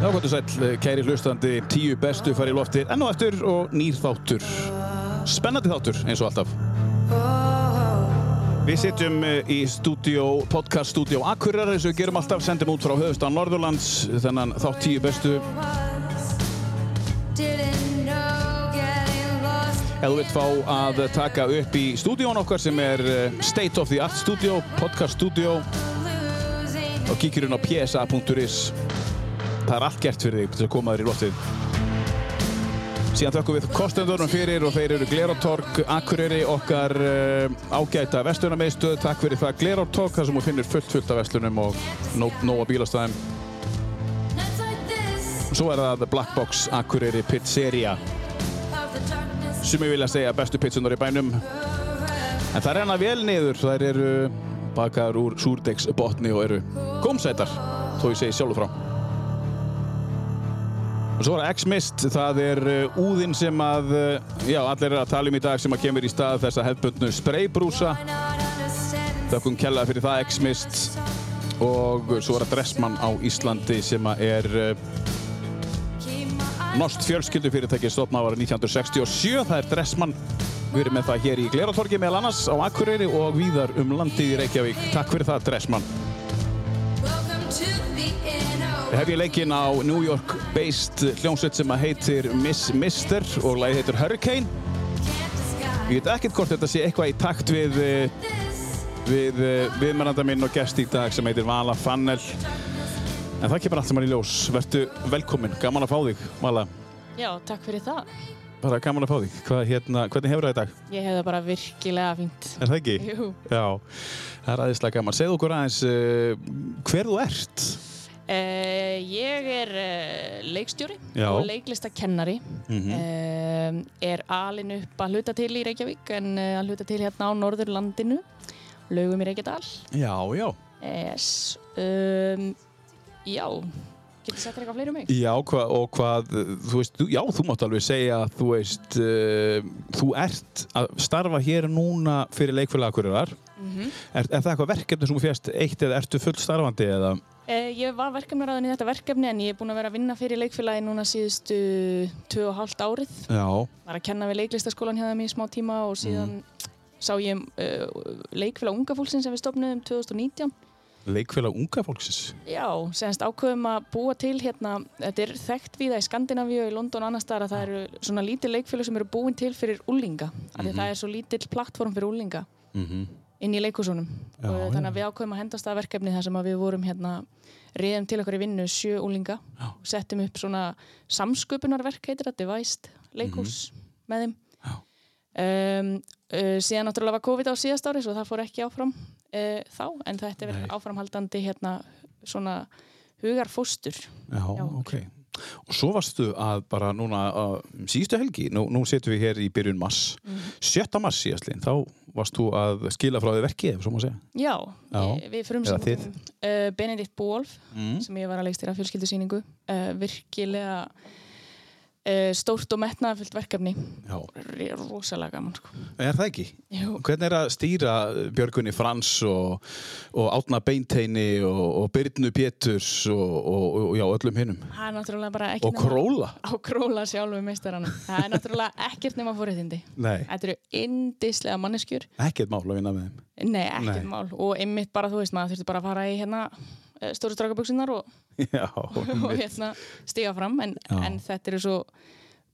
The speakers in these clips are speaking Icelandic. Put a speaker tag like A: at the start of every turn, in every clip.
A: Sákvættu sæl, kæri hlustandi, tíu bestu fari í lofti enn og eftir og nýr þáttur. Spennandi þáttur eins og alltaf.
B: Oh,
A: Við sitjum eh, í stúdíó, podcast stúdíó Akureyrar eins og við gerum alltaf, sendum út frá höfustan Norðurlands, þennan þátt tíu bestu. Ef þú vilt fá að taka upp í stúdíón okkar sem er eh, State of the Art Studio, podcast studio og kíkir hún á psa.is. Það er allt gert fyrir þig til að koma þér í loftið. Síðan þökkum við kostendunum fyrir og þeir eru Glerotorg, Akureyri, okkar uh, ágæta vestlunarmiðstöð. Takk fyrir það Glerotorg, þar sem þú finnir fullt fullt af vestlunum og nóg, nóg að bílastæðum. Svo er það Black Box Akureyri Pizzeria sem ég vilja segja bestu pitsunar í bænum en það er hana vel niður þær eru bakaðar úr súrdegsbotni og eru gómsætar þó ég segi sjálfur frá og svo er það X-Mist það er uh, úðinn sem að uh, já, allir eru að tala um í dag sem að kemur í stað þessa hefbundnu spraybrúsa þökkum kella fyrir það X-Mist og svo er það Dressmann á Íslandi sem að er uh, Nost fjölskyldufyrirtæki stofnað ára 1967, það er Dressmann. Við erum með það hér í Gleratorgi meðal annars á Akureyri og víðar um landið í Reykjavík. Takk fyrir það, Dressmann. Hef ég leikinn á New York-based hljómsveit sem að heitir Miss Mister og lagið heitir Hurricane. Ég veit ekkert hvort þetta sé eitthvað í takt við, eh, við eh, viðmennanda minn og gest í dag sem heitir Vala Fannel. En það kemur allt saman í ljós. Vertu velkominn, gaman að fá þig, Vala.
C: Já, takk fyrir það.
A: Bara gaman að fá þig. Hvað, hérna, hvernig hefur það í dag?
C: Ég hef það bara virkilega fínt.
A: Er það ekki?
C: Jú.
A: Já, það er aðeinslega gaman. Segð okkur aðeins uh, hver þú ert.
C: Uh, ég er uh, leikstjóri
A: Já.
C: og leiklistakennari. Mm er alin upp að hluta til í Reykjavík en uh, að hluta til hérna á Norðurlandinu. Laugum í Reykjadal.
A: Já, já.
C: Yes. Um, já, getur sett þér eitthvað fleiri um mig?
A: Já, hva, og hvað, eh, þú veist, þú, já, þú mátt alveg segja að þú veist, uh, þú ert að starfa hér núna fyrir leikfélagakurirar. Mm -hmm. er, er það eitthvað verkefni sem þú fjast eitt eða ertu fullstarfandi eða?
C: Uh, ég var verkefnaráðin í þetta verkefni en ég er búin að vera að vinna fyrir leikfélagi núna síðustu 2,5 árið.
A: Já,
C: var að kenna við leiklistaskólan hjá þeim í smá tíma og síðan sá ég um uh, leikfélag unga fólksins sem við stopnuðum 2019.
A: leikfélag unga fólksins.
C: Já, semst ákveðum að búa til hérna, þetta er þekkt við það í Skandinavíu og í London og annar staðar að það eru svona lítil leikfélag sem eru búin til fyrir úlinga. Af því að það er svo lítill plattform fyrir úlinga
A: Mm -hmm.
C: inn í leikúsunum.
A: Já,
C: og
A: já.
C: þannig að við ákveðum að hendast það verkefni þar sem að við vorum hérna, reyðum til okkar í vinnu sjö úlinga
A: Já.
C: og settum upp svona samsköpunarverk heitir það, devæst, leikús með þeim.
A: Mhm. Já.
C: Um, uh, síðan náttúrulega var COVID á síðast ári svo það fór ekki áfram uh, þá en þetta er
A: Nei.
C: verið áframhaldandi hérna svona hugarfóstur.
A: Já,
C: Já,
A: ok. Og svo varstu að bara núna að síðustu helgi, nú, nú setjum við hér í byrjun mars,
C: Mhm.
A: 7. mars síðastlinn, þá varst þú að skila frá því verkið, ef svo maður segja.
C: Já,
A: Já.
C: eh, við frumsýndum
A: þið.
C: uh, Benedikt Bólf
A: Mm.
C: sem ég var að leikstýra fjölskyldusýningu uh, virkilega uh, stórt og metnaðfullt verkefni
A: Já,
C: R- rosalega gaman sko.
A: er það ekki?
C: Jú.
A: Hvernig er að stýra Björgunni Frans og, og Átna Beinteini og, og Byrnu Péturs og, og, og já, öllum hinnum?
C: það er náttúrulega bara ekki
A: Og Króla?
C: á króla sjálfu meistaranum það er náttúrulega ekkert nema fóriðindi
A: Nei,
C: þetta eru indislega manneskjur
A: ekkert mál að vinna með þeim.
C: nei, ekkert
A: Nei.
C: mál og einmitt bara þú veist maður þurfti bara að fara í hérna eh, stóru strákaböksunar og,
A: Já,
C: og
A: einmitt.
C: hérna stiga fram en,
A: Já.
C: en þetta eru svo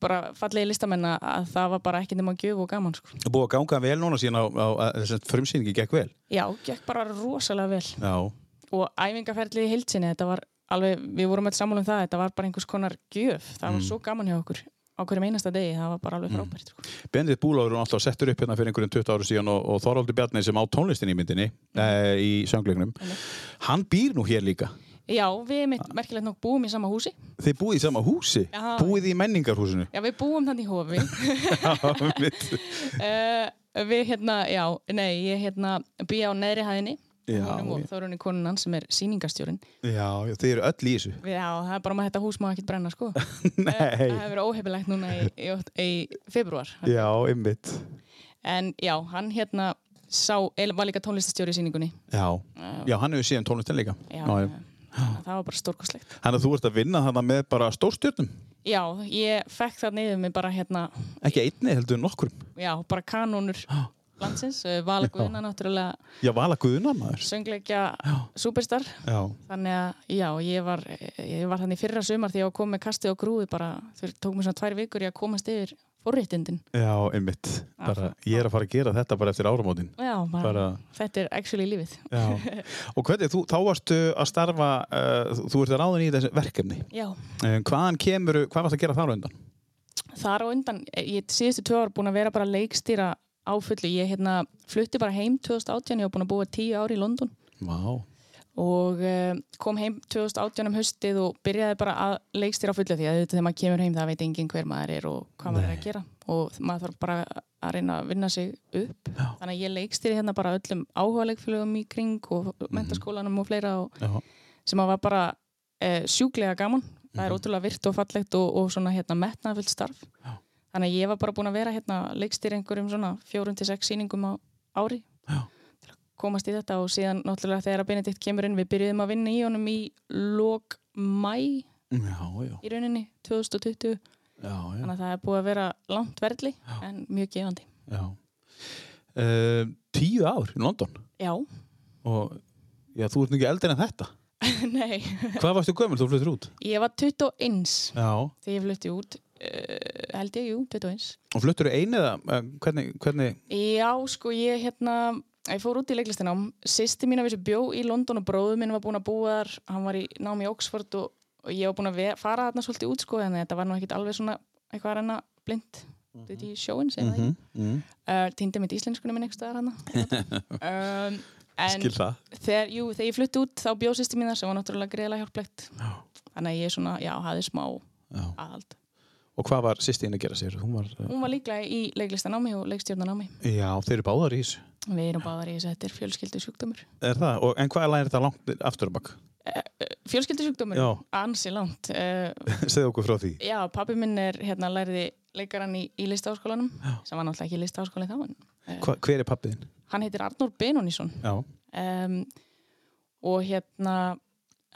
C: bara fallegi listamenn að- að það var bara ekkert nema gjöf og gaman sko.
A: búið að ganga vel núna síðan á, á, á þessum frumsýningi gekk vel.
C: já, gekk bara rosalega vel
A: Já,
C: og æfingarferðlið í heilsinni þetta var alveg, við vorum alltaf sammála um það þetta var bara einhvers konar gjöf, það var svo gaman hjá okkur á hverjum einasta degi, það var bara alveg frábært sko.
A: Bendit Búláður er alltaf settur upp hérna fyrir einhverjum 20 áru síðan og, og Þoraldur Bjarni sem á tónlistin í myndinni
C: Mhm.
A: eh, í söngleiknum hann býr nú hér líka
C: já, við mitt merkilegt nokk búum í sama húsi
A: þið búið í sama húsi,
C: Já.
A: búið í menningarhúsinu
C: já, við búum þannig í hofi
A: Já, mitt.
C: uh, við hérna, já, nei ég hérna býja á neðri hæðinni
A: Já,
C: honum og
A: já.
C: Þórunni konunan sem er sýningastjórin
A: já, já, þið eru öll í þessu
C: já, það er bara maður þetta hús má ekkert brenna sko það
A: nei,
C: hefur verið óhefilegt núna í, í, í, í februar
A: já, ymmit
C: en já, hann hérna sá, var líka tónlistastjóri í sýningunni
A: já, já, hann hefur síðan tónlistin líka
C: Já,
A: já,
C: já. það það var bara stórkostlegt.
A: Þannig að þú ert að vinna þarna með bara stórstjörnum.
C: Já, ég fekk það niður mig bara hérna,
A: Ekki einni, heldur nokkrum.
C: já, bara kanónur landsins, eh, Vala Guðna náttúrulega
A: Já, vala guðuna maður.
C: söngleikja superstar.
A: Já.
C: Þannig að, já, ég var, ég var þannig fyrra sumar þegar ég var komið með kastið og grúið bara, þau tók mér svona tvær vikur í að komast yfir forréttindin.
A: Já, einmitt. Bara, ég er að fara að gera þetta bara eftir áramótin.
C: Já, bara,
A: Bara-
C: þetta er actually lífið.
A: Já. Og hvernig, þú, þá varstu að starfa, uh, þú ert að ráðin í þessi verkefni.
C: Já,
A: Um, hvaðan kemur, hvað varst að gera þar á undan?
C: þar á undan, eh, ég er síðustu tvö ár búin að vera bara að leikstýra áfullu. Ég hérna flutti bara heim 2018, ég var búin að búa tíu ár í London
A: Vá.
C: og uh, kom heim 2018 um höstið og byrjaði bara að leikstýra á fullu því að þetta þegar maður kemur heim það veit enginn hver maður er og hvað maður er að gera og maður þarf bara að reyna að vinna sig upp Já. þannig að ég leikstýri hérna bara öllum áhugalegfélögum í kring og mentaskólanum og fleira og
A: Já.
C: sem að var bara eh, sjúklega gaman það er ótrúlega virt og fallegt og, og svona hérna metnaðfullt starf
A: Mhm. Já.
C: þannig að ég var bara búin að vera hérna leikstýri einhverjum svona fjórun til sex sýningum á ári
A: Já.
C: til að komast í þetta og síðan náttúrulega þegar að Benedikt kemur inn við byrjuðum að vinna í honum í lok mæ
A: Já, já.
C: í rauninni 2020
A: Já, já.
C: þannig að það er búið að vera langt verðli en mjög gefandi
A: já. Uh, tíu ár í London.
C: Já,
A: Og já, þú ert nú ekki eldin en þetta.
C: nei
A: Hvað varstu gömul, þú fluttir út?
C: Ég var 21
A: Já.
C: þegar ég flutti út uh, held ég, jú, 21
A: Og fluttir einu eða, eh, hvernig, hvernig,
C: Já, sko, ég hérna, ég fór út í leiklistinám. Sýsti mín að vissu bjó í London og bróðu minn var búin að búa þar, hann var í nám í Oxford og, og ég var búin að ve- fara þarna svolítið út, sko, en þetta var nú ekkit alveg svona eitthvað er hana blind, þetta í sjóin, segir það ekki.
A: mm.
C: Uh, Týndi mitt íslenskunum minn einhvers staðar hana. um, en
A: skil það?
C: þegar, jú, þegar ég flutti út þá bjó sýsti mín þar sem var náttúrulega greiðlega hjálplegt.
A: Já.
C: Þannig að ég svona, já, hafði smá
A: Já.
C: aðhald.
A: Og hvað var sýstin að gera sér? Hún var, uh,
C: Hún var líklega í leiklistanámi og leikstjórnanámi.
A: já, þeir eru báðar í þessu.
C: Við erum báðar í þessu, þetta er fjölskyldu
A: Er það? Og, en hvað lærir þetta langt aftur á bakk?
C: fjölskyldisjúkdómur,
A: Já.
C: ansi langt uh,
A: Segðu okkur frá því.
C: já, pappi minn er hérna lærði leikarann í, í listaháskólanum sem var náttúrulega ekki listaháskóli þá en
A: Hva, hver er pappiðin?
C: hann heitir Arnór Benonísson
A: Já.
C: um, og hérna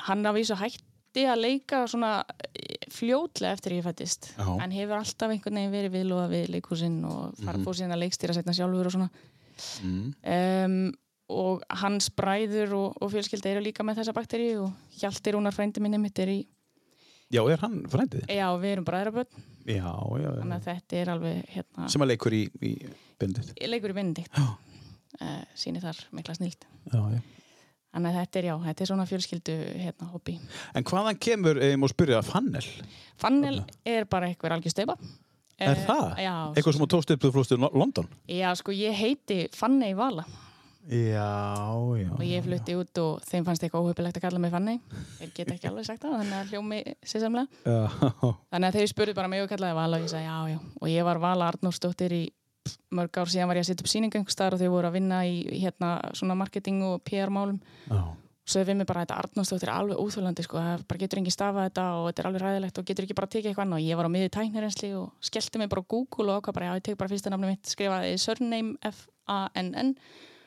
C: hann af þessu hætti að leika svona eh, fljótlega eftir ég fættist
A: Já.
C: en hefur alltaf einhvern veginn verið viðlóða við leikhúsinn og fara
A: Mhm.
C: fór síðan að leikstýra setna sjálfur og svona
A: Mm.
C: um, og hans bræður og, og fjölskylda eru líka með þessa bakteri og Hjalti Rúnar frændi minni mitt er í
A: Já, er hann frændið?
C: já, við erum bræðraböld
A: Já, já. já.
C: þannig að þetta er alveg hérna,
A: Sem að leikur í, í bindið.
C: ég leikur í Benedikt
A: Já.
C: uh, síni þar mikla snild
A: Já, já.
C: þannig að þetta er já, þetta er svona fjölskyldu hérna hobby.
A: En hvaðan kemur, ég má spyrja, fannel?
C: Fannel er bara einhver algjör steipa
A: Er
C: Eh,
A: það?
C: Já,
A: Eitthvað sem þú tókst upp þú flústu London?
C: já, sko ég heiti Fanney Vala
A: Já, já.
C: og ég flutti út og þeim fannst eitthvað óhefilegt að kalla mig Fanney þeir geta ekki alveg sagt það, þannig að hljómi sérsamlega,
A: Já,
C: þannig að þeir spurðu bara mig og kallaði Vala og ég sagði já, já, og ég var Vala Arnórsdóttir í mörg ár síðan var ég að setja upp sýningu einhvers staðar og þau voru að vinna í hérna svona marketing og PR málum
A: já.
C: svo er við mig bara þetta Arnósdóttir er alveg úþólandi sko, það bara getur engin stafað þetta og þetta er alveg ræðilegt og getur ekki bara tekið eitthvað annað og ég var á miði tæknirensli og skellti mig bara á Google og ákvað bara, já ég tek bara fyrsta nafni mitt skrifaði surname F-A-N-N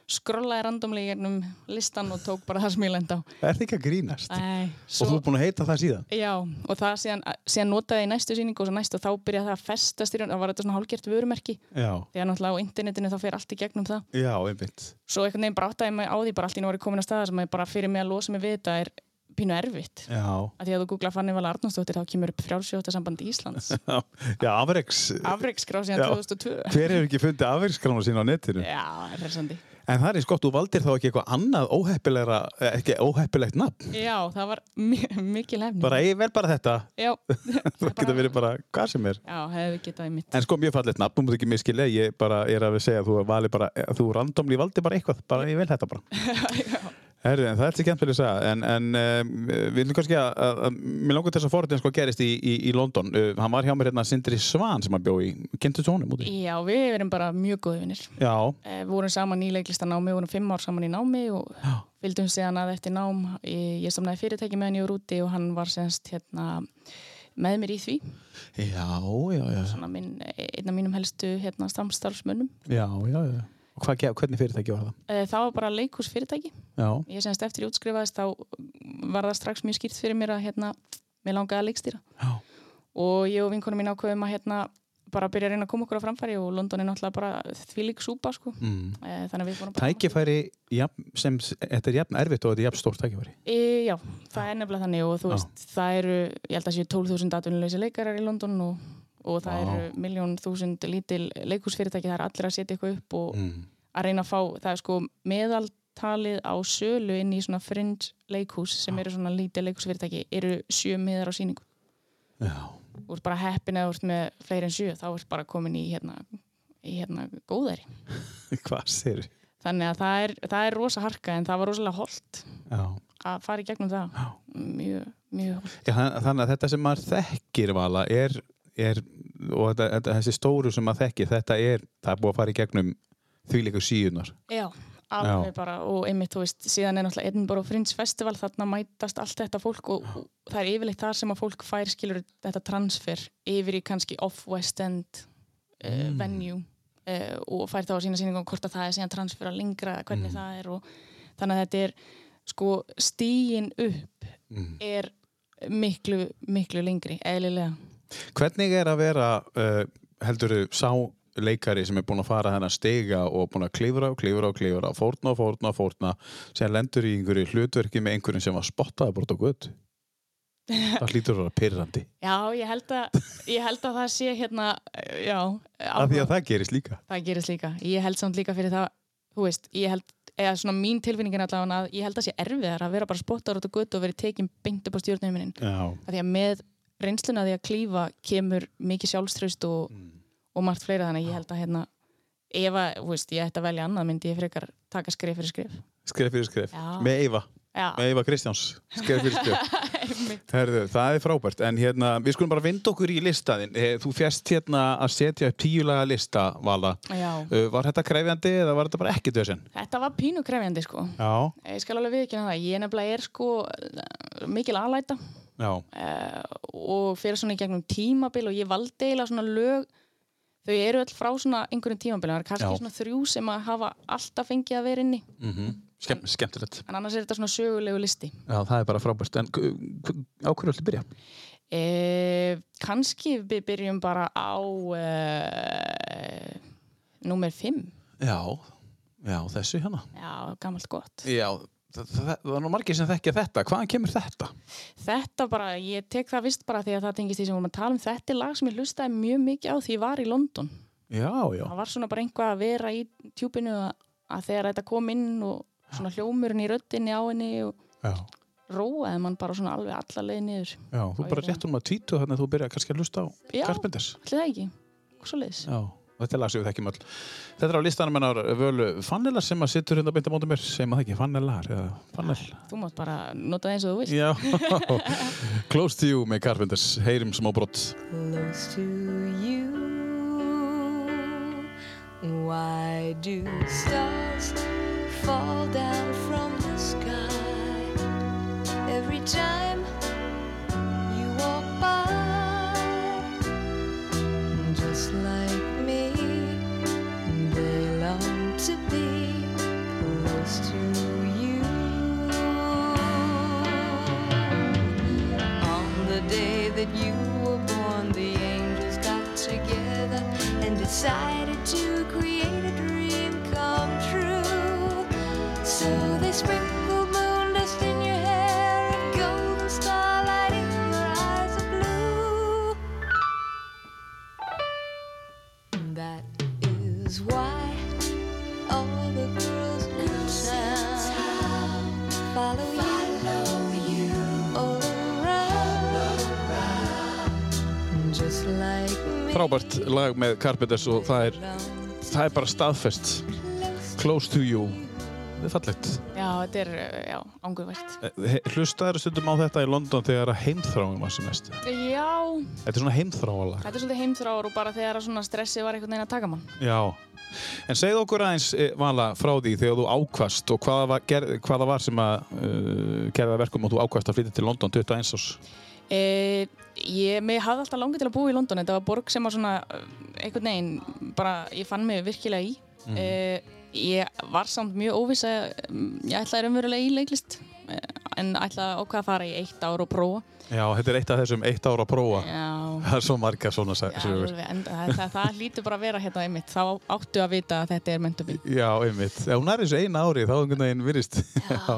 C: skrollaði randomlega í gegnum listan og tók bara það sem ég lenda á
A: Er það ekki að grínast?
C: Æ,
A: Og þú
C: svo,
A: er búin að heita það síðan?
C: já, og það síðan, síðan notaði ég í næstu sýningu og svo næstu og þá byrjaði það að festast í raun, þá var þetta svona hálgert vörumerki
A: Já.
C: þegar náttúrulega á internetinu þá fer allt í gegnum það
A: Já, einmitt.
C: svo einhvern veginn bráttaði mig á því bara allt í nári komin að staða sem ég bara fyrir mig að losa mig við þetta er pínu erfitt
A: Já.
C: að því að þú googla Fanny Vala Arnósdóttir þá kemur upp frjálsjóttasambandi Íslands
A: Já, afreiks.
C: afreikskrá síðan
A: Já.
C: 2002
A: Hver hefur ekki fundið afreikskrána sína á netinu?
C: Já, resandi.
A: En það er eins gott, þú valdir þá ekki eitthvað annað óheppilegra, eh, ekki óheppilegt nafn.
C: Já, það var mi- mikil hefni
A: Bara, ég vel bara þetta.
C: Já,
A: Það getur verið bara hvað sem er.
C: já hefði getað í mitt
A: En sko, mjög fallegt nafn, þú mútt ekki miskilja, ég bara er að við segja að þú vali bara, að þú randomli valdi bara eitthvað, bara ég vil þetta bara. Herri, en það er til kemd fyrir að segja, en, en um, við viljum kannski að, að, að mér langar til þess að forðin sko gerist í, í, í London, uh, hann var hjá mér hérna Sindri Svan sem hann bjó í, kynntu tónum út í?
C: Já, við erum bara mjög góði vinnir
A: Já,
C: eh, vorum saman í leiklistanámi, vorum fimm ár saman í námi og fylgdum síðan að eftir nám ég, ég samnaði fyrirtæki með hann ég var úti og hann var semst hérna með mér í því, eh,
A: já, já, já,
C: svona minn, einn af mínum helstu hérna samstarfsmönnum
A: já, já, já. Og hvað, ge- hvernig fyrirtæki var það?
C: Eh, Það var bara leikús fyrirtæki.
A: Já,
C: Ég semst eftir ég útskrifaðist þá var það strax mjög skýrt fyrir mér að hérna, mér langaði að leikstýra.
A: já,
C: Og ég og vinkunum mín ákveðum að hérna, bara byrja að reyna að koma okkur á framfæri og London er náttúrulega bara þvílík súpa sko.
A: mm.
C: Eh, Þannig að við fórum bara...
A: Tækifæri, jafn, sem, þetta er jafn erfitt og þetta er jafn stórt tækifæri
C: E, já, það er nefnilega þannig og þú
A: Já.
C: veist, það eru, ég held að séu 12.000 atvinnuleysi leikarar í London og, og það
A: Vá.
C: eru miljón þúsund lítil leikúsfyrirtæki, það er allir að setja eitthvað upp og
A: mm.
C: að reyna að fá, það er sko meðaltalið á sölu inn í svona fringe leikhús sem eru svona lítið leikhúsfyrirtæki eru sjö miðar á sýningu
A: Já,
C: þú ert bara heppin eða þú ert með fleiri en sjö þá ert bara komin í hérna, í hérna góðari
A: hvað sér
C: þannig að það er, það er rosa harka en það var rosalega holt
A: Já,
C: að fara í gegnum það
A: já
C: mjög, mjög holt
A: Já, þann- þannig að þetta sem maður þekkir vala er, er og þetta, þetta, þessi stóru sem maður þekkir þetta er, það er búið að fara í gegnum þvílíku síðunar
C: Já, alveg bara og einmitt, þú veist, síðan er náttúrulega Edinburgh Fringe Festival, þarna mætast allt þetta fólk og, og það er yfirleitt þar sem að fólk fær skilur þetta transfer yfir í kannski off-west end uh,
A: Mm.
C: venue uh, og fær þá að sína síningum hvort að það er síðan transfer að lengra, hvernig
A: Mm.
C: það er og þannig að þetta er sko stígin upp
A: mm.
C: er miklu, miklu lengri, eðlilega.
A: Hvernig er að vera uh, heldurðu sá leikari sem er búin að fara þennan stiga og búin að klifra og klifra og klifra fórna og fórna og fórna sem lendur í einhverju hlutverki með einhverjum sem var spottaði bort á gutt Það hlýtur að vera pyrrandi
C: Já, ég held að, ég held að það sé hérna, eh, já,
A: af því
C: áhuga-
A: að það gerist líka
C: það gerist líka. Ég held samt líka fyrir það, þú veist, ég held, eða svona mín tilfinningin allavega að ég held að sé erfiðar að vera bara spottar út á gutt og verið tekin beint upp á stjórnuminin.
A: Já,
C: Af því að með reynsluna af því að klífa kemur mikið sjálfströst og, og margt fleira þannig að ég held að hérna, ef að, þú veist, ég ætti að velja annað myndi ég frekar taka skrif fyrir skrif.
A: skref fyrir skref
C: Já.
A: með Eyva,
C: Já,
A: með Eyva Kristjáns skref fyrir skref
C: einmitt.
A: Herðu, það er frábært, en hérna, við skulum bara vinda okkur í listaðinn. Eh, Þú fjast hérna að setja upp tíulaga lista, Vala.
C: Já.
A: Uh, Var þetta kræfjandi eða var þetta bara ekki döðsinn?
C: Þetta var pínu krefjandi sko.
A: Já.
C: Ég skal alveg viðkynna það. Ég nefnilega er sko eh, mikil alæta
A: Já.
C: uh, og fyrir svona í gegnum tímabil og ég valdi eiginlega svona lög þau eru öll frá svona einhverjum tímabil það er kannski
A: Já.
C: svona þrjú sem að hafa alltaf fengið að vera inni
A: Mm Skemm, skemmtilegt.
C: en annars er þetta svona sögulegu listi
A: Já, það er bara frábært. En k- k- á hverju ætlu byrja?
C: uh, kannski við byrjum bara á uh, númer 5
A: Já. Já, þessu hérna.
C: já, gammalt gott
A: Já, það, það, það er nú margir sem þekkja þetta. Hvaðan kemur þetta?
C: þetta bara, ég tek það vist bara því að það tengist því sem við vorum að tala um þetta er lag sem ég hlustaði mjög mikið á því ég var í London
A: Já, já.
C: það var svona bara einhvað að vera í tjúpinu að, að þegar þetta kom inn og svona hljómurinn í röddinni á henni og
A: Já,
C: róaði mann bara svona alveg alla leið niður
A: já. Þú bara rétt um að tvítu þannig að þú byrja kannski að lusta á
C: Já.
A: Carpenters.
C: allir það ekki, svo leiðis
A: Já, og þetta er lag sem við þekkjum öll. Þetta er á listanum hennar völu Fannelar sem að sittur hérna beint á mótum mér, sem að það ekki, Fannelar eða Fannel.
C: þú mátt bara nota það eins og þú vilt
A: Já, Close to You með Carpenters, heyrim smá brott.
B: close to you. Why do stars fall down from the sky every time you walk by? Just like me, they long to be close to you. On the day that you were born, the angels got together and decided to create a dream come true. So they sprinkled moon dust in your hair and golden starlight in your eyes of blue. That is why all the girls in town follow, you, all around, just like me.
A: Frábært lag með Carpenters og það er, það er bara staðfest. Close to You, það er fallegt.
C: já, þetta er, uh, já, ángurvært
A: Hlustaður stundum á þetta í London þegar að heimþráin var sem mest.
C: já,
A: Þetta er svona heimþráalag.
C: þetta er svolítið heimþráður og bara þegar að svona stressi var einhvern veginn að taka mann
A: Já, en segð okkur aðeins eh, Vala frá því þegar þú ákvast og hvaða var, ger, hvaða var sem að uh, gerða verkum og þú ákvast að flytja til London 21 árs.
C: e, ég, mig hafði alltaf langið til að búa í London eh, þetta var borg sem að svona, uh, einhvern veginn bara, ég fann mig virkilega í mm. Ég var samt mjög óviss að mm, ég ætlaði raunverulega í leiklist eh, en ætlaði ákvað að fara í eitt ár og prófa.
A: Já, þetta er eitt af þessum eitt ára prófa.
C: Já,
A: Það er svo margar svona
C: já
A: sögur.
C: alveg, en það, það, það lítur bara að vera hérna einmitt. Þá áttu að vita að þetta er myndubíl.
A: Já, einmitt. Ef hún er eins og eina ári, þá einhvern veginn virðist. Já.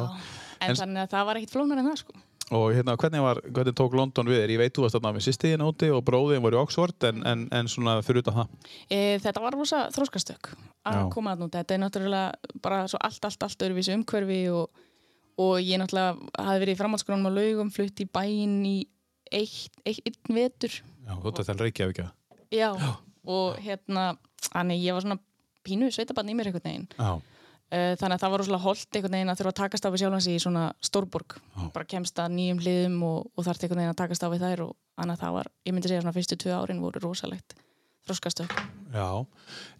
C: En,
A: En-
C: þannig að það var ekkit flóknar en það sko.
A: Og hérna, hvernig, var, hvernig tók London við þér? Ég veit, þú varst þarna með sýstiðin úti og bróðin voru í Oxford, en, en, en svona fyrir utan það.
C: E, þetta var rosa þróskastök að
A: Já.
C: koma að nút. Þetta er náttúrulega bara svo allt, allt, allt öðruvísi umhverfi og, og ég náttúrulega hafði verið í framhaldsgrunum á laugum, flutt í bæinn í eitt, eitt, eitt vetur.
A: Já, þú ert að um reykja ekki það.
C: Já, og hérna, þannig ég var svona pínu sveitabann í mér einhvern veginn.
A: Já,
C: Eh, Þannig að það var rosalega holdt einhvern veginn að þurfa að takast á við sjálfansi í svona stórborg.
A: Já.
C: Bara kemst að nýjum hliðum og, og þarf einhvern veginn að takast á við þær og annað það var, ég myndi segja svona fyrstu tvö árin voru rosalegt þroskastökk.
A: já.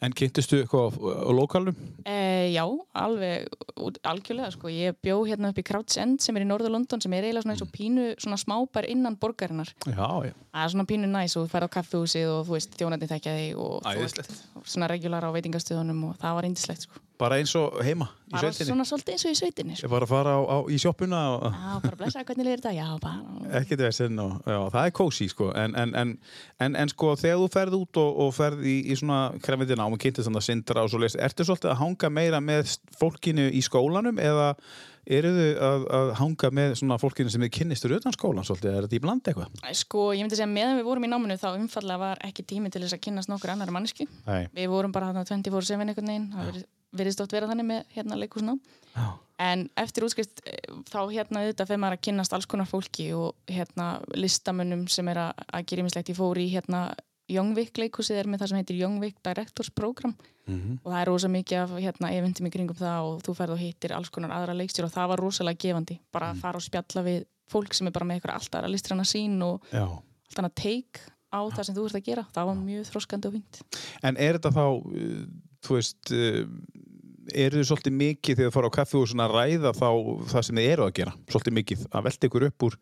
A: En kynntistu eitthvað á, á lokalum?
C: E, já, alveg, út- algjörlega sko. Ég bjó hérna upp í Crouch End sem er í norður London sem er eiginlega svona eins og pínu svona smábær innan borgarinnar.
A: Já, já.
C: Það er svona pínu næs og þú færð á kaffehúsið og þú veist, þjónandi þekkja þig og þú veist, svona regular á veitingastöðunum og það var indislegt sko.
A: Bara eins og heima í
C: bara
A: sveitinni?
C: svona svolítið eins og í sveitinni sko.
A: Ég var að fara á, á, í sjoppuna og...
C: Já, bara blessa, hvernig leiðir þetta? Já, bara,
A: Ekkert vesinn og já, það er kósi sko. en, en, en, en, en sko þegar þú ferð út og, og ferð í, í svona krefindi nám og kynntist þannig að sindra og svo leist ertu svolítið að hanga meira með s- fólkinu í skólanum eða eru þau að, að hanga með svona fólkinu sem þið kynnistur utan skólan svolítið, er þetta í bland eitthvað?
C: sko, ég myndi segja meðan við vorum í náminu þá umfallega var ekki tími til þess að kynnast nokkur annar mannesku.
A: Nei,
C: Við vorum bara þarna 24-7 einhvern veginn, það virðist- virðist oft vera þannig með hérna leikúsnám.
A: já,
C: En eftir útskrift eh, þá hérna auðvitað fyrir maður að kynnast alls konar fólki og hérna listamönnum sem er að, að gera ímislegt. Ég fór í hérna Youngvik leikhúsið er með það sem heitir Youngvik Directors Program
A: Mhm.
C: og það er rosa mikið af hérna eventum í kringum það og þú ferð og hittir alls konar aðra leikstjóra og það var rosalega gefandi. Bara að fara og spjalla við fólk sem er bara með eitthvað allt aðra listræna sín og
A: já.
C: allt annað teik á það sem þú ert að gera. Það var mjög þroskandi og fínt.
A: En er þetta þá, uh, þú veist uh, eru þau svolítið mikið þegar þú fara á kaffi og svona ræða þá það sem þið eru að gera, svolítið mikið að velta ykkur upp úr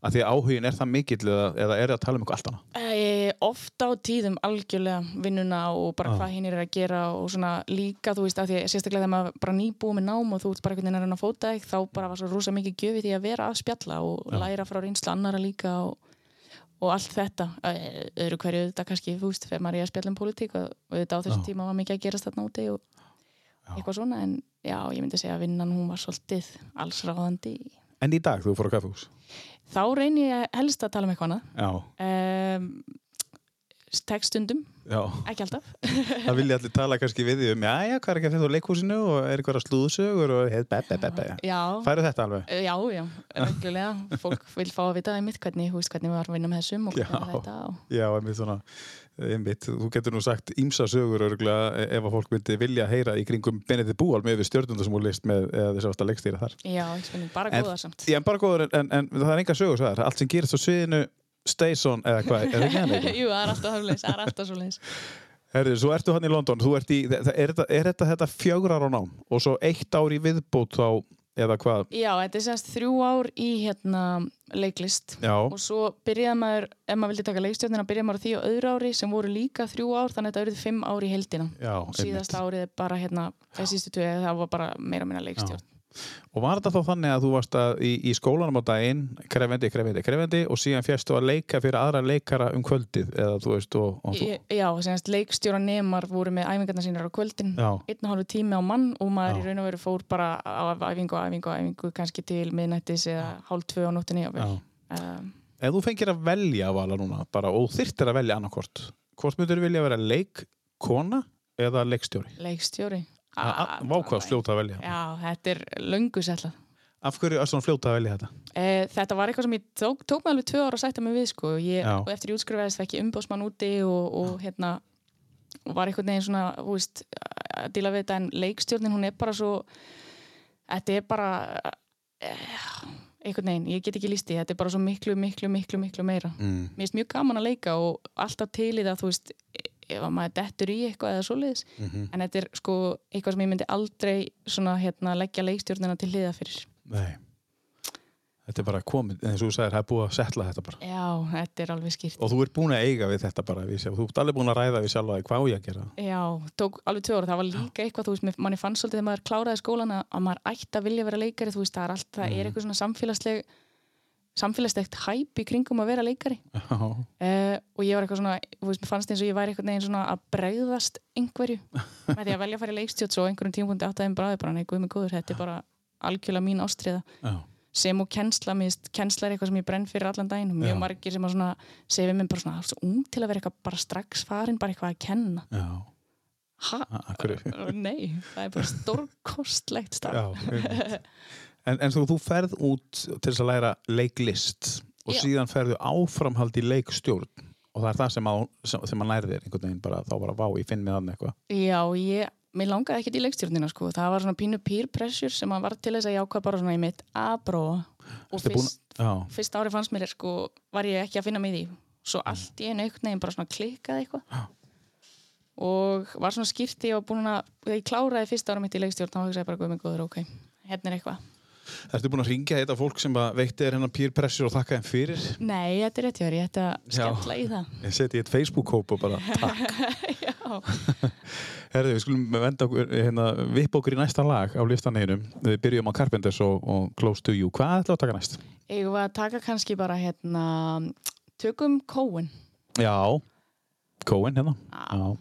A: að því að áhugin er það mikill eða, eða er það að tala um eitthvað allt annað?
C: E, ofta á tíðum algjörlega vinnuna og bara
A: Já.
C: hvað hinn er að gera og svona líka, þú veist, að því að sérstaklega þegar maður bara nýbúið með nám og þú ert bara einhvern veginn að reyna að fóta þig, þá bara var svo rosa mikið gjöfið því að vera að spjalla og læra frá reynslu annara líka og, og allt þetta Eh, öðru hverju auðvitað kannski, þú veist, þegar maður er að spjalla um pólitík og auðvitað á þessum
A: Já.
C: tíma var mikið að gerast þarna úti og eitthvað svona, en já, ég myndi segja að vinnan hún var svolítið allsráðandi
A: En í dag þú fór á kaffehús?
C: þá reyni ég helst að tala um eitthvað annað
A: Já,
C: um, tekstundum
A: já.
C: ekki alltaf
A: Það vilja allir tala kannski við því um, já, já, hvað er ekki að finna úr leikhúsinu og er eitthvað slúðsögur og hef, be, be, be, be.
C: já, Eh,
A: Færu þetta alveg?
C: já, já, reglulega fólk vil fá að vita einmitt hvernig, þú veist, hvernig við varum að vinna með þessum og
A: Já.
C: hvernig þetta og...
A: Já, einmitt svona, einmitt, þú getur nú sagt ímsa sögur örgulega ef að fólk myndi vilja heyra í kringum Benedikt Búal með við stjörnundar sem hún list með eða þess að varst að leikstýra þar.
C: já, ekki spennið, bara
A: En-
C: góða samt
A: Ég en bara góður, en, en, en það er enga sögur svo þar, allt sem gerist á sviðinu, stays on eða hvað, er það ekki hann eitthvað?
C: Jú, það er alltaf svoleiðis, það er alltaf svoleiðis
A: Herri, svo ertu hann í London, þú ert í, það, það- er, þetta, er þetta þetta fjögur ára nám og svo eitt ár í viðbót þá, eða hvað,
C: Já, þetta er semst þrjú ár í hérna leiklist
A: já,
C: og svo byrjaði maður, ef maður vildi taka leikstjórnina byrjaði maður á því á öðru ári sem voru líka þrjú ár þannig að þetta eruð fimm ár í heldina
A: já,
C: síðast árið er bara hérna, þessi sístu tvö það var bara meira minna leikstjórn
A: Og var þetta þá þannig að þú varst að í, í skólanum á daginn, krefendi, krefendi, krefendi og síðan fjæstu að leika fyrir aðra leikara um kvöldið eða þú veist og, og þú...
C: Ég- Já, semst leikstjóra nemar voru með æfingarna sínar á kvöldin
A: Já,
C: einn og hálfu tími á mann og maður
A: Já.
C: í raun og veru fór bara á æfingu, æfingu, æfingu kannski til miðnættis eða hálf tvö á nóttinni
A: já.
C: jáfnvel. Um,
A: Ef þú fengir að velja vala núna bara og þyrftir að velja annarkort, hvort myndur vilja vera leikkona eða leikstjóri?
C: leikstjóri Ah,
A: Vákvað fljóta að velja.
C: Já, þetta er löngu setla
A: Af hverju er svona fljóta að velja þetta?
C: e, Þetta var eitthvað sem ég tók, tók mig alveg tvö ára að sætta mig við sko. ég,
A: Já.
C: og eftir ég útskrifaðist fekk ég umbósmann úti og, og hérna og var einhvern veginn svona þú veist, að díla við þetta en leikstjórnin hún er bara svo þetta er bara eh, einhvern veginn, ég get ekki líst í þetta er bara svo miklu, miklu, miklu, miklu meira
A: Mm.
C: mér finnst mjög gaman að leika og alltaf til í það, þú veist, ef að maður dettur í eitthvað eða svoleiðis,
A: mhm.
C: en þetta er sko eitthvað sem ég myndi aldrei svona hérna leggja leikstjórnina til hliða fyrir.
A: Nei. Þetta er bara komið, eins og þú sagðir, það er búið að setla þetta bara.
C: Já, þetta er alveg skýrt.
A: Og þú ert búin að eiga við þetta bara, við sjá. Þú ert alveg búin að ræða við sjálfa því hvað á ég að gera.
C: Já, tók alveg tvö ára. Það var líka eitthvað, þú veist, mér- manni fannst svolítið þegar maður kláraði skólan að, að maður ætti að vilja vera leikari, þú veist, það er allt, það er eitthvað svona samfélagsleg, samfélagslegt hæp í kringum að vera leikari.
A: Já,
C: Uh, og ég var eitthvað svona, þú veist, mér fannst eins og ég væri eitthvað neginn svona að bregðast einhverju með því að velja að fara í leikstjótt svo á einhverjum tímpundi átt aðeim bráði bara, nei, guð mig góður, þetta er bara algjörlega mín ástriða
A: já,
C: sem og kennsla, mér finnst kennsla er eitthvað sem ég brenn fyrir allan daginn og mjög
A: Já.
C: margir sem að svona segja við mér bara svona, "Þú ert svo ung til að vera eitthvað bara strax farin, bara eitthvað að kenna
A: já,
C: ha,
A: a- af hverju?
C: nei, það er bara stórkostlegt starf
A: Já, einmitt. en, en þú, þú ferð út til þess að læra leiklist og
C: Já.
A: síðan ferðu áframhald í leikstjórn og það er það sem, á, sem, sem að læri þér einhvern veginn bara, þá bara vá, ég finn með hann eitthvað.
C: Já, ég, mér langaði ekkert í leikstjórnina sko. það var svona pínu peer pressure sem að var til þess að ég ákvað bara svona í mitt að prófa og
A: Ertu búin-
C: fyrst,
A: Já,
C: fyrst ári fannst mér sko, var ég ekki að finna mig í því svo
A: Mm.
C: allt í einu einhvern veginn bara svona klikkaði eitthvað og var svona skýrt því að búin að þegar ég kláraði fyrst ára mitt í leikstjórn þá hugsaði ég bara guð mig góður, ok, hérna er eitthvað
A: ertu búin að ringja þetta fólk sem að veitti þér hennar peer pressure og þakka þeim fyrir?
C: Nei, þetta er rétt hjá þér, ég ætti að
A: Já.
C: skella í það
A: Ég seti í eitt Facebook-hóp og bara takk. Herði, við skulum venda okkur, hérna, vipp okkur í næsta lag á listan einum. Við byrjum á Carpenters og, og Close to You. Hvað ætlaðu að taka næst?
C: Ég var að taka kannski bara hérna tökum kóin
A: Já, Cohen hérna. Já.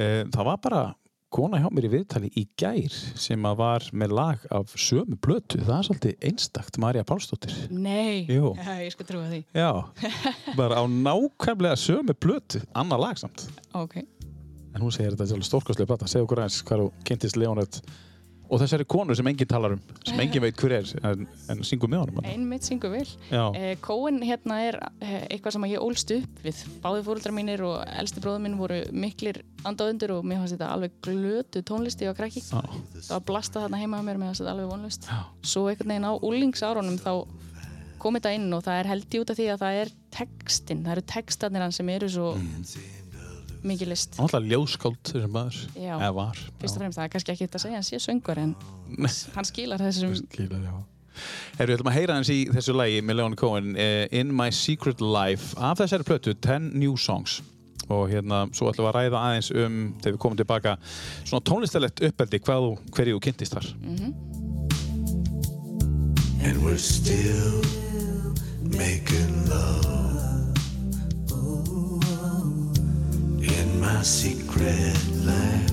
A: Eh, Það var bara kona hjá mér í viðtali í gær sem að var með lag af sömu plötu. Það er svolítið einstakt, Marja Pálsdóttir.
C: Nei,
A: Jú.
C: ég sko trúa því
A: Já, bara á nákvæmlega sömu plötu, annar lag samt.
C: Ok
A: En hún segir þetta er alveg stórkostlega plata. Segðu okkur aðeins hvað þú kynntist Leonard og þessari konu sem enginn talar um, sem enginn veit hver er, en, en syngur með honum.
C: Einmitt syngu vel.
A: Já.
C: Eh, Kóin hérna er eh, eitthvað sem að ég ólst upp við. Báði fóröldrar mínir og elsti bróður minn voru miklir andáðundur og mér fannst þetta alveg glötu tónlisti og krakki.
A: Já.
C: Það var blasta þarna heima á mér, mér fannst þetta alveg vonlust. Svo einhvern veginn á úlingsárunum þá kom þetta inn og það er held í út af því að það er textin, það eru textarnir hans sem eru svo mikið list.
A: Hann var alltaf ljóskáld þessum maður,
C: Já.
A: eða var.
C: Fyrst og fremst, það er kannski ekki þetta að segja, hann sé söngur en hann skilar þessum
A: Kýlar, já. Herru, við ætlum að heyra hans í þessu lagi með Leon Cohen, uh, In My Secret Life, af þessari plötu, 10 New Songs. Og hérna, svo ætlum við að ræða aðeins um, þegar við komum tilbaka, svona tónlistalegt uppeldi, hvað þú, hverju þú kynntist þar.
C: Mm.
D: And we're still making love in my secret life.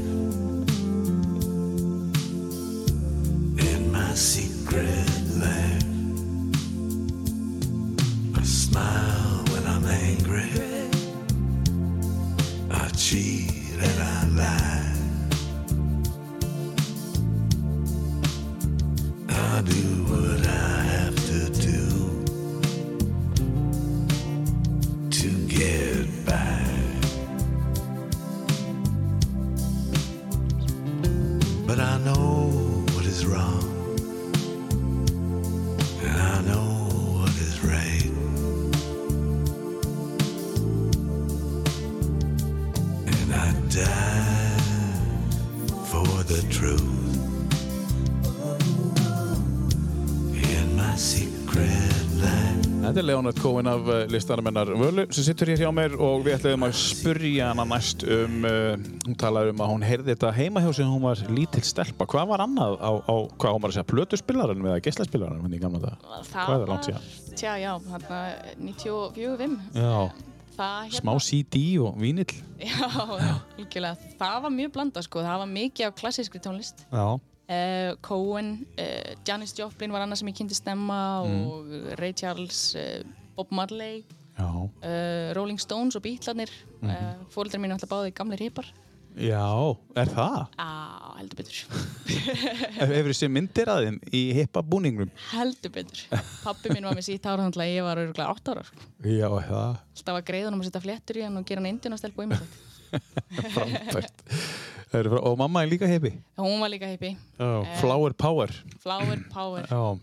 D: In my secret life, I smile when I'm angry. I cheat and I lie. I do what I have to do to get by. But I know what is wrong, and I know what is right. And I die for the truth. in my secret life.
A: Þetta er Leonard Cohen af uh, listamennar Völu sem sittur hér hjá mér og við ætlum að spurja hana næst um, uh, hún talaði um að hún heyrði þetta heima hjá sig hún var lítill stelpa. Hvað var annað á, á hvað á maður að segja, plötuspilaranum eða geislaspilaranum henni í gamla daga?
C: Það
A: Hvað er það langt
C: var- Tja, já, hann 94, 5.
A: Já,
C: Það hérna...
A: smá CD og vínill.
C: Já, líkjulega. Það var mjög blanda, sko. Það var mikið af klassískri tónlist.
A: Já.
C: Uh, Cohen, uh, Janis Joplin var annað sem ég kynnti stemma og Ray Charles, uh, Bob Marley,
A: Já.
C: uh, Rolling Stones og Beatlarnir. Mm -hmm. uh, Fóreldrar mínu alltaf báði gamli ripar.
A: Já, er það?
C: Á, heldur betur.
A: Hefur þið séð myndir að þeim í hippa búningrum?
C: heldur betur. Pappi mín var með sítt ára þannig að ég var örgulega 8 ára, sko.
A: Já, er það?
C: Alltaf að greiða hann um að setja fléttur í hann og gera hann indjun að stelpa um þetta.
A: Frábært. Eru frá- og mamma er líka hippi?
C: Hún var líka hippi.
A: Já. Flower Power.
C: Flower Power.
A: Já.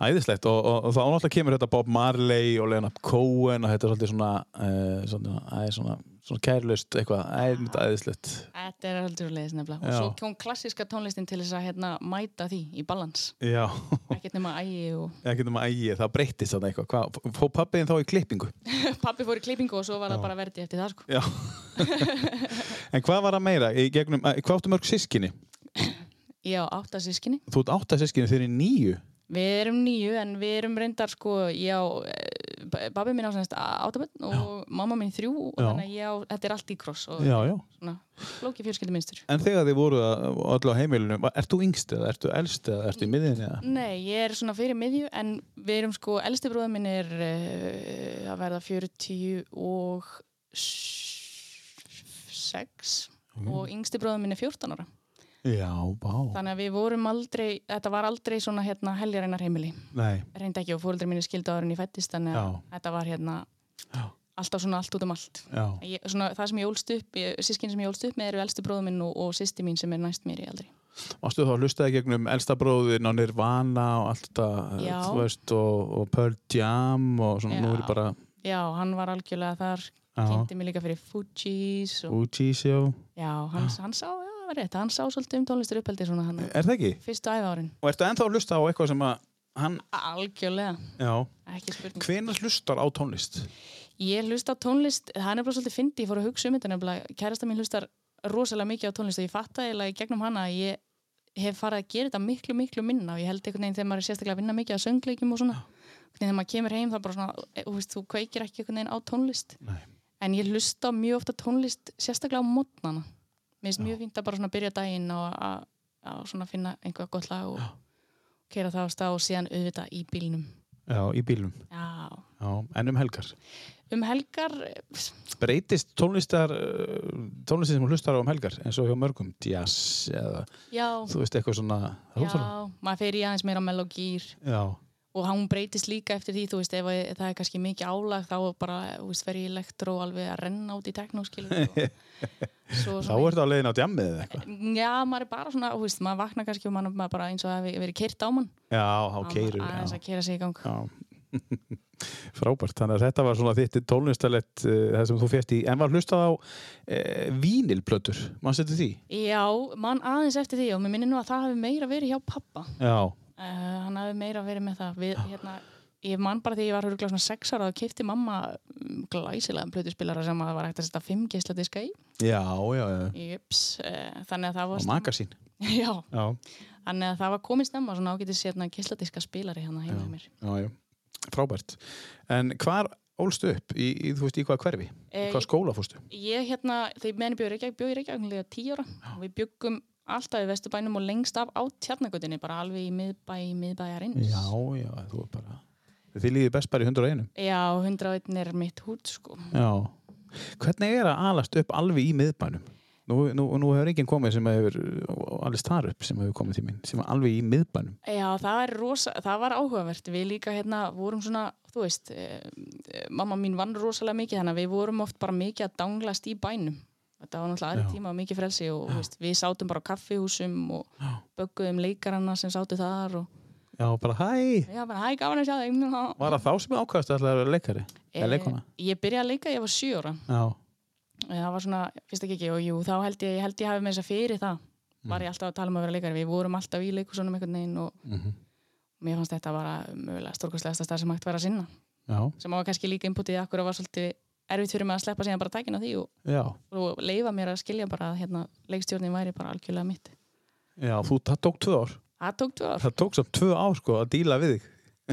A: Æðislegt og, og, og þá náttúrulega kemur þetta Bob Marley og Leonard Cohen og þetta er svolítið svona, uh, svona, æ, svona, svona kærlaust eitthvað, æðislegt, æðislegt.
C: Þetta er aldrei leiðis nefnilega.
A: Já.
C: Og svo kom klassíska tónlistin til þess að hérna, mæta því í balans.
A: Já,
C: Ekkert nema ægi og
A: ég getum að ægja, það breytist þarna eitthvað. Hvað, fó pappiðin þá í klippingu?
C: pappi fór í klippingu og svo var það bara verdi eftir það sko.
A: Já. en hvað var að meira? Í Gegnum, að, hvað áttu mörg sískinni?
C: Ég á átta sískinni.
A: Þú ert átta sískinni þegar í nýju.
C: Við erum nýju en við erum reyndar sko, ég á, babbi minn á semst áttabönd og mamma minn þrjú og
A: Já.
C: þannig að ég á, þetta er allt í kross og
A: Já, já.
C: svona flóki fjörskildi minnstur.
A: En þegar þið voruð að- öll á heimilinu, var- ert þú yngst eða ertu elst eða ertu í miðinni eða?
C: Nei, ég er svona fyrir miðju en við erum sko, elsti bróðum minn er uh, að verða 40 og 6 og yngsti bróðum minn er 14 ára.
A: Já, bá.
C: Þannig að við vorum aldrei, þetta var aldrei svona hérna heljarinnar heimili.
A: Nei,
C: Reyndi ekki og fóreldri mínu skildi áður en ég fættist þannig að
A: Já.
C: þetta var hérna
A: Já.
C: alltaf svona allt út um allt.
A: já.
C: Ég, svona, það sem ég ólst upp, ég- systkin sem ég ólst upp með eru elsti bróðum minn og, og sýsti mín sem er næst mér í aldri.
A: Varstu þá að hlustaði gegnum elsta bróðin og Nirvana og allt þetta, eh,
C: Já.
A: þú veist, og, og Pearl Jam og svona, nú er ég
C: Já.
A: bara
C: Já, hann var algjörlega þar,
A: Já.
C: kynnti mig líka fyrir Fugees og
A: Fugees, já.
C: Já, hann, hann sá, já, það var rétt, hann sá svolítið um tónlistur uppeldi svona hann
A: Er það ekki?
C: fyrstu æfa árin.
A: Og ertu ennþá að hlusta á eitthvað sem að hann,
C: Algjörlega,
A: já,
C: ekki spurning.
A: hvenar hlustar á tónlist?
C: Ég hlusta á tónlist, það er nefnilega svolítið fyndi, ég fór að hugsa um þetta nefnilega, kærasta mín hlustar rosalega mikið á tónlist og ég fatta eiginlega í gegnum hana að ég hef farið að gera þetta miklu, miklu minna og ég held einhvern veginn þegar maður er sérstaklega að vinna mikið að söngleikjum og svona, Einhvern veginn þegar maður kemur heim það er bara svona, e, þú veist, þú kveikir ekki einhvern veginn á tónlist.
A: Nei.
C: En ég hlusta mjög ofta tónlist, sérstaklega á mótnana. Mér finnst mjög fínt að bara svona byrja daginn og að- að svona finna einhver gott lag og keira það á stað og síðan auðvitað í bílnum.
A: Já, í bílum.
C: Já.
A: Já, en um helgar.
C: Um helgar, eh,
A: Breytist tónlistar, uh, tónlistin sem hún hlustar á um helgar, eins og hjá mörgum, jazz eða,
C: já,
A: þú veist, eitthvað svona, það er svona.
C: já, maður fer í aðeins meira melogýr
A: Já,
C: og hann breytist líka eftir því, þú veist, ef að það er kannski mikið álag þá bara, þú veist, fer ég elektró alveg að renna út í teknóskilur.
A: þá ertu á leiðin á djammið eða eitthvað.
C: Já, maður er bara svona, þú veist, maður vaknar kannski og maður maður bara eins og það hafi verið kyrt á mann.
A: Já, þá
C: Hann
A: keirir.
C: var aðeins að keira sig í gang
A: Já. Frábært, þannig að þetta var svona þitt tónlistalett uh, það sem þú férst í, en var hlustað á uh, vínilplötur, mannst þetta því?
C: já, mann aðeins eftir því og mér minnir nú að það hafi meira verið hjá pappa uh,
A: Já.
C: hann hafi meira verið með það Við, hérna, ég mann bara því ég var höruglega svona sex ára þá kipti mamma mm, glæsilegan plötuspilara sem að það var hægt að setja fimm geisladiska í
A: Já, já, já.
C: Jups, uh, þannig að það
A: Og
C: var
A: magasín.
C: já,
A: Já,
C: þannig að það var komið snemma svona ágætis hérna, geisladiska spilari hérna heima hjá mér
A: já, já. Frábært. En hvar ólstu upp? Í, í, þú veist, í hvað hverfi? Í
C: Eh,
A: hvað skóla fórstu?
C: Ég hérna, þegar menni bjóð í Reykjavík, bjóð í Reykjavík líka tíu ára og við bjöggum alltaf í Vesturbænum og lengst af á tjarnagutinni, bara alveg í miðbæ, miðbæjarins.
A: Já, já, þú er bara... Þið líður best bara í 101.
C: Já, 101 er mitt hút, sko.
A: Já. Hvernig er að alast upp alveg í miðbænum? Nú, nú, nú hefur enginn komið sem hefur alveg þar upp sem hefur komið til mín, sem var alveg í miðbænum.
C: Já, það er rosa, það var áhugavert. Við líka hérna vorum svona, þú veist, eh, eh, mamma mín vann rosalega mikið þannig að við vorum oft bara mikið að danglast í bænum. Þetta var náttúrulega aðri
A: Já.
C: tíma og mikið frelsi og þú veist, við sátum bara á kaffihúsum og bögguðum leikaranna sem sátu þar og
A: Já, bara hæ!
C: já, bara hæ, gafan að sjá þig.
A: Var það þá sem ég ákvæðast að það vera leikari? Eða
C: Eh,
A: leikona?
C: Ég byrjaði að leika, ég var 7 ára
A: Já.
C: Eh, Það var svona, fyrst ekki ekki, og jú, þá held ég, ég held ég hafi með þess að fyrir það
A: Mm.
C: Var ég alltaf að tala um að vera leikari, við vorum alltaf í leikursunum einhvern veginn og
A: Mhm.
C: Mér fannst þetta bara mögulega stórkostlegasta starf sem hægt var að sinna
A: Já.
C: Sem var kannski líka inputið akkur að var svolítið erfitt fyrir mig að sleppa síðan bara tækin á því og,
A: Já.
C: og leifa mér að skilja bara að hérna, leikstjórnin væri bara algjörlega mitt
A: Já, þú, það tók tvö ár.
C: Það tók tvö ár,
A: Það tók samt tvö ár, sko, að díla við þig.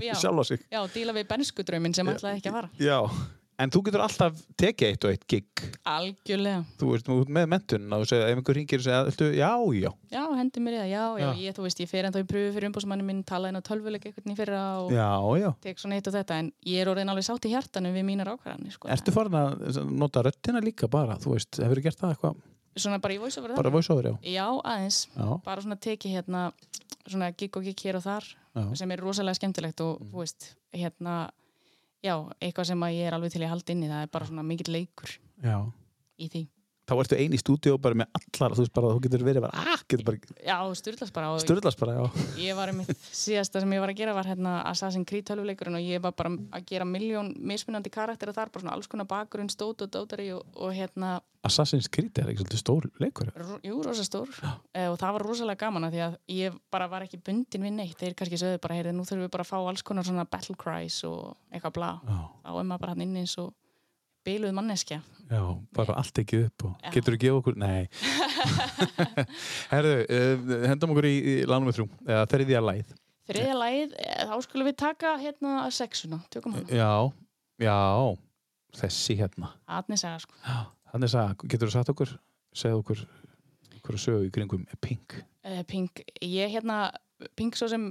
C: Já.
A: Sjálfa sig.
C: já, díla við benskudraumin sem ætlaði ekki að fara
A: Já. En þú getur alltaf tekið eitt og eitt gig.
C: Algjörlega
A: Þú veist, þú ert með mentun og þú segir, ef einhver ringir og segir, "Viltu- já, já.
C: Já, hendi mér í það, já, já,
A: Já.
C: ég, þú veist, ég fer ennþá í pröfu fyrir umbúsmannin minn, talaði inn á tölvuleik eitthvað í fyrra og
A: Já, já.
C: tek svona eitt og þetta en ég er orðin alveg sátt í hjartanum við mínar ákvarðanir sko.
A: Ertu farin að nota röttina líka bara, þú veist, hefur gert það eitthvað,
C: svona bara í voice over
A: bara
C: það
A: voice over, já.
C: já aðeins,
A: Já,
C: bara svona teki hérna svona gig og gig hér og þar
A: Já. Mhm.
C: sem er rosalega skemmtilegt og þú veist hérna, já, eitthvað sem að ég er alveg til í að halda inn í það er bara svona mikill leikur
A: já.
C: í því
A: þá ertu ein í stúdíó bara með allar þú veist bara, þú getur verið bara, ah, getur bara
C: Já, styrlast bara og
A: styrlast bara, já
C: ég var um síðasta sem ég var að gera var hérna Assassin's Creed tölvuleikurinn og ég var bara að gera miljón mismunandi karakter þar, bara svona alls konar bakgrunn, stót og dótari og, og hérna,
A: Assassin's Creed er ekki svolítið stór leikur
C: ro- jú, rosa stór eh, og það var rosalega gaman að því að ég bara var ekki bundin við neitt, þeir kannski sögðu bara heyrðu, nú þurfum við bara að fá alls konar svona battle cries og eitthvað bla,
A: já,
C: þá er maður bara hann inn eins og byluð manneskja
A: já, bara allt ekki upp og
C: Já.
A: getur þú gefa okkur, nei herðu, uh, hendum okkur í, í lánum við þrjú, eða þriðja læð
C: þriðja lagið, eh, þá skulum við taka hérna sexuna, tökum hana
A: já, já þessi hérna,
C: Atni sagði sko
A: hann er sagði, getur þú sagt okkur segð okkur, okkur sögu í kringum Pink,
C: Eh, Pink, ég hérna Pink svo sem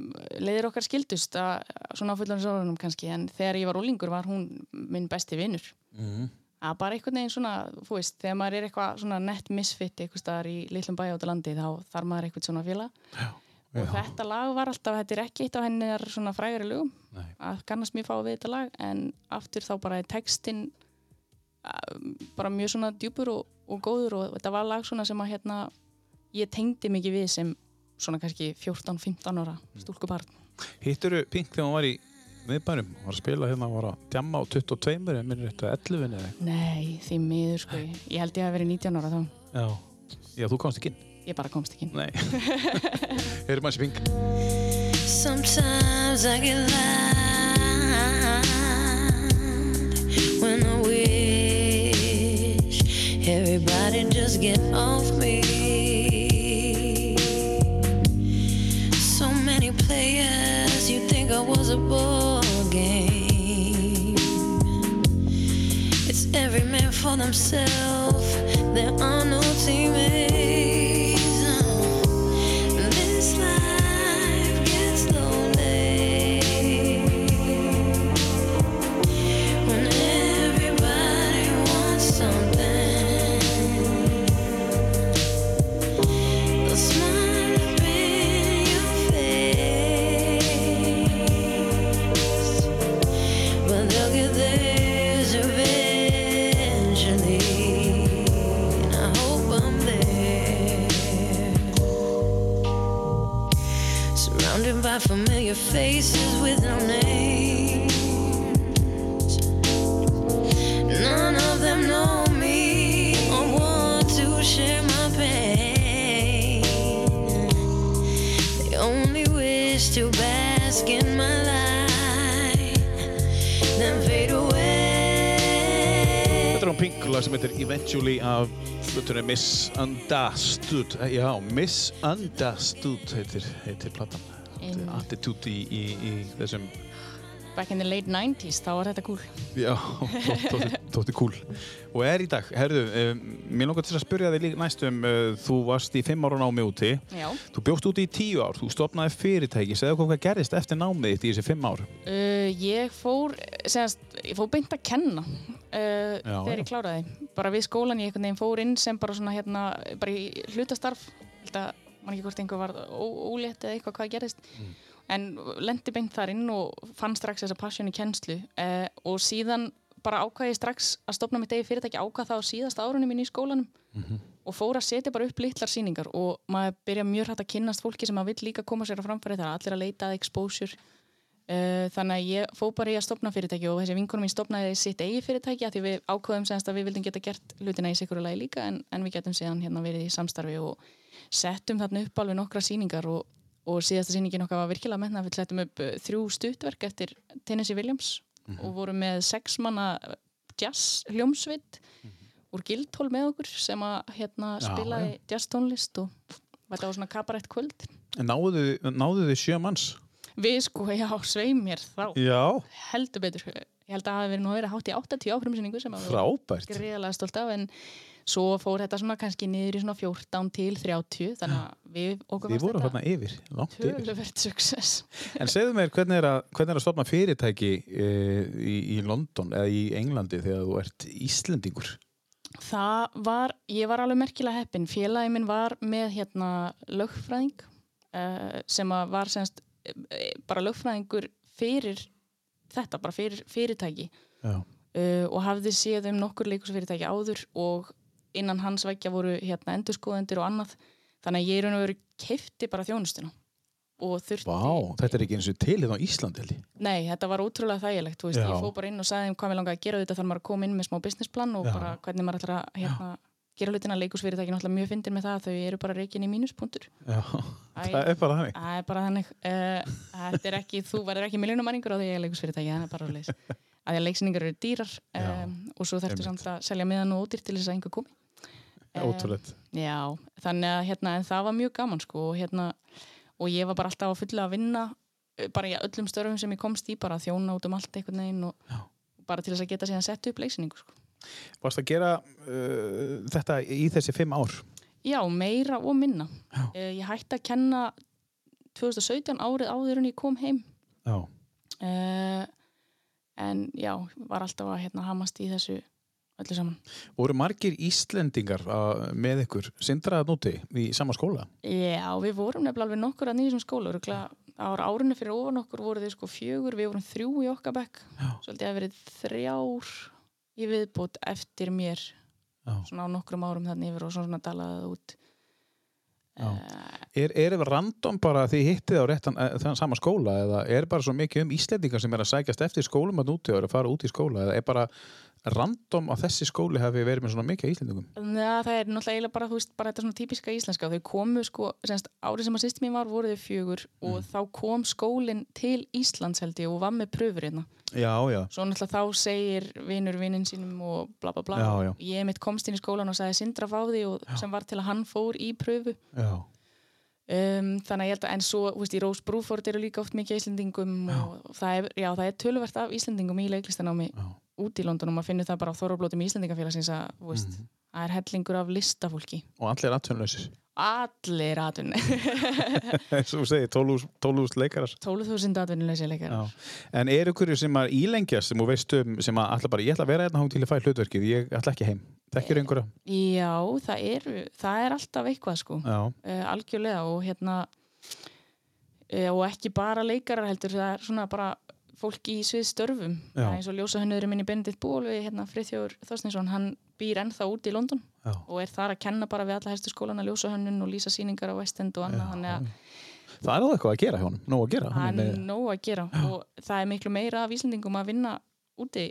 C: leiðir okkar skildust að, svona á fullan sórunum kannski en þegar ég var úlingur var hún minn besti vinnur
A: mm.
C: að bara einhvern veginn svona, þú veist, þegar maður er eitthvað svona nett misfitt einhvers staðar í litlum bæja út á landi þá þarf maður eitthvað svona félag og þetta lag var alltaf, þetta er ekki eitt af hennar svona frægari lögum
A: Nei.
C: að kannast mjög fá við þetta lag en aftur þá bara er textin um, bara mjög svona djúpur og, og góður og þetta var lag svona sem að hérna ég tengdi mikið við sem svona kannski 14-15 ára stúlkubarn
A: Hitturu Pink þegar hún var í miðbærum, hún var að spila hérna, hún var að djamma á 22, en minnir þetta 11 eða eitthvað.
C: Nei, því miður sko ég, ég held ég að verið 19 ára þá
A: Já. Já, þú komst ekki inn.
C: ég bara komst ekki inn
A: Nei. Heyrðum hans í Pink.
E: Sometimes I get loud when I wish everybody just get off me. So many players, you think I was a ball game. It's every man for themselves. There are no teammates. This life gets lonely when everybody wants something. The smile up in your face, but they'll get theirs eventually. I hope I'm there. Surrounded by familiar faces with no names. None of them know me or want to share my pain. They only wish to bask in my light, then fade away.
A: Þetta er hún Pink, lag sem heitir Eventually af hlutunni Misunderstood. Eh, Já, Misunderstood heitir, heitir platan. Þetta er
C: Einmitt.
A: Attitude í, í, í þessum,
C: Back in the late 90s, þá var þetta cool
A: já, þótti- þótti- þótti cool. Og er í dag, herðu, um, mér langar til að spyrja þig líka næstum, uh, þú varst í fimm ára námi úti.
C: Já,
A: Þú bjóst úti í tíu ár, þú stopnaði fyrirtæki, segðu okkur hvað gerðist eftir námið þitt í þessi fimm ár.
C: uh, ég fór segast, ég fór beint að kenna uh, þegar ég
A: já.
C: kláraði bara við skólan ég einhvern veginn fór inn sem bara svona hérna, bara í hlutastarf held að man ekki hvort einhver var ó- ólétt eða eitthvað hvað gerðist
A: Mm.
C: en lendi beint þar inn og fann strax þessa passion í kennslu uh, og síðan bara ákvaði ég strax að stopna mitt eigi fyrirtæki ákvað það á síðasta árunum minni í skólanum
A: Mhm.
C: og fór að setja bara upp litlar sýningar og maður byrja mjög hrætt að kynnast fólki sem maður vill líka koma sér á framfæri það er allir að leita að exposure uh, þannig að ég fór bara í að stopna fyrirtæki og þessi vinkunum mín stopnaði sitt eigi fyrirtæki að því við ákveðum semst að við vildum geta gert hlutina í sikuru lagi líka en, en við getum síðan hérna verið í samstarfi og settum þarna upp alveg nokkra sýningar og, og síðasta sýningin okkar var virkilega menna við settum upp uh, þrjú stuttverk eftir Tennessee Williams
A: Mhm.
C: og vorum með sex manna uh, jazz hljómsveit úr Guildhall með okkur sem að hérna
A: Mhm. Já,
C: spilaði jazz tónlist og þetta var svona kabarett kvöld
A: Náðu, náðu þið sjö manns?
C: Við sko, já, svei mér þá
A: Já.
C: heldur betur ég held að það hafi verið nú að vera hátt í 80 áhrumsynningu sem að við
A: Frábært.
C: greiðalega stolt af en svo fór þetta svona kannski niður í svona 14 til 30 þannig að við okkur
A: Þið voru
C: þetta
A: hérna yfir, langt yfir.
C: töluvert success
A: En segðu mér, hvernig er að, hvernig er að stopna fyrirtæki e, í, í London eða í Englandi þegar þú ert Íslendingur?
C: það var, ég var alveg merkilega heppin félagi minn var með hérna lögfræðing uh, sem að var semst eh, bara lögfræðingur fyrir þetta, bara fyrir fyrirtæki
A: Já.
C: Eh, uh, og hafði séð um nokkur leikusfyrirtæki áður og innan hans veggja voru hérna endurskoðendur og annað þannig að ég í raun og veru keifti bara þjónustuna og þurfti
A: Vá, þetta er ekki eins og til hérna á Íslandi held ég.
C: Nei, þetta var ótrúlega þægilegt, þú veist,
A: Já.
C: ég fóð bara inn og sagði þeim hvað mér langaði að gera þetta þarf maður að koma inn með smá businessplan og
A: Já.
C: bara hvernig maður ætlar að hérna, gera hlutina leikusfyrirtækin alltaf mjög fyndin með það að þau eru bara reikin í mínuspunktur.
A: Já,
C: Æ.
A: það er bara hannig.
C: Það er bara þannig, uh, þetta er ekki, þú verður ekki miljónumæringur á því að ég er leikusfyrirtæki, það er bara alveg þess. Að því að leiksningar eru dýrar
A: Já.
C: um, og svo þarftu samt að selja miðan og ódýr til þess að einhver komi. Eh,
A: Ótrúlegt.
C: Já, þannig að hérna, en það var mjög gaman sko og hérna, og ég var bara alltaf að fulla að vinna eh, bara í öllum störfum sem ég komst í, bara að þjóna út um allt einhvern veginn og
A: Já.
C: bara til þess að geta síðan sett upp leiksinningu sko.
A: Varst að gera uh, þetta í þessi fimm ár?
C: Já, meira og minna.
A: Já.
C: Eh, Ég hætti að kenna 2017 árið áður en ég kom heim
A: Já.
C: uh, en já, var alltaf að hérna hamast í þessu öllu saman.
A: Voru margir Íslendingar að, með ykkur sindraðan úti í sama skóla?
C: Já, við vorum nefnilega alveg nokkur að nýjum skóla örugglega á árinu fyrir ofan okkur voru þið sko fjögur, við vorum þrjú í okkar bekk
A: Já.
C: svolítið að verið þrjár í viðbútt eftir mér
A: Já.
C: svona á nokkrum árum þannig yfir og svo svona dalaðið út
A: Já.
C: Eh,
A: Uh, Er, er ef random bara að þið hittið á réttan, eh, þann sama skóla eða er bara svo mikið um Íslendingar sem er að sækjast eftir skólum að núti og eru að fara út í skóla eða er bara random að þessi skóli hafi verið með svona mikið af Íslendingum?
C: Neða, það er náttúrulega eiginlega bara, þú veist, bara þetta svona típiska íslenska. Þau komu sko, semst, árið sem að sýstum ég var voru þau fjögur og þá kom skólinn til Íslands held ég og var með pröfur hérna.
A: Já, já.
C: Svo náttúrulega þá segir vinur vinninn sínum og bla bla bla.
A: Já, já.
C: Ég mitt komst inn í skólan og sagði Sindra frá því og sem var til að hann fór í pröfu.
A: Já,
C: Um, þannig að ég held að, en svo, þú veist, í Rose Bruford eru líka oft mikið Íslendingum og það er, já, það er töluvert af Íslendingum í leiklistanámi
A: já.
C: út í London og maður finnur það bara á þorrablótum Íslendingafélagsins að, þú veist, það er hellingur af listafólki.
A: Mhm. Og allir atvinnuleysir.
C: Allir atvinni.
A: Eins og þú segir, 12.000 leikarar.
C: 12.000 atvinnuleysi leikar.
A: Já. En er ykkur sem að ílengjast sem þú veist um sem að ætla bara, ég ætla að vera hérna hún til að fæ hlutverkið, ég ætla ekki heim. Þekkir einhverja?
C: Já, það er, það er alltaf eitthvað sko.
A: Já,
C: Uh, algjörlega og hérna uh, og ekki bara leikarar heldur það er svona bara fólk í svið störfum
A: Já.
C: það er eins og ljósa minni Benedikt Bólvi hérna Friðþjóður Þorstinsson, hann býr ennþá út í London
A: já.
C: og er þar að kenna bara við alla helstu skólana ljósa og lýsa sýningar á West End og annað, þannig að
A: Það er það eitthvað að gera hjá honum, nóg að gera.
C: hann
A: Hann
C: er
A: er með,
C: nóg að gera og það er miklu meira af Íslandingum að vinna úti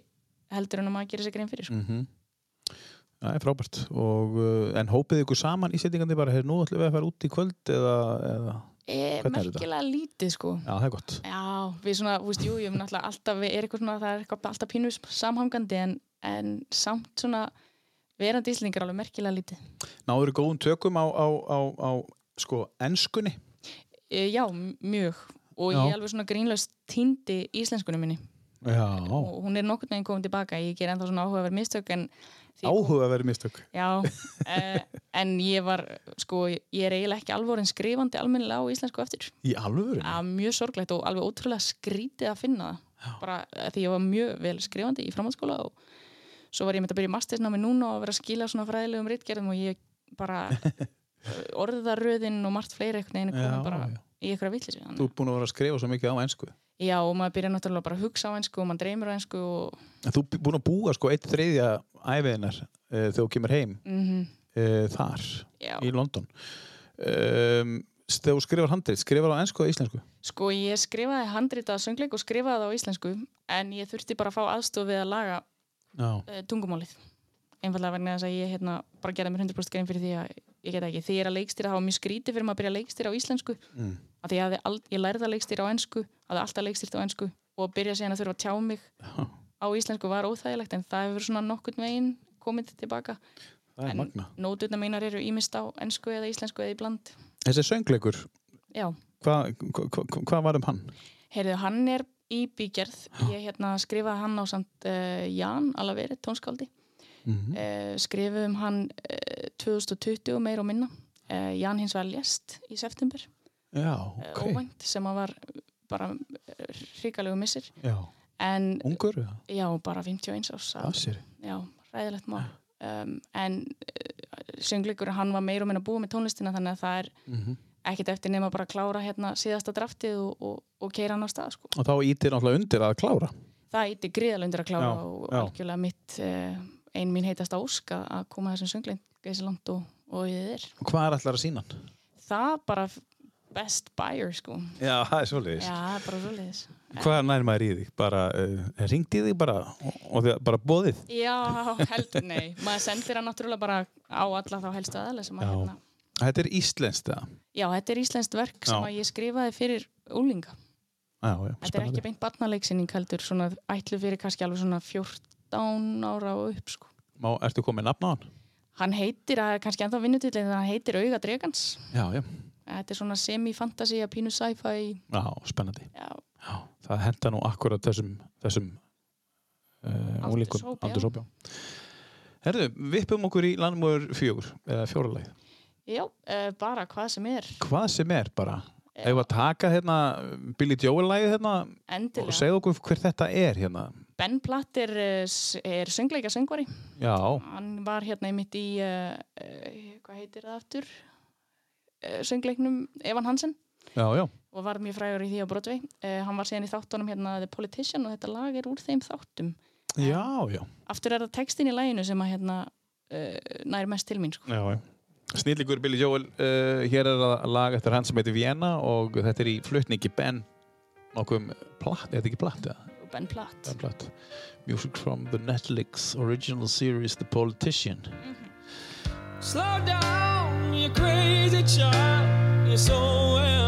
C: heldur en að maður gerir sér grein
A: Mm.
C: fyrir sko.
A: Mhm. það er frábært. Og, uh, en hópið ykkur saman í settingandi bara, heyrðu, nú ætlum við að fara út í kvöld eða, eða...
C: e,
A: Hvernig er þetta?
C: merkilega lítið sko
A: Já, það er gott.
C: já, við svona, þú veist, jú, ég mun alltaf, alltaf við er eitthvað svona, það er eitthvað alltaf pínu samhangandi en, en samt svona verandi íslendingar alveg merkilega lítið
A: Náður góðum tökum á, á, á, á sko, enskunni.
C: e, já, m- mjög og
A: Já.
C: ég alveg svona grínlaust týndi íslenskunum minni
A: Já,
C: og hún er nokkurn veginn komin tilbaka ég ger ennþá svona áhugaverð mistök en því-
A: áhuga verið mistök.
C: Já, uh, en ég var, sko, ég er eiginlega ekki alvorin skrifandi almennilega á íslensku eftir.
A: Í alvöru?
C: Það var mjög sorglegt og alveg ótrúlega skrítið að finna það. Bara eh, því ég var mjög vel skrifandi í framhaldsskóla og svo var ég með að byrja í mastersnámi núna og að vera að skila svona fræðilegum rittgerðum og ég bara eh, orðaröðin og margt fleiri einhvern veginn
A: Já,
C: komum bara
A: já.
C: í eitthvað vitlis.
A: Þú ert búin að vera að skrifa svo mikið á ensku.
C: Já, og maður byrja náttúrulega bara að hugsa á einsku og maður dreymir á einsku og
A: En þú ert búin að búa sko eitt þriðja æfiðinar uh, þegar þú kemur heim
C: mm
A: uh, þar
C: já.
A: í London. Um, þegar þú skrifar handrið, skrifar á ensku eða íslensku?
C: Sko, ég skrifaði handritað söngleik og skrifaði það á íslensku en ég þurfti bara að fá aðstof við að laga
A: Já.
C: uh, tungumálið. Einfallega vegna þess að ég hérna, bara gerði mér 100% grein fyrir því að ég get ekki. Því ég er að leikstýra þá var mjög skrítið fyrir maður að byrja að leikstýra á íslensku
A: Mm.
C: að því ég, hafði ald- ég lærði að leikstýra á ensku, hafði alltaf leikstýrt á ensku og að byrja síðan að þurfa að tjá mig
A: Já.
C: á íslensku var óþægilegt en það hefur svona nokkurn veginn komið tilbaka.
A: Það er
C: En-
A: magna.
C: Nótutna mínar eru ímist á ensku eða íslensku eða í bland.
A: Þessi söngleikur,
C: Já.
A: hvað hva, hva, hva var um hann?
C: Heyrðu, hann er í bígerð. Ég hérna, skrifaði hann á samt uh, Jan Alaveri, tónskáldi.
A: Mm
C: Uh, skrifaði um hann uh, 2020 meir og minna. Uh, Jan hins vegar lést í september.
A: Já,
C: eh,
A: ok.
C: Óvænt, sem að var eh, bara uh, hrikalegu missir.
A: Já.
C: En
A: Ungur, eða?
C: já, bara 51 árs. að-
A: það sér.
C: Já, ræðilegt mál. Um, en uh, söngleikur, hann var meir og minna búið með tónlistina þannig að það er
A: Mm
C: ekkert eftir nema bara að klára hérna síðasta draftið og, og, og keira hann á stað, sko.
A: Og þá ítir náttúrulega undir að klára.
C: það ítti gríðalundir að klára
A: Já,
C: og
A: já.
C: algjörlega mitt eh, ein mín heitasta ósk að- að koma þessum söngleik geysi langt og, og ég er
A: Og hvað er allar að sína hann?
C: það bara f- best buyer sko
A: Já, það er svolítið.
C: já, það er bara svoleiðis
A: Hvað nær maður í þig? Bara, uh, ringdi þig bara og, og þið bara bóðið?
C: já, heldur nei maður sendir hann náttúrulega bara á alla þá helstu aðalega sem að hérna
A: Þetta er íslenskt, eða?
C: já, þetta er íslenskt verk sem
A: Já.
C: að ég skrifaði fyrir úlinga
A: Já, já,
C: þetta er
A: spennandi.
C: ekki beint barnaleiksynning heldur svona ætlu fyrir kannski alveg svona 14 ára og upp sko
A: Má, ertu komið nafn á hann?
C: hann heitir, það er kannski ennþá vinnutillin hann heitir Auga Dregans
A: Já, já.
C: þetta er svona semi-fantasy að pínu sci-fi
A: Já, spennandi.
C: já,
A: Já, það henda nú akkurat þessum, þessum uh, úlíkum.
C: Aldurshóp, já.
A: Aldurshóp, já. Herðu, vippum okkur í landmúður fjögur, eða fjóralæð.
C: já uh, bara hvað sem er
A: Hvað sem er bara, ef við að taka hérna Billy Joel-lægið hérna og
C: endilega
A: segja okkur hver þetta er hérna.
C: Ben Platt er, eh, s- er söngleika söngvari
A: Já,
C: hann var hérna einmitt í uh, uh, hvað heitir það aftur uh, söngleiknum Evan Hansen
A: já, já.
C: og var mjög frægur í því á Broadway uh, hann var síðan í þáttunum hérna The Politician og þetta lag er úr þeim þáttum
A: Já, já.
C: aftur er það textin í laginu sem að hérna uh, nær mest til mín sko.
A: Já, já. Snillingur Billy Joel, uh, hér er það lag eftir hann sem heitir Vienna og þetta er í flutningi Ben nokkuð platt, er þetta ekki platt eða?
C: Og Ben Platt
A: Það er platt. Music from the Netflix original series The Politician.
F: Slow down, you crazy child. You're so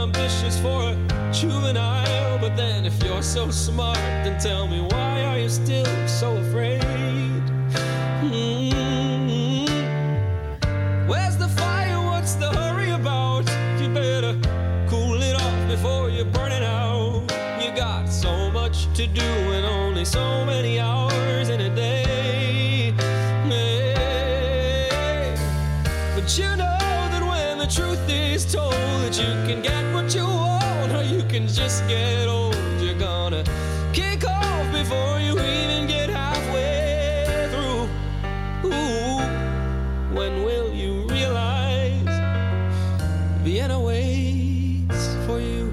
F: ambitious for a juvenile. But then, if you're so smart, then tell me why are you still so afraid? Mhm. Where's the fire? What's the hurry about? You better cool it off before you burn it out. You got so much to do and only so many hours in a day. Hey. But you know that when the truth is told, that you can get what you want, or you can just get old. You're gonna kick off before you even get halfway through. Ooh, when will you realize Vienna waits for you?